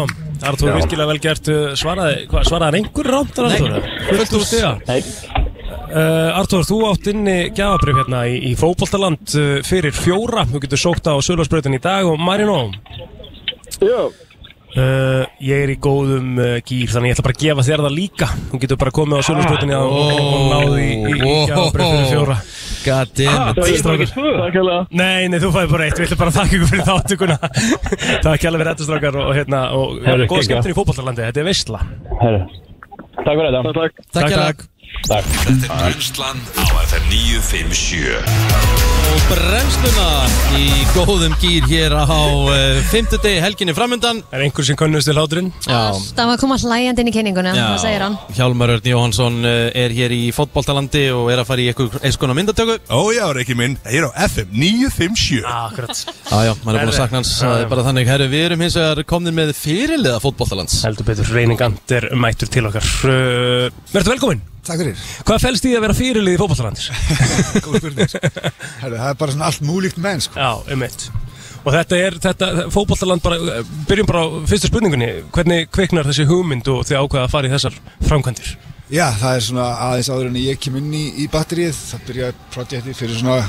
Speaker 2: Arþór virkilega vel gert uh, svaraði, hva, svaraði hann einhver rámt Arþór?
Speaker 1: fullt hús.
Speaker 2: stiga
Speaker 8: Nei.
Speaker 2: Uh, Artur, þú átt inni gjafabrif hérna í, í fótboltaland uh, fyrir fjóra, þú getur sókt á Söluvarsbröðin í dag og Marino
Speaker 6: Já,
Speaker 2: uh, ég er í góðum uh, gýr þannig ég ætla bara að gefa þér það líka þú getur bara komið á Söluvarsbröðin og, og, og náði í, í, í gjafabrif fyrir fjóra
Speaker 1: god damn it
Speaker 2: Það er strákar.
Speaker 8: Takkilega
Speaker 2: Nei, nei, þú fæði bara eitt, við ætlum bara að þakka ykkur fyrir þáttökuna Takk alveg fyrir þetta strákar og hérna, og
Speaker 8: Herru,
Speaker 2: góða
Speaker 8: geggjað.
Speaker 2: skemmtun í fótboltalandi, þetta er veistla
Speaker 8: Takk fyrir þetta Takk
Speaker 1: takk,
Speaker 2: Takk,
Speaker 1: takk,
Speaker 2: takk.
Speaker 4: Þetta er brennslan á FM 957
Speaker 1: og bremsluna í góðum gýr hér á uh, 5. degi helginni framöndan
Speaker 2: Er einhver sem könnust til hláturinn?
Speaker 1: já,
Speaker 3: Það var að koma hlæjandi inn í kynninguna, það segir hann
Speaker 1: Hjálmar Örn Jóhansson eh, er hér í fótboltalandi og er að fara í einhvers konar myndatöku
Speaker 9: Ójá, Rikki minn, hér á FM 957
Speaker 2: Akkurat,
Speaker 1: Já, já, maður er búin að sakna hans, það er bara þannig Herru, við erum hins vegar komnir með fyrirliða fótboltalands
Speaker 2: heldur betur, reyningand er mættur til okkar uh, Verður velkominn,
Speaker 10: Takk fyrir,
Speaker 2: hvað fælst í að vera fyrirlið í fótboltalandis?
Speaker 10: góð spurning Herru, það er bara svona allt múlíkt menn sko.
Speaker 2: Já, um Og þetta er, þetta, fótboltaland bara, eh, byrjum bara á fyrstu spurningunni Hvernig kviknar þessi hugmynd og þið ákveða að fara í þessar framkvæmdir?
Speaker 10: Já, það er svona aðeins áður en ég kem inn í, í batterið Það byrjaði projekti fyrir svona,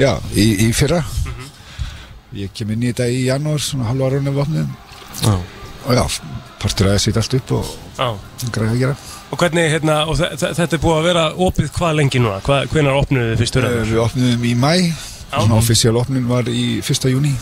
Speaker 10: já, í, í fyrra Ég kem inn í þetta í janúar, svona halva ára unni vopnið
Speaker 1: Já.
Speaker 10: Og já, partur að setja allt upp og
Speaker 2: Já
Speaker 10: græða að gera
Speaker 2: Og hvernig, hérna, og þe- þe- þetta er búið að vera opið hvað lengi núna? Hvað, hvenar opnuðu þið fyrstu
Speaker 10: Eh,
Speaker 2: röðum?
Speaker 10: Við opniðum í mæ, svona offisíal opnin var í 1. júni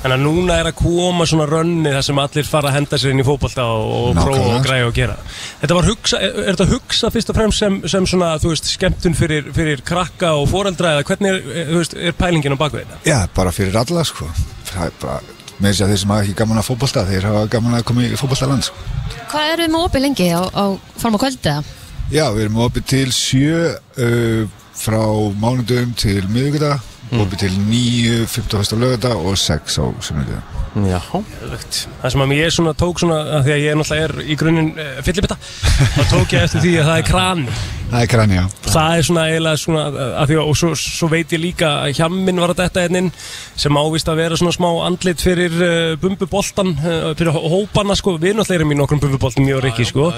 Speaker 2: Þannig að núna er að koma svona rönni þar sem allir fara að henda sér inn í fótbolta og, og
Speaker 10: Nákvæmlega.
Speaker 2: prófa og græja og gera. Þetta var hugsa, er, er þetta hugsa fyrst og fremst sem, sem svona, þú veist, skemmtun fyrir, fyrir krakka og foreldra eða hvernig er, eh, þú veist, er pælingin á bakvið þetta?
Speaker 10: Já, bara fyrir alla sko Það er bara, með þess að þeir sem hafa ekki gaman að fótbolta Þeir hafa gaman að koma í fótboltaland sko
Speaker 3: Hvað eru við með opið lengi á, á fram á kvöldu?
Speaker 10: Já, við erum opið til sjö uh, frá mánudöfum til miðugöta opið til nýju, 15. lögata og sex á sunnudöfum
Speaker 1: Já
Speaker 2: Öfugt. Það sem að ég svona tók svona, að því að ég náttúrulega er í grunninn uh, fyllibetta, þá tók ég eftir því að það er krani.
Speaker 10: Það er krann, já
Speaker 2: Það er svona eiginlega svona að því að, og svo, svo veit ég líka að hjamminn var að detta hennin sem ávist að vera svona smá andlit fyrir uh, bumbuboltan, uh, fyrir hó- hópana sko, við náttúrulega erum í nokkrum bumbuboltum mjög rikki sko,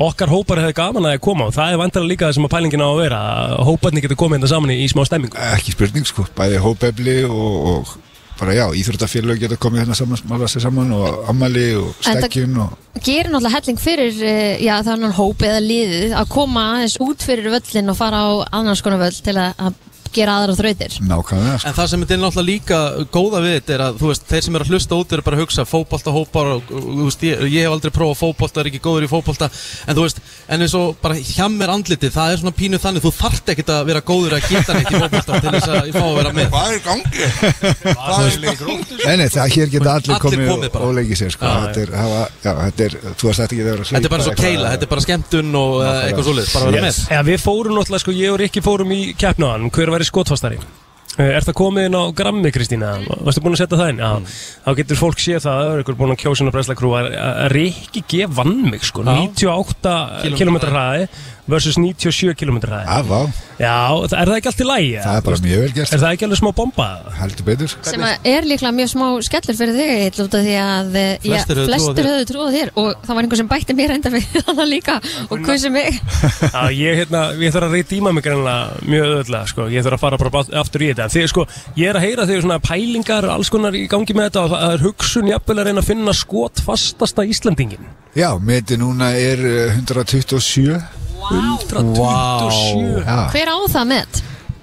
Speaker 2: okkar hópar hefur gaman að koma og það er vantarlega líka það sem að pælingin á að vera að hóparni getur komið hérna saman í, í smá stemmingu.
Speaker 10: Ekki spurning sko, bæði hópefli og, og bara já, íþróttafélög geta komið hérna saman, smála sér saman og ammali og
Speaker 3: En það-
Speaker 10: stekkin og
Speaker 3: Gerir náttúrulega helling fyrir, eh, já, þannig hópið eða liðið að koma aðeins út fyrir völlin og fara á annars konar völl til að, að gera aðra þrautir
Speaker 10: Nákvæmlega sko.
Speaker 9: En það sem þetta er náttúrulega líka góða við þetta er að þú veist, þeir sem eru að hlusta út eru bara að hugsa fótbolta hópar og og, þú veist, ég, ég hef aldrei prófað fótbolta, er ekki góður í fótbolta en þú veist, en eins og bara hjammir andlitið, það er svona pínu þannig, þú þarft ekkert að vera góður að geta neitt í fótbolta til þess að ég fá að vera með
Speaker 1: Hvað er gangi?
Speaker 10: Nei, nei, það hér geta allir,
Speaker 9: Allir
Speaker 10: komið
Speaker 9: komið
Speaker 10: og,
Speaker 9: bara.
Speaker 10: og leikið sér sko.
Speaker 9: Já, já.
Speaker 10: þetta, er, hafa, já, þetta er, þú varst þetta ekki að vera að
Speaker 9: Þetta er bara svo keila, þetta er bara skemmtun og eh, eitthvað svoleiðis, bara að vera með
Speaker 2: Já, við fórum náttúrulega, sko, ég og Rikki fórum í keppnaðan, hver væri skotfastari? Eh, Er það komið inn á grammi, Kristína? Varstu búin að setja það inn?
Speaker 10: Mm.
Speaker 2: Já, þá getur fólk séð það, það er ykkur búin að kjósa inn á Bresla Krú að að Rikki G vann mig, sko, 98 km hraði versus 97 km hraði.
Speaker 10: Já, vá,
Speaker 2: Já, er það ekki allt í lægi?
Speaker 10: það er bara mjög vel gert
Speaker 2: Er það ekki alveg smá bomba?
Speaker 10: Heldur betur
Speaker 3: sem að er líklega mjög smá skellur fyrir þig Egill, út af því að eh, já,
Speaker 2: Flestir höfðu trú á
Speaker 3: flestir
Speaker 2: þér.
Speaker 3: höfðu trúið þér og það var einhver sem bætti mér enda fyrir það líka og kusi mig
Speaker 2: Já, ég, hérna, ég þarf að reydíma mig greinlega mjög öðvöldlega, sko. Ég þarf að fara bara bát- aftur í þetta. En Þið, sko, ég er að heyra þegar svona pælingar, alls konar í gangi með þetta og það er hugsun jafnvel að reyna að finna skot fastasta Íslandingin.
Speaker 10: Já, meti núna er eh, 127
Speaker 2: 127
Speaker 10: Já.
Speaker 3: hver á það með?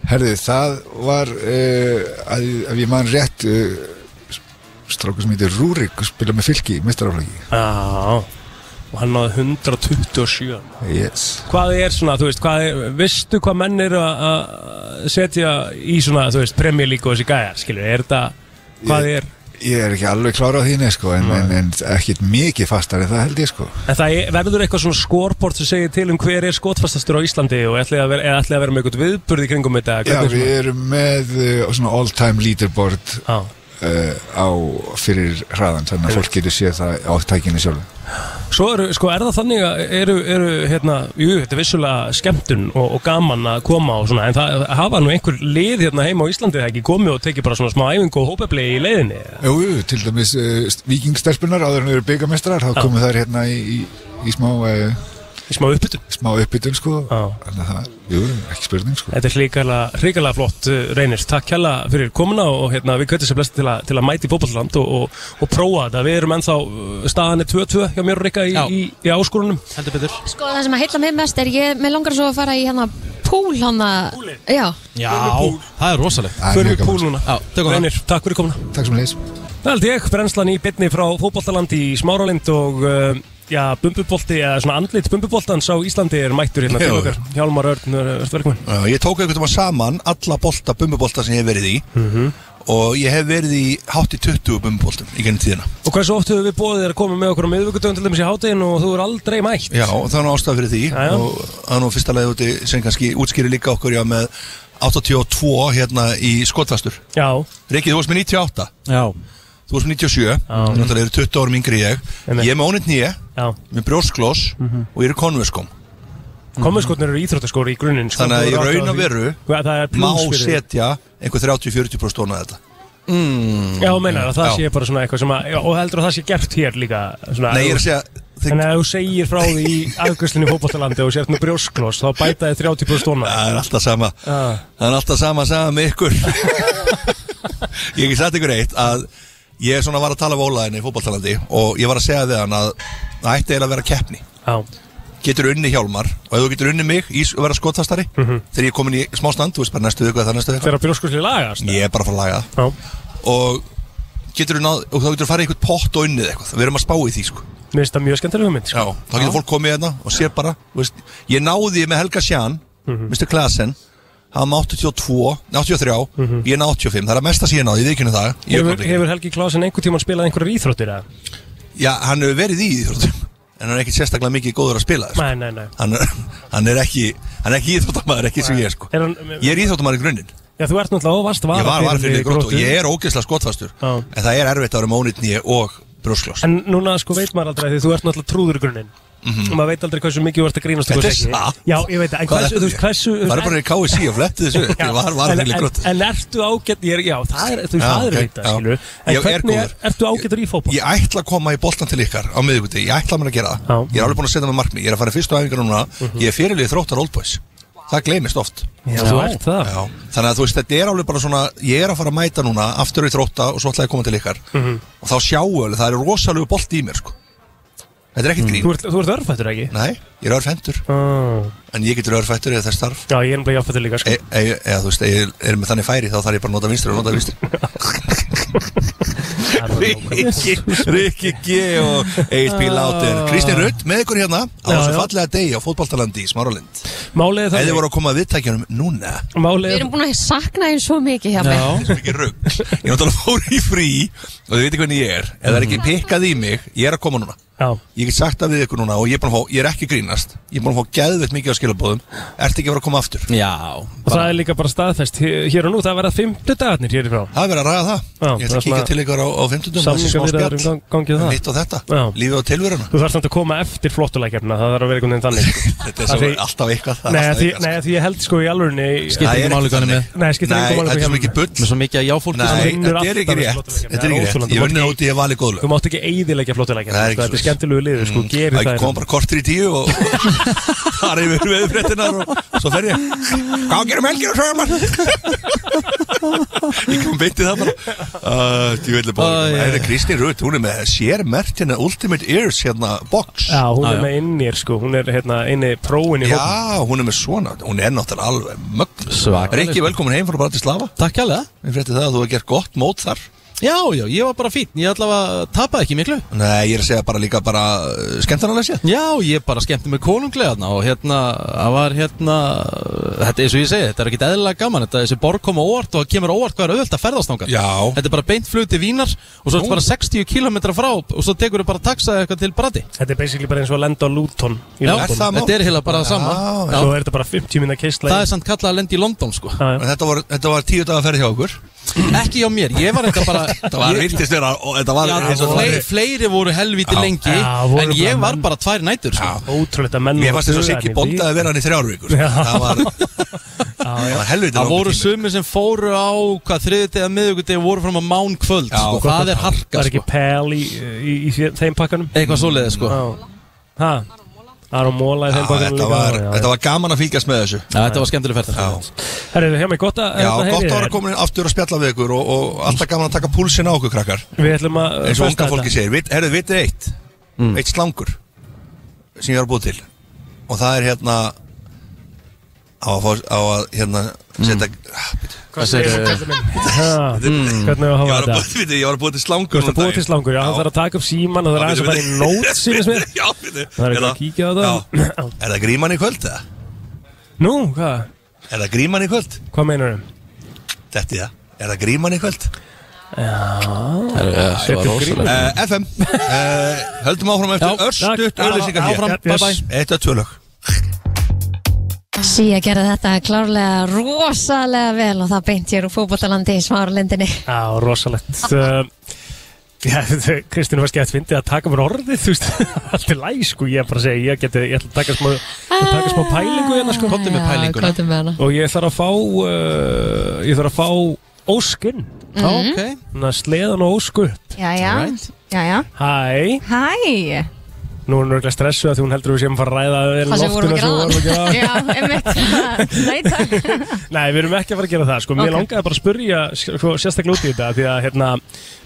Speaker 10: Herði, það var, uh, að, ef ég man rétt, uh, strákur sem heitir Rúrik spila með fylki í mistaraflagi.
Speaker 2: Já, og hann náði 127.
Speaker 10: Yes.
Speaker 2: Hvað er svona, þú veist, hvað er, veistu hvað menn eru að- að setja í svona, þú veist, Premier League og þessi gæjar, skilur, er þetta, hvað er?
Speaker 10: Ég er ekki alveg klára á þínu, sko, en, en, en ekkit mikið fastar en það held ég, sko.
Speaker 2: En það er- verður eitthvað svona skorport sem segir til um hver er skotfastastur á Íslandi og ætlaði að vera, eða ætlaði að vera með eitthvað viðburð í kringum þetta?
Speaker 10: Já,
Speaker 2: hvernig
Speaker 10: við
Speaker 2: svona-
Speaker 10: erum með uh, svona all-time leaderboard eh,
Speaker 2: uh,
Speaker 10: á fyrir hraðan, þannig að fólk getur séð það á tækinu sjálf.
Speaker 2: Svo eru, sko, er það þannig að eru, eru hérna, jú, þetta er vissulega skemmtun og, og gaman að koma og svona, en það hafa nú einhver lið hérna heima á Íslandi það ekki komið og tekið bara svona smá æfingu og hópefli í leiðinni.
Speaker 10: Jú, jú, til dæmis uh, vikingstelpunar áður en við erum byggamestrar, þá komu þær hérna í, í, í smá... Uh,
Speaker 2: Í smá uppbytun
Speaker 10: Smá uppbytun sko Þannig að það, jú, ekki spurning sko
Speaker 2: Þetta er hrikalega, hrikalega flott uh, reynir. Takk hella fyrir komuna og hérna, við kveitum sér blesta til, að- til að mæti fótballland og, og, og prófa þetta. Við erum ennþá uh, staðan er 2-2 hjá mér og Rikka í, í, í áskorunum.
Speaker 9: Heldur betur.
Speaker 3: sko það sem að heilla mig mest er ég, mér langar svo að fara í hérna púl hana já,
Speaker 9: Já, það er rosalegt
Speaker 2: Það er Förum mjög í gaman, púl sko. núna.
Speaker 9: Já, tökum það
Speaker 2: Reynir, takk fyrir komuna.
Speaker 10: Takk sem leys
Speaker 2: Það held ég, brennslan í bytni frá fótboltaland í Smáralind og uh, já, bumbubolti, eða svona andlit bumbuboltans á Íslandi er mættur hérna til
Speaker 1: Já.
Speaker 2: okkar. Hjálmar Örn, ertu velkominn?
Speaker 1: Já, Ég tók einhvern veginn saman alla bolta, bumbubolta sem ég hef verið í
Speaker 9: Mhm.
Speaker 1: og ég hef verið í hátt í 20 bumbuboltum í gennum tíðina
Speaker 2: Og hversu oft höfum við bóðið þér að koma með okkur á miðvíkudöfum til dæmis í háteginu og þú er aldrei mætt?
Speaker 1: Já, og það er nú ástæð fyrir því
Speaker 2: Já, já.
Speaker 1: og það er nú fyrsta leið úti sem kannski útskýri líka okkur já, með 82 hérna í skotfastur
Speaker 2: Já
Speaker 1: Rikki, þú varst með 98
Speaker 9: Já
Speaker 1: Þú varst með 97, þannig að það eru 20 árum yngri en ég Ég er með ónýtt nýja, með brjósklós
Speaker 2: Mhm.
Speaker 1: og ég er í konvöskum
Speaker 2: Kommerskotnir eru íþróttaskóri í grunninn sko,
Speaker 1: Þannig að
Speaker 2: þú
Speaker 1: í
Speaker 2: eru
Speaker 1: raun
Speaker 2: átt á
Speaker 1: og
Speaker 2: því.
Speaker 1: veru
Speaker 2: Hvað, það er
Speaker 1: má
Speaker 2: plús fyrir þig.
Speaker 1: setja einhver 30-40% ón að þetta mm.
Speaker 2: Já, meinar að það sé bara svona eitthvað sem að já, og heldur að það sé gert hér líka svona,
Speaker 1: Nei, ég er að segja,
Speaker 2: En að þú segir frá því í afgjörslinni fótboltalandi og sért með brjóskloss þá bæta þið 30% stóna
Speaker 1: Það er alltaf sama Það er alltaf sama sama með ykkur Ég hef sagt ykkur eitt að ég svona var að tala við Ólaðinni í fótballtalandi og ég var að segja við hann að það ætti eiginlega að vera keppni
Speaker 2: Já.
Speaker 1: Getur unni hjálmar og ef þú getur unni mig í að vera skotfastari þegar ég er komin í smá stand, þú veist bara næstu viku eða þar næstu viku
Speaker 2: Þegar brjósklossi lagast
Speaker 1: Ég er bara að fara að laga
Speaker 2: það
Speaker 1: og, getur náð, og þá getur þú farið í eitthvað pott og unnið eitthvað Við erum að spá í því sko
Speaker 2: Mér finnst það mjög skemmtilega hugmynd sko.
Speaker 1: þá getur fólk komið hérna og sér bara þú veist, ég náði með Helga Sján
Speaker 2: Mhm.
Speaker 1: Mr. Klasen hann með 82, 83 ég er með 85, það er að mesta sem ég náði, ég veikinu það í
Speaker 2: Mhm. hefur,
Speaker 1: augnablikinu.
Speaker 2: hefur Helgi Klausen einhver tíma spilað einhverjar íþróttir eða?
Speaker 1: já, hann hefur verið í íþróttum en hann er ekkit sérstaklega mikið góður að spila sko.
Speaker 2: Nei, nei, nei
Speaker 1: hann, er- hann er ekki hann er ekki íþróttamæður, ekki sem ég er, sko.
Speaker 2: Er hann-
Speaker 1: ég er íþróttamæður í grunninn
Speaker 2: Já, þú ert náttúrulega og varst
Speaker 1: ég var
Speaker 2: varafyrirliði
Speaker 1: varfyrir í gróttu og
Speaker 2: Gróttu.
Speaker 1: ég er ógeðslega skotfastur en það er erfitt að vera með ónýtni og brjóskloss
Speaker 2: En núna sko veit maður aldrei því þú ert náttúrulega trúður í grunninn
Speaker 1: Mhm.
Speaker 2: og maður veit aldrei hversu mikið þú ert að grínast og
Speaker 1: Þetta er
Speaker 2: hversu ekki.
Speaker 1: satt.
Speaker 2: Já, ég veit það, en
Speaker 1: Hvað
Speaker 2: hversu,
Speaker 1: er-
Speaker 2: þú veist, hversu
Speaker 1: Ég var bara í KSÍ og fletti þessu upp. Ég var varafyrirliði
Speaker 2: En- en-
Speaker 1: Gróttu.
Speaker 2: En ertu ágætt, ég er, já, það er, þú veist,
Speaker 1: Já,
Speaker 2: það er
Speaker 1: ok,
Speaker 2: veit
Speaker 1: já.
Speaker 2: skilu En
Speaker 1: Ég er
Speaker 2: hvernig er,
Speaker 1: góður.
Speaker 2: ertu ágættur í fótból?
Speaker 1: Ég ætla að koma í boltan til ykkar á miðvíkundi, ég ætla að mér að gera það Ég er alveg búin að setja með markmi, ég er að fara í fyrstu æfingar núna Ég er fyrirlið þróttar Old Boys Það gleymist oft
Speaker 2: Mhm. Já, þú ert það
Speaker 1: Já, Þannig að þú veist, þetta er alveg bara svona Ég er að fara að mæta núna, aftur í þrótta og svo ætla ég að koma til ykkar
Speaker 2: Mhm.
Speaker 1: Og þá sjáu alveg, það er rosalegu bolt í mér sko. Þetta er ekkit grín
Speaker 2: Mhm. Þú ert, þú ert örfættur ekki? Ah.
Speaker 1: Nei
Speaker 9: Ég er örfendur En ég getur örfættur eða þess starf
Speaker 2: Já, ég er náttúrulega jáfnfættur líka sko.
Speaker 9: e, e, Eða þú veist, ef ég er með þannig færi Þá þarf ég bara að nota vinstri og nota vinstri Rikki G og Egil P.
Speaker 1: Ah.
Speaker 9: Láter Kristinn Rutt með ykkur hérna Á
Speaker 2: Já,
Speaker 9: þessu
Speaker 2: já.
Speaker 9: fallega degi á fótballtalandi í Smáralind
Speaker 2: Málið er
Speaker 9: Eða
Speaker 2: þannig-
Speaker 9: voru að koma að viðtækjunum núna
Speaker 2: Málið
Speaker 3: Við erum búin að sakna þeim svo mikið hjá mig
Speaker 9: Svo mikið rugg Ég náttúrulega fór í frí Og þið veitir hvernig ég er Ef það er ekki pikkað í mig Ég er að koma núna
Speaker 2: Já.
Speaker 9: Ég get sagt það við ykkur núna Og ég er, búinn að fá, ég er ekki að grínast Ég er búin að fá geðveitt mikið á skilabóðum Ertu ekki að vera að koma aftur
Speaker 1: Já
Speaker 2: Og það er líka bara staðfest Hér hér og nú, það verða fimmtu dagarnir hér í frá
Speaker 9: Það er verið að ræða það Ég ætla að kíkja til ykkar á, á 50
Speaker 2: Samlingar við erum gang, gangið það
Speaker 9: Mitt á þetta
Speaker 2: Já.
Speaker 9: Lífið á tilveruna
Speaker 2: Þú þarf samt að koma eftir flottuleikjarna Það þarf að vera einhvern veginn þannig sko.
Speaker 9: Þetta er
Speaker 2: Af
Speaker 9: svo
Speaker 2: því-
Speaker 9: alltaf eitthvað það er
Speaker 2: Nei,
Speaker 9: alltaf
Speaker 2: af því,
Speaker 9: eitthvað.
Speaker 2: nei, af því ég held sko í alvörinni
Speaker 1: Skiptir
Speaker 9: Það er
Speaker 1: ekki máli
Speaker 9: ekki
Speaker 1: hvað hann er
Speaker 9: þannig.
Speaker 1: með
Speaker 2: Nei, skiptir
Speaker 9: Nei,
Speaker 2: ekki máli
Speaker 9: þetta er
Speaker 2: hvað
Speaker 9: svo mikið bull
Speaker 1: Með svo mikið að jáfólki sem-
Speaker 9: Nei,
Speaker 2: vinnur
Speaker 9: þetta er
Speaker 2: alltaf
Speaker 9: ekki
Speaker 2: með
Speaker 9: rétt
Speaker 2: flottuleikjarna.
Speaker 9: Þetta er ekki
Speaker 2: Það er
Speaker 9: rétt Ég
Speaker 2: óþolandi.
Speaker 9: vunni úti, ég vali góðlega
Speaker 2: Þú mátt ekki eigiðleikja flottuleikjarna
Speaker 9: Það er
Speaker 2: sko.
Speaker 9: ekki
Speaker 2: Þetta er
Speaker 9: svoleiðis.
Speaker 2: skemmtilegu liður sko, gerir
Speaker 9: Það
Speaker 2: það
Speaker 9: kom bara kortir í tíu og það er yfir veðfréttinar og svo fer ég Hvað gerum helgir og svöðumar? ég kom beint í það bara Þú veitir bara
Speaker 1: Æ,
Speaker 9: Það
Speaker 1: já,
Speaker 9: er Kristín Rutt, hún er með sérmert hérna Ultimate Ears hérna box
Speaker 2: Já, hún
Speaker 1: Já, já.
Speaker 2: er með innir sko Hún er hérna inni próin í hópin
Speaker 9: Já, hún er með svona, hún er náttúrulega alveg mögn
Speaker 1: Svakaleg.
Speaker 9: Rikki, velkomin heim frá Bratislava
Speaker 1: Takk hérlega
Speaker 9: Við frétti það að þú hefur gert gott mót þar
Speaker 1: Já, já, ég var bara fín, ég allavega tapaði ekki miklu
Speaker 9: Nei, ég er að segja bara líka bara uh, skemmtanarlega séð
Speaker 1: Já, ég bara skemmti mig konunglega þarna og hérna, það var hérna Þetta er eins og ég segi, þetta er ekki eðlilega gaman Þetta er þessi borg koma óvart og það kemur óvart hvað er auðvelt að ferðast nága
Speaker 9: Já.
Speaker 1: Þetta er bara beint flug til Vínar og svo ertu bara 60 km frá og svo tekur þau bara taxa eitthvað til Brati
Speaker 2: Þetta er basically bara eins og að lenda á Luton í
Speaker 1: Já,
Speaker 2: London.
Speaker 9: það mál?
Speaker 1: þetta er heila bara það sama
Speaker 9: Já,
Speaker 1: Já,
Speaker 2: Svo er þetta bara 50 minna keistla
Speaker 1: Það er samt kallað að lenda í London sko
Speaker 9: En Þetta var, þetta var tíu dagar ferð hjá okkur
Speaker 1: Ekki hjá mér, ég var eitthvað bara
Speaker 9: Þetta var virtist vera og Þetta var
Speaker 1: Já,
Speaker 9: eins og það
Speaker 1: fleiri,
Speaker 9: væri-
Speaker 1: fleiri voru helviti lengi
Speaker 2: Já,
Speaker 1: En
Speaker 2: voru bara
Speaker 1: ég var
Speaker 2: menn-
Speaker 1: bara tvær nætur sko.
Speaker 2: Ótrúlegt að menn
Speaker 9: Mér fannst þess að Siggi bondaði að vera hann í þrjár vikur
Speaker 2: Já.
Speaker 9: Það var, það var helviti
Speaker 1: Það voru
Speaker 9: langur tími
Speaker 1: sumir sem fóru á hvað þriðið eða miðugudegi voru fram á mán kvöld
Speaker 9: Já,
Speaker 1: sko.
Speaker 9: gott
Speaker 1: Það er harka
Speaker 2: Það er
Speaker 1: sko.
Speaker 2: ekki pel í, í, í, í þeim pakkanum
Speaker 1: Eitthvað svoleiði sko.
Speaker 2: Já Hæ? Aron Móla í
Speaker 9: Já,
Speaker 2: þeim pakkanum
Speaker 9: Þetta var, þetta var gaman að fylgjast með þessu
Speaker 1: Já, Þetta var skemmtileg ferð
Speaker 2: Herru, hjá mig gott að
Speaker 9: Já,
Speaker 2: hérna,
Speaker 9: gott
Speaker 2: heyrið
Speaker 9: að vera
Speaker 2: þér.
Speaker 9: komin aftur að spjalla við ykkur og, og alltaf gaman að taka púlsinn á okkur krakkar
Speaker 2: Við ætlum að
Speaker 9: eins og
Speaker 2: festa
Speaker 9: unga fólki
Speaker 2: þetta.
Speaker 9: segir Vit- Herðu, vitið eitt
Speaker 2: Mm.
Speaker 9: Eitt slangur sem ég var að búið til og það er hérna á að, fá- á að hérna
Speaker 2: Mm.
Speaker 9: setja Ah,
Speaker 1: Hvað segir
Speaker 2: Ha, mm.
Speaker 9: Mm.
Speaker 2: Hvernig á að
Speaker 9: Ég
Speaker 2: hafa
Speaker 9: var að
Speaker 2: þetta?
Speaker 9: búið- vitið, ég var að búið til
Speaker 2: Þú
Speaker 9: slangur
Speaker 2: ert að búa til slangur, já, það þarf að taka upp síman og það er aðeins að fara í nót sínast mér
Speaker 9: Já, vitið
Speaker 2: Það er ekki
Speaker 9: hérna-
Speaker 2: að kíkja á
Speaker 9: Já.
Speaker 2: það
Speaker 9: Er það gríman í kvöld eða?
Speaker 2: Nú, hvað?
Speaker 9: Er það gríman í kvöld?
Speaker 2: Hvað meinar þau?
Speaker 9: Þetta er það. Er það gríman í kvöld?
Speaker 2: Eh,
Speaker 1: þið?
Speaker 9: Uh, FM uh, Höldum áfram eftir örstutt auðlýsingar hér
Speaker 1: Áfram,
Speaker 2: Yes.
Speaker 1: bye bye
Speaker 9: Eitt að tvölög
Speaker 3: Sí, ég gerði þetta klárlega rosalega vel og það beint ég úr fótbollalandi í smáralendinni
Speaker 2: Já, rosalegt Um, Já, Kristín var skemmt fyndið að taka mér orðið, þú veist Allt er læg, sko, ég er bara að segja Ég geti, ég ætla að taka smá, að taka smá pælingu hérna, sko
Speaker 1: Komdu með pælinguna.
Speaker 3: Kottu með hana
Speaker 2: Og ég þarf að fá, uh, ég þarf að fá óskinn
Speaker 3: Mhm.
Speaker 1: Ok,
Speaker 2: Þannig að sleðan og ósku upp.
Speaker 11: Jæja,
Speaker 1: Alright.
Speaker 11: jæja
Speaker 2: Hæ,
Speaker 11: Hæ
Speaker 2: nú er hún örgulega stressuð að því hún heldur að við séum að fara að ræða vel
Speaker 3: Það sem vorum að
Speaker 2: loftina sem
Speaker 3: gera
Speaker 2: við vorum að gera
Speaker 11: Já, einmitt Nei, takk
Speaker 2: Nei, við erum ekki að fara að gera það, sko, mér
Speaker 11: Ok.
Speaker 2: langaði bara að spurja sko, sérstaklega út í þetta, því að hérna,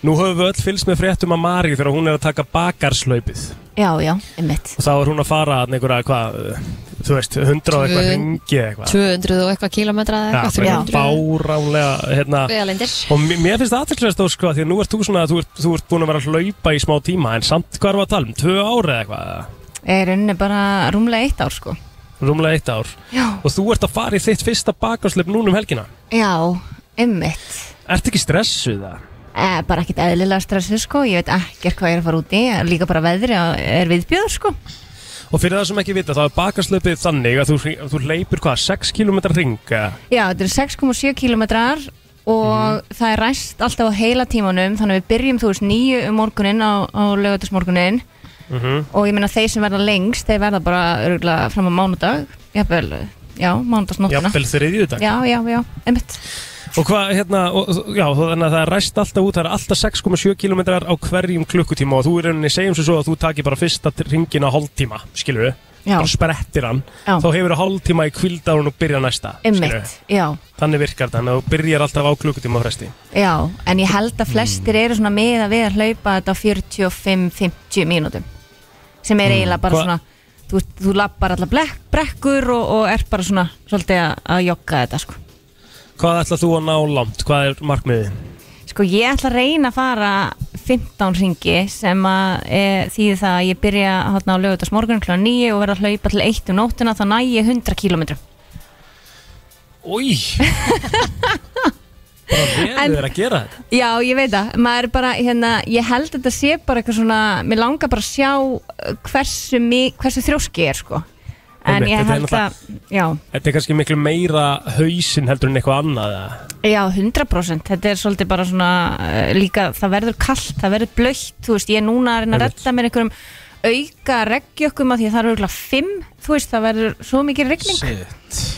Speaker 2: nú höfum við öll fylgst með fréttum að Mari þegar hún er að taka bakarslaupið
Speaker 11: Já, já, einmitt
Speaker 2: og þá er hún að fara að einhverja, hvað, uh, þú veist, hundra og eitthvað
Speaker 3: Tvö-
Speaker 2: ringi eitthvað
Speaker 3: 200 og eitthvað kílometra eða
Speaker 2: Já,
Speaker 3: eitthvað
Speaker 2: bara
Speaker 3: 300
Speaker 2: báránlega, hérna,
Speaker 3: Vegalendir
Speaker 2: og mér- mér finnst það aðtilsvæðast þó, sko, því að nú ert þú svona, þú ert, þú ert búin að vera að hlaupa í smá tíma, en samt hvað erum við að tala um, tvö ári eða eitthvað,
Speaker 11: Ég er unni bara rúmlega eitt ár, sko
Speaker 2: rúmlega eitt ár,
Speaker 11: Já,
Speaker 2: og þú ert að fara í þitt fyrsta bakarslaup núna um helgina,
Speaker 11: já, einmitt
Speaker 2: ert ekki stressuð það?
Speaker 11: Eh, bara ekkert eðlilega stressu sko, ég veit ekkert hvað ég er að fara út í líka bara veðri og er viðbjöður sko
Speaker 2: Og fyrir það sem ekki vita, þá er bakarslöpið þannig að þú, hring- þú leipur hvað, 6 km ringa?
Speaker 11: Já, þetta eru 6,7 kilometrar
Speaker 10: Mhm.
Speaker 11: og það er ræst alltaf á heila tímanum þannig að við byrjum þú veist nýju um morgunin á, á lögatismorgunin
Speaker 2: Mhm.
Speaker 11: og ég meina þeir sem verða lengst þeir verða bara örgulega fram á mánudag jafnvel, já, mánudagsnóttina
Speaker 2: Jafnvel þriðju dag.
Speaker 11: Já, já, já, einmitt
Speaker 2: Og hvað, hérna, og, já, þú- þannig að það er ræst alltaf út, það er alltaf 6,7 km á hverjum klukkutíma og þú er rauninni, segjum svo svo að þú takir bara fyrsta ringin á hálftíma, skilur við?
Speaker 11: Já.
Speaker 2: Bara sprettir hann,
Speaker 11: Já.
Speaker 2: þá hefur þú hálftíma í kvildárun og byrja næsta, skilurðu.
Speaker 11: Einmitt, já,
Speaker 2: Þannig virkar þannig að þú byrjar alltaf á klukkutíma á fresti.
Speaker 11: já en ég held að flestir eru svona með að við að hlaupa þetta á 45-50 mínútum sem er eiginlega bara
Speaker 2: Mm. Hva-
Speaker 11: svona
Speaker 10: þú, veist, þú lappar allar blek, brekkur og, og er bara svona svolítið að, að jogga þetta sko.
Speaker 2: Hvað ætlað þú að ná langt? Hvað er markmiðið?
Speaker 10: sko ég ætla að reyna að fara 15 ringi sem að e, þýði það að ég byrja hátna á lögutas morgun kl. 9 og verða að hlaupa til 1 um nóttina þá næ ég 100 km
Speaker 2: Új Bara
Speaker 10: En-
Speaker 2: verður þér að gera þetta
Speaker 10: Já, ég veit það, maður er bara, hérna, ég held að þetta sé bara eitthvað svona, mér langar bara að sjá uh, hversu, mi, hversu þrjóski ég er, sko. En
Speaker 2: Einmitt, þetta
Speaker 10: ég
Speaker 2: er
Speaker 10: held að, já,
Speaker 2: Þetta er kannski miklu meira hausinn heldur en eitthvað annað eða?
Speaker 10: já, 100%, þetta er svolítið bara svona uh, líka, það verður kallt, það verður blöytt, þú veist, ég er núna að reyna að
Speaker 2: Einmitt.
Speaker 10: redda mér einhverjum auka reggjökkum að því að það eru auðvitað fimm, þú veist, það verður svo mikið regning.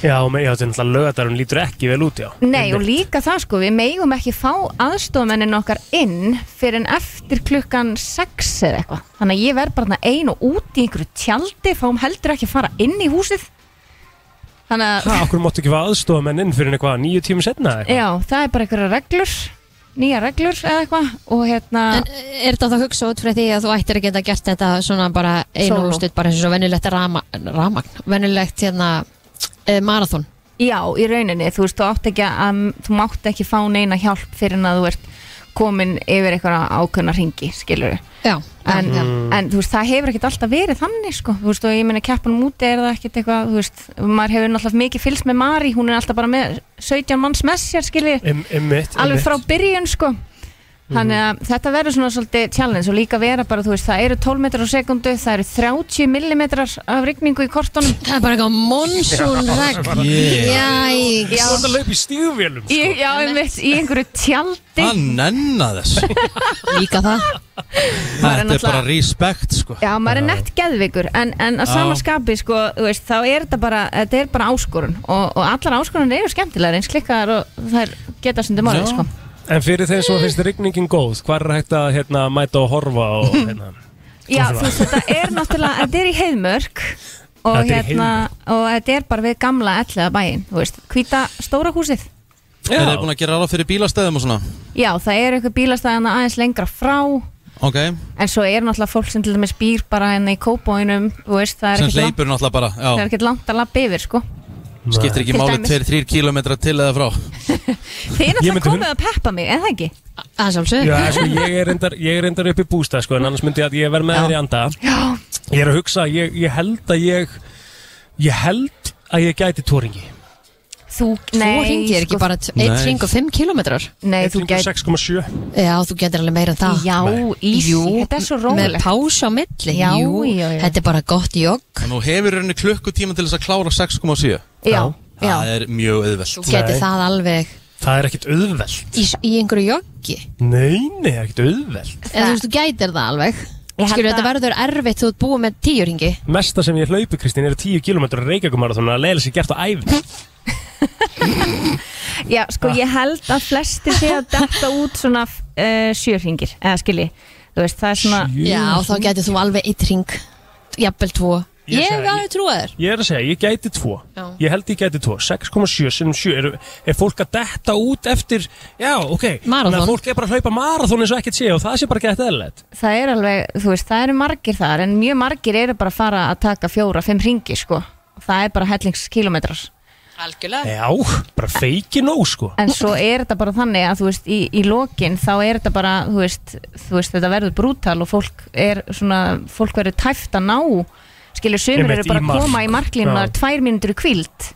Speaker 2: Já, með, já, þetta er náttúrulega lögadarum lítur ekki vel út, já
Speaker 10: Nei, og líka það sko, við megum ekki fá aðstofmennin okkar inn fyrir en eftir klukkan 6 eða eitthvað. Þannig að ég verð bara þarna ein og út í einhverju tjaldi, fáum heldur ekki að fara inn í húsið. Þannig
Speaker 2: Ha,
Speaker 10: að,
Speaker 2: okkur máttu ekki fá aðstofa menn inn fyrir eitthvað nýju tíma setna eða eitthvað
Speaker 10: já, það er bara einhverja reglur, nýja reglur eða eitthvað og hérna...
Speaker 3: En eh, er þetta þá hugsa út frá því að þú ættir að geta gert þetta svona bara einu
Speaker 10: Solo.
Speaker 3: og stutt bara eins og svo venjulegt rama, ramagn, venjulegt hérna e, marathon
Speaker 10: Já, í rauninni, þú veist, þú átt ekki að, þú mátt ekki fá neina hjálp fyrir en að þú ert komin yfir eitthvað ákveðna ringi, skilur
Speaker 3: Já,
Speaker 10: en,
Speaker 3: já.
Speaker 10: en þú veist, það hefur ekkert alltaf verið þannig, sko, þú veist, og ég meina keppanum úti er það ekkert eitthvað, þú veist, maður hefur náttúrulega mikið fylgst með Mari, hún er alltaf bara með 17 manns með sér, skilur
Speaker 2: Im- Einmitt,
Speaker 10: alveg
Speaker 2: einmitt.
Speaker 10: frá byrjun, sko Þannig að þetta verður svona svolítið challenge og líka vera bara, þú veist, það eru 12 metrar á sekundu, það eru 30 millimetrar af rigningu í kortunum.
Speaker 2: Sko,
Speaker 3: Það er bara eitthvað monsunregn. Jæks.
Speaker 2: Þú ert að laupa í sko. stíðvélum
Speaker 10: Í, já, einmitt, í einhverju tjaldi
Speaker 2: Ah.
Speaker 1: Hann nenna þess
Speaker 3: Líka það
Speaker 1: Þetta er
Speaker 10: náttúrulega-
Speaker 1: bara respect sko
Speaker 10: Já,
Speaker 2: Ah.
Speaker 10: maður er nett geðvikur En, en að
Speaker 1: Já.
Speaker 10: sama skapi, sko, þú veist, þá er þetta bara Þetta er bara áskorun Og, og allar áskorun eru skemmtilegar eins klikkaðar Og þær geta sundum orðið, sko
Speaker 2: En fyrir þeim sem finnst rigningin góð, hvað er hægt að hérna, mæta og horfa og hérna
Speaker 10: Já, þú veist, þetta er náttúrulega Þetta er í heiðmörk Og,
Speaker 2: Þetta er í
Speaker 10: hérna, og þetta er bara við gamla ellega bæinn, þú veist, hvíta stóra húsið
Speaker 1: Er þið búin að gera ráð fyrir bílastæðum og svona?
Speaker 10: Já, það eru eitthvað bílastæðana aðeins lengra frá
Speaker 1: Ok
Speaker 10: En svo er náttúrulega fólk sem til dæmis býr bara henni í kópóinum, þú veist, það er
Speaker 1: Sem
Speaker 10: ekkert langt,
Speaker 1: hleypur náttúrulega bara
Speaker 10: það er
Speaker 1: já.
Speaker 10: ekkert langt að lappa yfir, sko
Speaker 1: Skiptir ekki
Speaker 10: Til
Speaker 1: máli
Speaker 10: dæmis.
Speaker 1: 2-3 kilometra til eða frá
Speaker 10: Þið er
Speaker 2: Ég
Speaker 10: náttúrulega
Speaker 2: myndi
Speaker 10: komið að peppa mig, eða ekki?
Speaker 3: Að sjálfsög
Speaker 2: Já, sko, ég er reyndar, ég er reyndar upp í bústa sko, en annars myndi ég að ég verð með þér í anda
Speaker 10: Já.
Speaker 2: Ég er að hugsa, ég, ég held að ég ég held að ég gæti tóringi
Speaker 10: Þú, sko-
Speaker 3: Tvo hringir, ekki bara t- einn
Speaker 2: Nei.
Speaker 3: hring og fimm kilometrar
Speaker 10: Nei,
Speaker 2: þú gæti 6,7
Speaker 3: Já, þú getur alveg meira en það
Speaker 10: Já, easy, þetta er svo rólegt.
Speaker 3: Með pása á milli
Speaker 10: Já,
Speaker 3: Jú,
Speaker 10: já, já.
Speaker 3: Þetta er bara gott jogg
Speaker 1: En Nú hefur henni klukkutíma til þess að klára 6,7
Speaker 10: Já, já.
Speaker 1: Það er mjög
Speaker 3: Þú
Speaker 1: auðvelt
Speaker 3: getur það alveg
Speaker 2: Það er ekkit auðveld
Speaker 3: í, í einhverju joggi
Speaker 2: Nei, nei, það er ekkit auðveld
Speaker 3: En þú veist, þú gætir það alveg
Speaker 10: held
Speaker 3: Skilur,
Speaker 10: að-
Speaker 3: þetta verður erfitt þú ert búið með tíu ringi
Speaker 2: Mesta sem ég hlaupi, Kristín, eru 10 km reykjagumarathon að leiðilega sér gert á æfn
Speaker 10: Hm, Já, sko,
Speaker 2: Ah.
Speaker 10: ég held að flesti sé að detta út svona uh, sjöringir, eða skilji, þú veist, það er svona...
Speaker 3: Já, þá getur þú alveg eitt ring Jafnvel tvo
Speaker 2: Ég
Speaker 3: Ég
Speaker 2: sagði-
Speaker 3: alveg trúa þér
Speaker 2: Ég er að segja, ég gæti 2
Speaker 3: Já.
Speaker 2: Ég held ég gæti 2, 6,7 sinnum 7 er, er fólk að detta út eftir Já, ok,
Speaker 3: Marathon.
Speaker 2: Þannig að fólk er bara að hlaupa marathon eins og ekkert sé og það sé bara gæti eðlætt
Speaker 10: Það er alveg, þú veist, það eru margir þar, en mjög margir eru bara að fara að taka fjóra, fimm ringi, sko. Það er bara hellingskilometrar.
Speaker 3: Algjörlega
Speaker 2: Já, bara feiki nóg sko
Speaker 10: En svo er þetta bara þannig að, þú veist, í, í lokin, þá er þetta bara, þú veist, þú veist, þetta verður brútal og fólk er svona, fólk verður tæft að ná, skilju, sömur
Speaker 2: Einmitt,
Speaker 10: eru
Speaker 2: í
Speaker 10: bara að
Speaker 2: mark.
Speaker 10: koma í marklinu,
Speaker 2: Já.
Speaker 10: það er tvær mínútur í kvíld.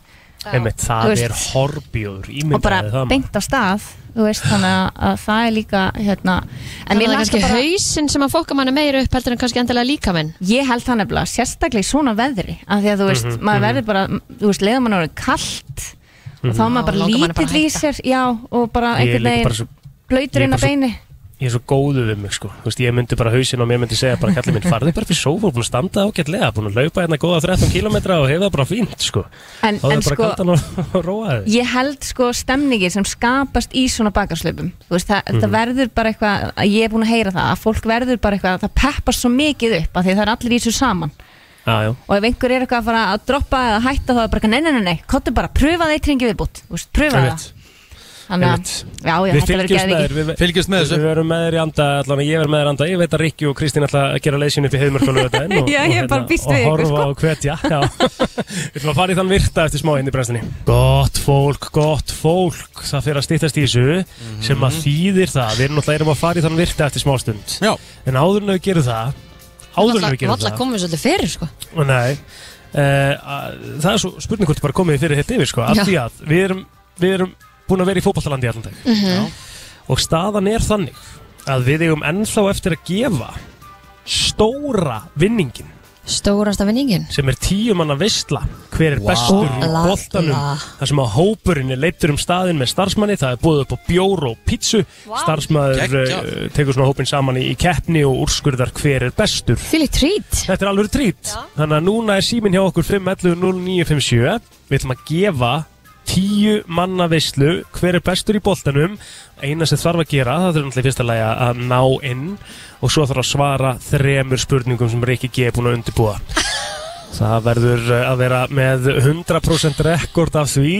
Speaker 2: Einmitt,
Speaker 10: Þú
Speaker 2: það
Speaker 10: veist.
Speaker 2: er horbjóður
Speaker 10: og bara
Speaker 2: Ímyndaði það maður.
Speaker 10: beint á stað þú veist, þannig að- að það er líka hérna, en
Speaker 3: En
Speaker 10: mér
Speaker 3: það er
Speaker 10: langar
Speaker 3: kannski
Speaker 10: bara,
Speaker 3: hausinn sem að fokka manni meira upp heldur en kannski endilega líkaminn
Speaker 10: ég held það nefnilega sérstaklega í svona veðri, af því að þú veist
Speaker 3: Mhm,
Speaker 10: maður
Speaker 3: mhm.
Speaker 10: verður bara, þú veist, leiða mann orðið kalt og þá er maður
Speaker 3: Já,
Speaker 10: bara
Speaker 3: langar mann bara
Speaker 10: lítill
Speaker 3: að
Speaker 10: í sér já, og bara
Speaker 2: Ég er
Speaker 10: einhvern
Speaker 2: líka bara
Speaker 10: veginn
Speaker 2: svo- ég
Speaker 10: blöytur
Speaker 2: er
Speaker 10: inn á
Speaker 2: bara svo-
Speaker 10: beini
Speaker 2: Ég er svo góðu við mig sko Þú veist, Ég myndi bara hausinn og mér myndi segja bara kallið minn farði bara fyrir sófa, búin að standa ágætlega búin að laupa hérna góða 13 km og hefa það bara fínt sko.
Speaker 10: En-
Speaker 2: Þá er
Speaker 10: en
Speaker 2: bara
Speaker 10: sko-
Speaker 2: kaldan og, og róaði
Speaker 10: ég held sko stemningi sem skapast í svona bakarslöpum þú veist, það,
Speaker 2: Mhm.
Speaker 10: það verður bara eitthvað, að ég er búin að heyra það að fólk verður bara eitthvað, það peppast svo mikið upp af því það er allir í þessu saman
Speaker 2: Já, já
Speaker 10: og ef einhver er eitthvað að fara að droppa eða hætta þá er bara eitthvað, nei, nei, nei, nei, kottu bara pröfa það eitt ringi viðbútt, þú veist, pröfa það
Speaker 2: Einmitt.
Speaker 11: Þannig að, já, já,
Speaker 2: Við
Speaker 11: þetta verður
Speaker 2: fylgjumst með þér
Speaker 11: geðviki
Speaker 2: við, fylgjumst með þessu Við verum með þér í anda, allan að ég verð með þér í anda Ég veit að Rikki og Kristín ætla að gera leysin upp í heiðmörkvölu þetta enn og,
Speaker 11: Já,
Speaker 2: og, hérna,
Speaker 11: ég bara býst við
Speaker 2: og
Speaker 11: ykkur, sko.
Speaker 2: horfa og hvetja Já, við ætlum að fara í þann virta eftir smá inn í brenslinni Gott fólk, gott fólk Það fyrir að stýttast í þessu sem að þýðir það Við erum náttúrulega erum að fara í þann virta eftir smá stund Já. En áður en við gerum það Áður en við gerum
Speaker 3: Valla
Speaker 2: það
Speaker 3: komum við svolítið fyrir sko
Speaker 2: Og Nei, uh, það er svo spurning hvort þið bara komið fyrir heilt yfir sko, af
Speaker 3: Já.
Speaker 2: því að við erum, við erum búin að vera í fótballtalandi allan dag
Speaker 3: Mhm. Já.
Speaker 2: og staðan er þannig að við eigum ennþá eftir að gefa stóra vinningin
Speaker 3: Stórasta vinningin
Speaker 2: sem er tíu manna veistla hver er
Speaker 3: Vá.
Speaker 2: bestur í
Speaker 3: La, la.
Speaker 2: boltanum þar sem að hópurinn er leittur um staðin með starfsmanni það er búið upp á bjór og pítsu starfsmaður uh, tekur svona hópinn saman í, í keppni og úrskurðar hver er bestur
Speaker 3: Fylg trít
Speaker 2: Þetta er alveg trít Þannig að núna er síminn hjá okkur 511-0957 Við ætlum að gefa tíu manna veislu hver er bestur í boltanum eina sem þarf að gera, það þarf náttúrulega í fyrsta lagi að ná inn og svo þarf að svara þremur spurningum sem Rikki G er búin að undirbúa það verður eh, að vera með 100% rekord af því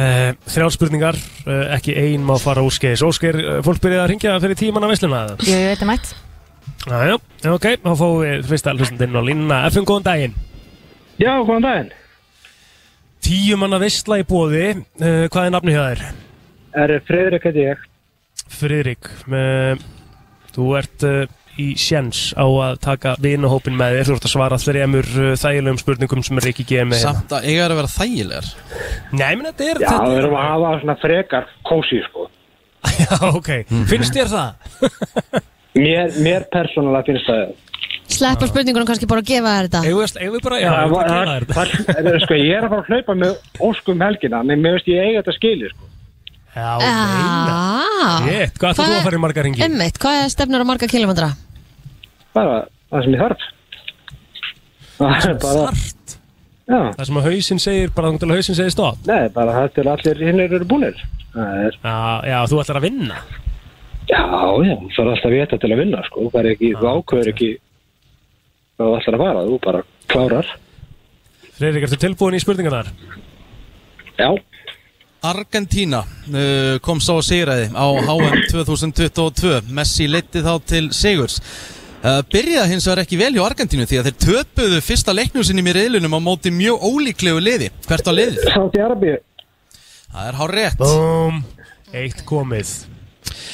Speaker 2: Uh, þrjár spurningar, uh, ekki ein má fara úrskeiðis. Óskeir, uh, fólk byrjaði að ringja fyrir tíu manna veisluna eða?
Speaker 11: Jú, jú, þetta er mætt
Speaker 2: Jájá, ok, þá fáum við fyrsta hlustandinn á línuna. FM, góðan daginn.
Speaker 6: Já, góðan daginn.
Speaker 2: Tíu manna veistla í bóði, uh, hvað er nafni hjá þér?
Speaker 6: Er Freyðrik heiti ég.
Speaker 2: Friðrik, uh, þú ert uh, í sjens á að taka vinuhópin með þér, þú ert að svara þremur uh, þægilegum spurningum sem er ekki gefið með
Speaker 1: Samt að eiga þær að vera þægilegar
Speaker 2: Nei, menn þetta er
Speaker 6: Já,
Speaker 2: þetta
Speaker 6: við
Speaker 2: er-
Speaker 6: erum að hafa svona frekar kósi, sko.
Speaker 2: Já, ok, finnst þér það?
Speaker 6: Mér, mér persónulega finnst það.
Speaker 3: Sleppa spurningunum kannski bara að gefa þér þetta
Speaker 2: Eigum við- eigum við bara, já,
Speaker 6: það,
Speaker 2: við ætlum að
Speaker 6: það,
Speaker 2: gera þetta.
Speaker 6: það, það, sko, ég er að fara að hlaupa með óskum helgina, en mér veist ég eiga þetta skilið, sko.
Speaker 2: Já,
Speaker 3: Ah.
Speaker 2: Rétt, hvað ætlar þú að fara í marga ringi?
Speaker 3: Einmitt, hvað er stefnur á marga kilómetra?
Speaker 6: Bara það sem ég þarf. Það er bara... Þarft? Já.
Speaker 2: Það sem að hausinn segir, bara þangum til að hausinn segir stopp
Speaker 6: Nei, bara það til allir hinn eru búnir. Það er...
Speaker 2: Já, já, þú ætlar að vinna
Speaker 6: Já, já, það er alltaf vita til að vinna, sko. Það er ekki, þú ákveður ekki hvað þú ætlar að fara, þú bara klárar.
Speaker 2: Freyrík, ertu tilbúin í spurningarnar?
Speaker 6: Já
Speaker 1: Argentína uh, kom sá að sigraði á HM 2022 Messi leiti þá til sigurs uh, Byrjaði hins vegar ekki vel hjá Argentínu því að þeir töpuðu fyrsta leiknum sinni í reilunum á móti mjög ólíklegu liði Hvert á liðið?
Speaker 6: Sátti Arabi
Speaker 1: Það er hár rétt
Speaker 2: Búm, eitt komið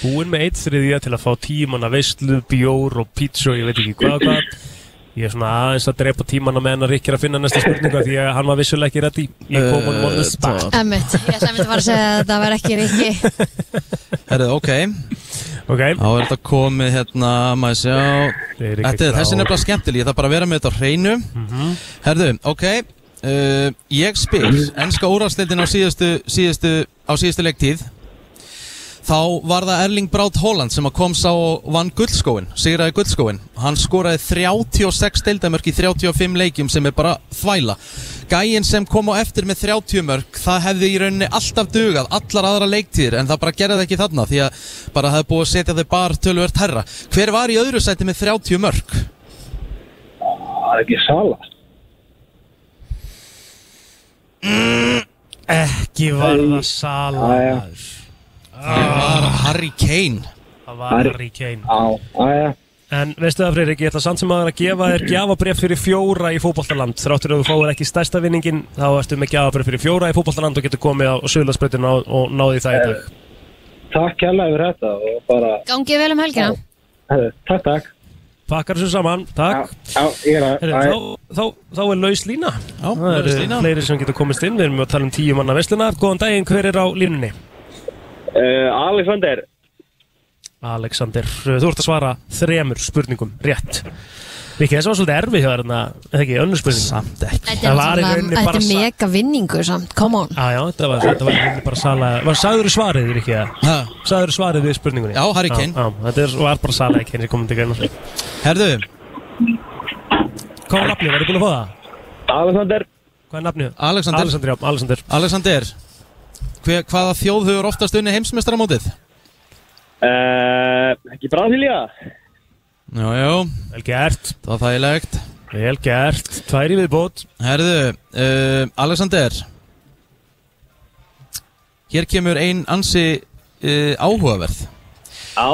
Speaker 2: Búin með eitt þriðja til að fá tímanna veistlu, bjór og pítsu og ég veit ekki hvað og hvað Ég er svona aðeins að drepa tímanna með hennar ekki að finna næsta spurninga því að hann var vissulega ekki reddi Ég kom hann on the spot
Speaker 3: Einmitt, ég sem þetta var að segja að þetta var ekki rikki
Speaker 1: Herðu, ok
Speaker 2: Ok
Speaker 1: Þá er þetta komið hérna, maður sjá
Speaker 2: er ekki
Speaker 1: Þetta er
Speaker 2: klár. Mhm.
Speaker 1: þessi er nefnilega skemmtileg, ég þarf bara að vera með þetta á hreinu Herðu, ok uh, Ég spyr, ennska úrvalsleitin á síðustu, síðustu, á síðustu leiktíð Þá var það Erling Braut Holland sem að kom sá og vann guldskóin, sigraði guldskóin Hann skoraði 36 deildamörk í 35 leikjum sem er bara þvæla Gæinn sem kom á eftir með 30 mörk, það hefði í rauninni alltaf dugað, allar aðra leiktíðir en það bara gerði það ekki þarna því að bara það hefði búið að setja þau bar tölvört herra Hver var í öðru sæti með 30 mörk?
Speaker 6: Það er ekki sala.
Speaker 2: Ekki var það Sala maður.
Speaker 1: Það var Harry Kane
Speaker 2: Það var Harry Kane
Speaker 6: Já,
Speaker 2: En veistu það Freyrík, ég ætla samt sem aðeins að gefa þér gjafabref fyrir fjóra í fótballtaland Þráttur að þú fáir ekki stærsta vinningin þá ertu með gjafabref fyrir fjóra í fótballtaland og getur komið á sögulagsbreytin og, og náði það í dag
Speaker 6: Takk hella yfir þetta og bara,
Speaker 3: Gangið vel um helgina
Speaker 6: herru, takk, takk.
Speaker 2: Pakkar þessu saman, takk
Speaker 6: Já, ég er að...
Speaker 2: Herri, þá, þá, þá er laus lína
Speaker 1: Já,
Speaker 2: Það
Speaker 6: laus
Speaker 2: eru
Speaker 6: lína.
Speaker 2: fleiri sem getur komist inn, við erum að tala um tíu manna vesluna Góðan daginn, hver er á línunni?
Speaker 6: Uh, Alexander.
Speaker 2: Alexander, eh, þú ert að svara þremur spurningum rétt Viki, þessi var svolítið erfið hjá þér hérna, eða ekki, önnur spurning
Speaker 1: Samt ekki
Speaker 3: Þetta er náttúrulega- þetta er mega vinningu samt, come on
Speaker 2: Ah, Já, já, þetta var, þetta var í rauninni bara sala var, Sagður þú svarið, Ríkki, eða? Sagður þú svarið við spurningunni?
Speaker 1: Já, Harry Kane.
Speaker 2: Já, já, þetta er, var bara sala ekki henni komið til greina
Speaker 1: Herðu
Speaker 2: Hvað var nafnið, var ég búin að fá það?
Speaker 6: Alexander
Speaker 2: Hvað er nafnið?
Speaker 1: Alexander
Speaker 2: Alexander, já, Alexander
Speaker 1: Alexander hver, Hvaða þjóð hefur oftast unni heimsmeistaramótið?
Speaker 6: Uh, ekki Brasilia?
Speaker 1: Jú, jú
Speaker 2: Vel gert
Speaker 1: Það var þægilegt
Speaker 2: Vel gert, tværi viðbót
Speaker 1: eh, Herðu, uh, Alexander Hér kemur ein ansi uh, áhugaverð Já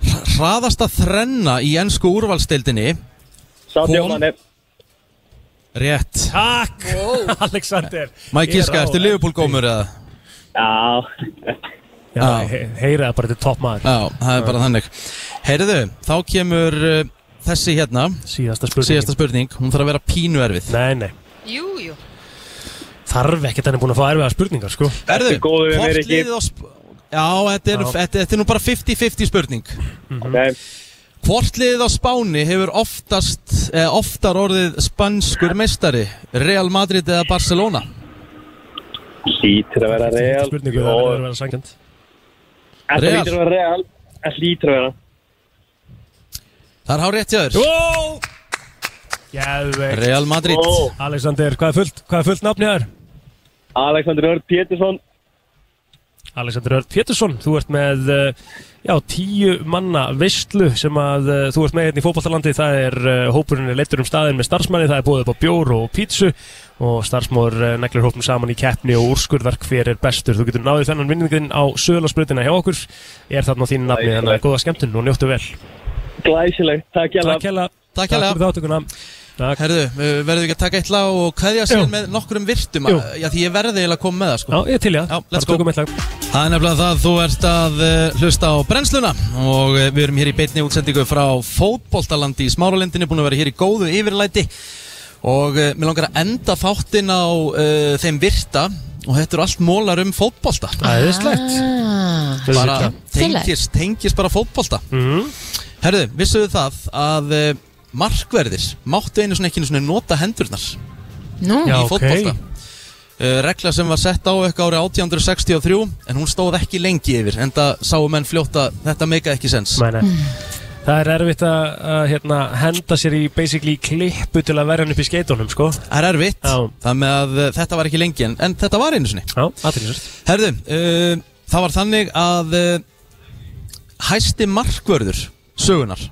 Speaker 1: Hraðasta þrenna í ennsku úrvalstildinni
Speaker 6: Sátjómanni
Speaker 1: Rétt
Speaker 2: Takk, Alexander
Speaker 1: Mæk Giska, ertu Liverpool-gómur eða?
Speaker 6: Já
Speaker 2: Já, he- heyra það bara til topp maður
Speaker 1: Já, það er bara þannig Heyrðu, þá kemur uh, þessi hérna
Speaker 2: Síðasta spurning
Speaker 1: spurning, hún þarf að vera pínu erfið
Speaker 2: Nei, nei
Speaker 3: Jú, jú
Speaker 2: Þarf ekkert hann er búin að fá erfiða spurningar sko
Speaker 1: Erðu, hvort liðið á sp- Já, þetta er,
Speaker 2: Já.
Speaker 1: Þetta, þetta er nú bara 50-50 spurning
Speaker 6: okay.
Speaker 1: Hvort liðið á Spáni hefur oftast, eh, oftar orðið spanskur meistari Real Madrid eða Barcelona?
Speaker 6: Lítur að vera real
Speaker 2: Spurningu það verður að vera sangjönd
Speaker 6: Það
Speaker 1: Real.
Speaker 6: lítur að vera real Það lítur að vera
Speaker 1: Það er hár rétt hjá þér
Speaker 2: Ó! Jæðveikt
Speaker 1: Real Madrid. Ó.
Speaker 2: Alexander, hvað er fullt, hvað er fullt nafnið þér?
Speaker 6: Alexander Örd Pétursson
Speaker 2: Alexander Örd Pétursson, þú ert með uh, já, tíu manna veistlu sem að uh, þú ert með hérna í fótballtalandi það er uh, hópurinn er leittur um staðin með starfsmanni, það er búið upp á bjór og pítsu og starfsmóður uh, neglir hópum saman í keppni og úrskurðar hver er bestur þú getur náðið þennan vinningin á söðlarsbrutina hjá okkur, er þarna á þínu nafni þannig að góða skemmtun og njóttu vel
Speaker 6: Glæsileg, takk hjá
Speaker 2: Takk hella
Speaker 1: Takk hérlega.
Speaker 2: fyrir þáttökuna Takk.
Speaker 1: Herðu, eh, verðum við ekki að taka eitt lag og kveðja síðan með nokkurum virtum
Speaker 2: Jú.
Speaker 1: Já, því ég verði eiginlega að koma með það sko
Speaker 2: Já, ég er til í það.
Speaker 1: Já, let's
Speaker 2: Bara
Speaker 1: go
Speaker 2: tökum eitt lag.
Speaker 1: Það er nefnilega það, þú ert að uh, hlusta á brennsluna og uh, við erum hér í beinni útsendingu frá fótboltalandi í Smáralindinni, búin að vera hér í góðu yfirlæti og uh, mér langar að enda þáttinn á uh, þeim virta og þetta eru allt mólar um fótbolta
Speaker 2: Æðislegt
Speaker 3: Ah.
Speaker 1: bara
Speaker 3: Félagi.
Speaker 1: tengist, tengist bara fótbolta Herðu, vissuðu það að eh, markverðir máttu einu svona ekki einu svona nota hendurnar
Speaker 3: Nú.
Speaker 1: í
Speaker 3: Já, ok.
Speaker 1: fótbolta Eh, regla sem var sett á eitthvað árið 1863 en hún stóð ekki lengi yfir en það sáu menn fljóta, þetta meika ekki sens
Speaker 2: Nei, nei. Það er erfitt að, að hérna, henda sér í basically klippu til að verja hann upp í skeitunum, sko.
Speaker 1: Það er erfitt, Já. það með að uh, þetta var ekki lengi en, en þetta var einu sinni
Speaker 2: Já, aðtrýsast
Speaker 1: Herðu, uh, það var þannig að uh, hæsti markvörður sögunar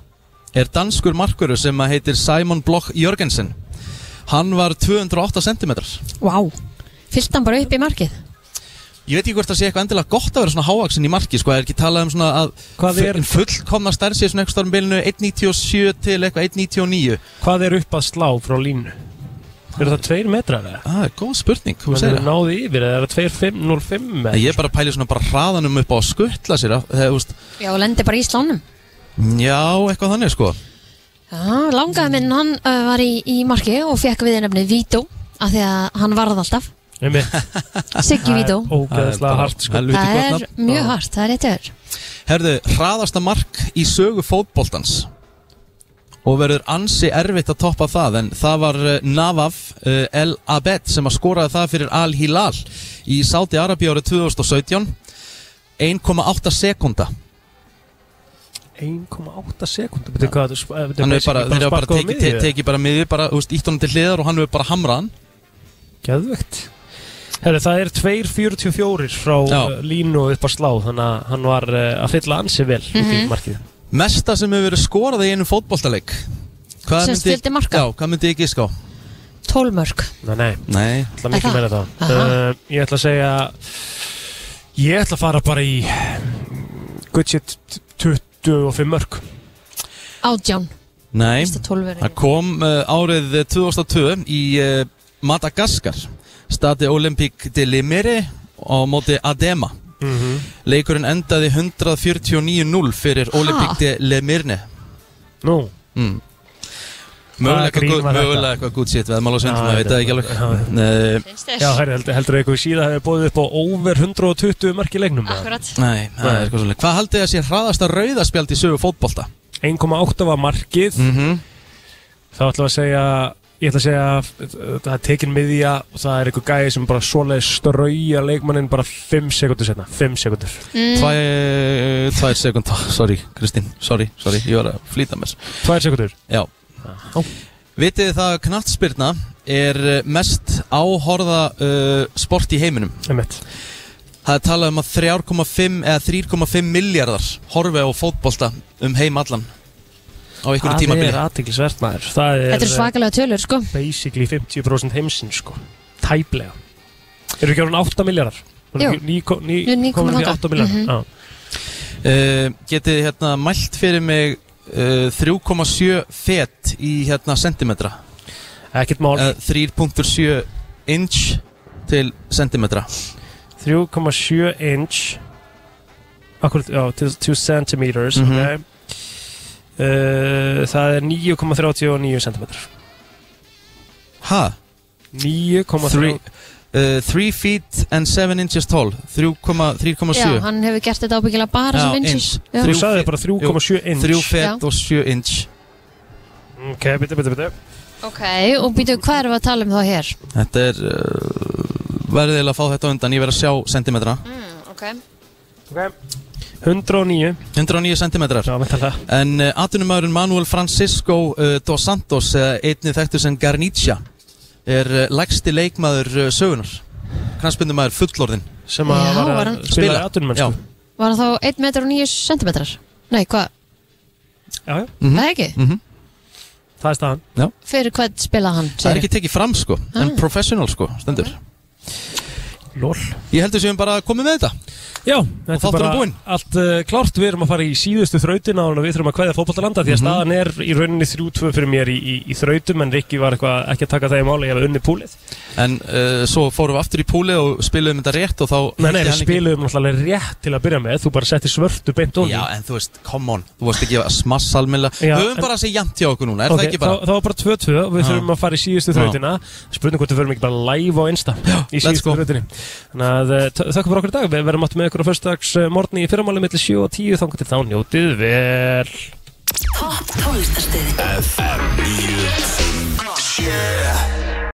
Speaker 1: er danskur markvörður sem að heitir Simon Bloch Jörgensen Hann var 208 cm Ég
Speaker 3: Vá Fyllt hann bara upp í markið
Speaker 1: veit ekki hvort það sé eitthvað endilega gott að vera svona hávaksinn í marki sko, er ekki talað um svona að
Speaker 2: Hvað er-
Speaker 1: fu- fullkomna stærð sé svona eitthvað um bilinu 1.97 til eitthvað 1.99
Speaker 2: Hvað er upp að slá frá línu? Eru það tveir metrar eða?
Speaker 1: Það er Ah, góð spurning,
Speaker 2: þú
Speaker 1: þú
Speaker 2: segir
Speaker 1: segir
Speaker 2: það. Náði yfir eða er það 2505 eða?
Speaker 1: Ég er bara að pæli svona bara hraðanum upp á að skuttla sér af- þegar, þú veist,
Speaker 3: Já, og lendi bara í slánum
Speaker 1: Já, eitthvað þannig sko
Speaker 3: Já, langaði minn hann uh, var í, í markið og fekk við nefni Vító af því að hann varð alltaf Siggi Vító
Speaker 2: Ógeðslega hart sko
Speaker 3: Það er mjög hart, það er rétt öður
Speaker 1: Herðu, hraðasta mark í sögu fótboltans og verður ansi erfitt að toppa það en það var eh, Navaf eh, El Abed sem að skoraði það fyrir Al Hilal í Saudi Arabi árið 2017 1,8 sekunda
Speaker 2: 1,8 sekund Betur hvað, þú sp- eh, betur
Speaker 1: hann hefur bara,
Speaker 2: basically
Speaker 1: þeir hafa bara
Speaker 2: sparkað á
Speaker 1: tekið
Speaker 2: miðju.
Speaker 1: te, teki bara miður, bara úst, ítt honum til hliðar og hann hefur bara hamraðan
Speaker 2: Geðvegt Herri, það er 2.44 frá
Speaker 1: Já.
Speaker 2: uh, línu og upp að slá þannig að hann var uh, að fylla ansi vel út í
Speaker 1: Mhm.
Speaker 2: markið
Speaker 1: Mesta sem hefur verið skorað í einum fótboltaleik Hvað
Speaker 3: Sem
Speaker 1: myndi-
Speaker 3: fjöldi marka?
Speaker 1: Já, hvað myndi ég giska á?
Speaker 3: Tólmörk
Speaker 2: Nei, nei,
Speaker 1: nei.
Speaker 2: Það er mikið
Speaker 3: Er
Speaker 2: meira
Speaker 3: það?
Speaker 2: það uh, Ég ætla að segja Ég ætla að fara bara í mm, Good shit 25 mörg
Speaker 3: Átján
Speaker 1: Nei,
Speaker 3: Fyrsta tólfurinn.
Speaker 1: það kom uh, árið 2002 í uh, Madagaskar Stati Olympique de Limere á móti Adema
Speaker 2: Mhm.
Speaker 1: Leikurinn endaði 149-0 fyrir Olympique de Limirne
Speaker 2: Nú
Speaker 1: mm.
Speaker 2: Hvaða
Speaker 1: Mögulega
Speaker 2: grín
Speaker 1: eitthvað-
Speaker 2: var þetta?
Speaker 1: mögulega eitthvað gútt sitt veðmál og svindum,
Speaker 2: Já,
Speaker 1: maður veit það
Speaker 2: þetta-
Speaker 1: ekki alveg Nei,
Speaker 2: Já, herri, heldur, heldur eitthvað í síða hefur bóðið upp á over 120 mörg í leiknum eða?
Speaker 3: Akkurat
Speaker 1: Nei, það er eitthvað svolítið Hvað haldið það sé hraðasta rauðaspjald í sögu fótbolta?
Speaker 2: 1,8 var markið
Speaker 1: -hmm.
Speaker 2: Þá ætla að segja Ég ætla að segja uh, Það er tekin miðja og það er eitthvað gæði sem bara svoleið strauja leikmannin bara 5 sekundur setna 5 sekundur
Speaker 1: Mm. Tvær, eh, tvær sekund, sorry Kristín, sorry, sorry, ég var að flýta mér
Speaker 2: Tvær sekundur?
Speaker 1: Já Vitið þið það að knattspyrna er eh, mest áhorða uh, sport í heiminum
Speaker 2: Einmitt.
Speaker 1: Það er talað um að 3,5 eða 3,5 miljardar horfi á fótbolta um heim allan á einhverju
Speaker 2: Það
Speaker 1: tímabili
Speaker 2: er aðtiklisvert maður Það er eh,
Speaker 3: Þetta er svakalega tölur sko
Speaker 2: Basically 50% heimsins sko Tæplega Eru ekki orðin 8 miljardar? Hún er
Speaker 3: Jú.
Speaker 2: ekki- ný, kom- ný,
Speaker 3: Jú, ný komin
Speaker 2: komin því
Speaker 3: þangað.
Speaker 2: 8 miljónir
Speaker 3: Mhm.
Speaker 2: Já.
Speaker 1: uh, Getið þið hérna mælt fyrir mig uh, 3,7 fet í hérna sentimetra
Speaker 2: Ekkert mál
Speaker 1: uh, 3,7 inch til sentimetra
Speaker 2: 3,7 inch Akkur, já, til 2 centimeters mm
Speaker 1: Mhm.
Speaker 2: -hmm. Það er 9,39 centimeter
Speaker 1: Ha?
Speaker 2: 9,3
Speaker 1: 3 uh, 3 feet and 7 inches tall 3,7
Speaker 3: Já, hann hefur gert þetta ábyggilega bara sem inches Já.
Speaker 2: Þú sagði bara 3,7 inch.
Speaker 1: 3
Speaker 3: Já.
Speaker 1: fet og 7 inch
Speaker 2: Ok, bitte, bitte, bitte
Speaker 3: Ok, og býtu, hvað erum við að tala um þá hér?
Speaker 1: Þetta er uh, verðið eiginlega að fá þetta á undan ég verð að sjá sentimetra
Speaker 3: Ok
Speaker 2: 109
Speaker 1: 109 centimetrar
Speaker 2: Já, mentalega
Speaker 1: En uh, atunumæðurinn Manuel Francisco uh, Dos Santos, uh, einni þekktur sem Garnicia er uh, lægsti leikmaður uh, sögunar Kranspindumæður fullorðin
Speaker 2: Sem að Já, var að var hann- spila í atvinnumennsku.
Speaker 3: Var hann þá 1 metr og 9 centimetrar? Nei, hvað?
Speaker 2: Já, já
Speaker 3: Það er ekki?
Speaker 1: -hmm.
Speaker 2: Það er staðan
Speaker 1: Já.
Speaker 3: Fyrir hvað spilaði hann?
Speaker 1: Það er ekki tekið fram sko, en professional sko, stendur
Speaker 2: Lól
Speaker 1: Ég heldur sem bara komið með þetta
Speaker 2: Já, þetta
Speaker 1: Og þátturinn búinn
Speaker 2: allt uh, klárt, við erum að fara í síðustu þrautina og við þurfum að kveðja fótboltalanda
Speaker 1: Mhm.
Speaker 2: því að staðan er í rauninni 3-2 fyrir mér í, í, í þrautum en Rikki var eitthvað ekki að taka það í máli, ég hef unni púlið
Speaker 1: En uh, svo fórum við aftur í púlið og spiluðum þetta rétt og þá
Speaker 2: Nei,
Speaker 1: hitti
Speaker 2: nei, við
Speaker 1: hann ekki-
Speaker 2: spilum náttúrulega rétt til að byrja með, þú bara settir svörtu beint ofan í.
Speaker 1: Já, en þú veist, come on, þú varst ekki að smassa almennilega Við
Speaker 2: Já,
Speaker 1: höfum
Speaker 2: en-
Speaker 1: bara að segja jæmt hjá okkur núna, er
Speaker 2: Ok,
Speaker 1: það ekki bara?
Speaker 2: þá, þá var bara 2-2 og við
Speaker 1: Já.
Speaker 2: þurfum að fara í síðustu
Speaker 1: Já.
Speaker 2: þrautina Spurning hvort við förum ekki bara live á Insta Í síðustu þrautinni Þannig að eh, þö- þökkum fyrir okkur í dag Við verðum átt með ykkur á fyrstags morgni í fyrramáli Millir 7 og 10 þangar til þá njótið vel
Speaker 12: Topp tónlistarstöðin
Speaker 13: FM 957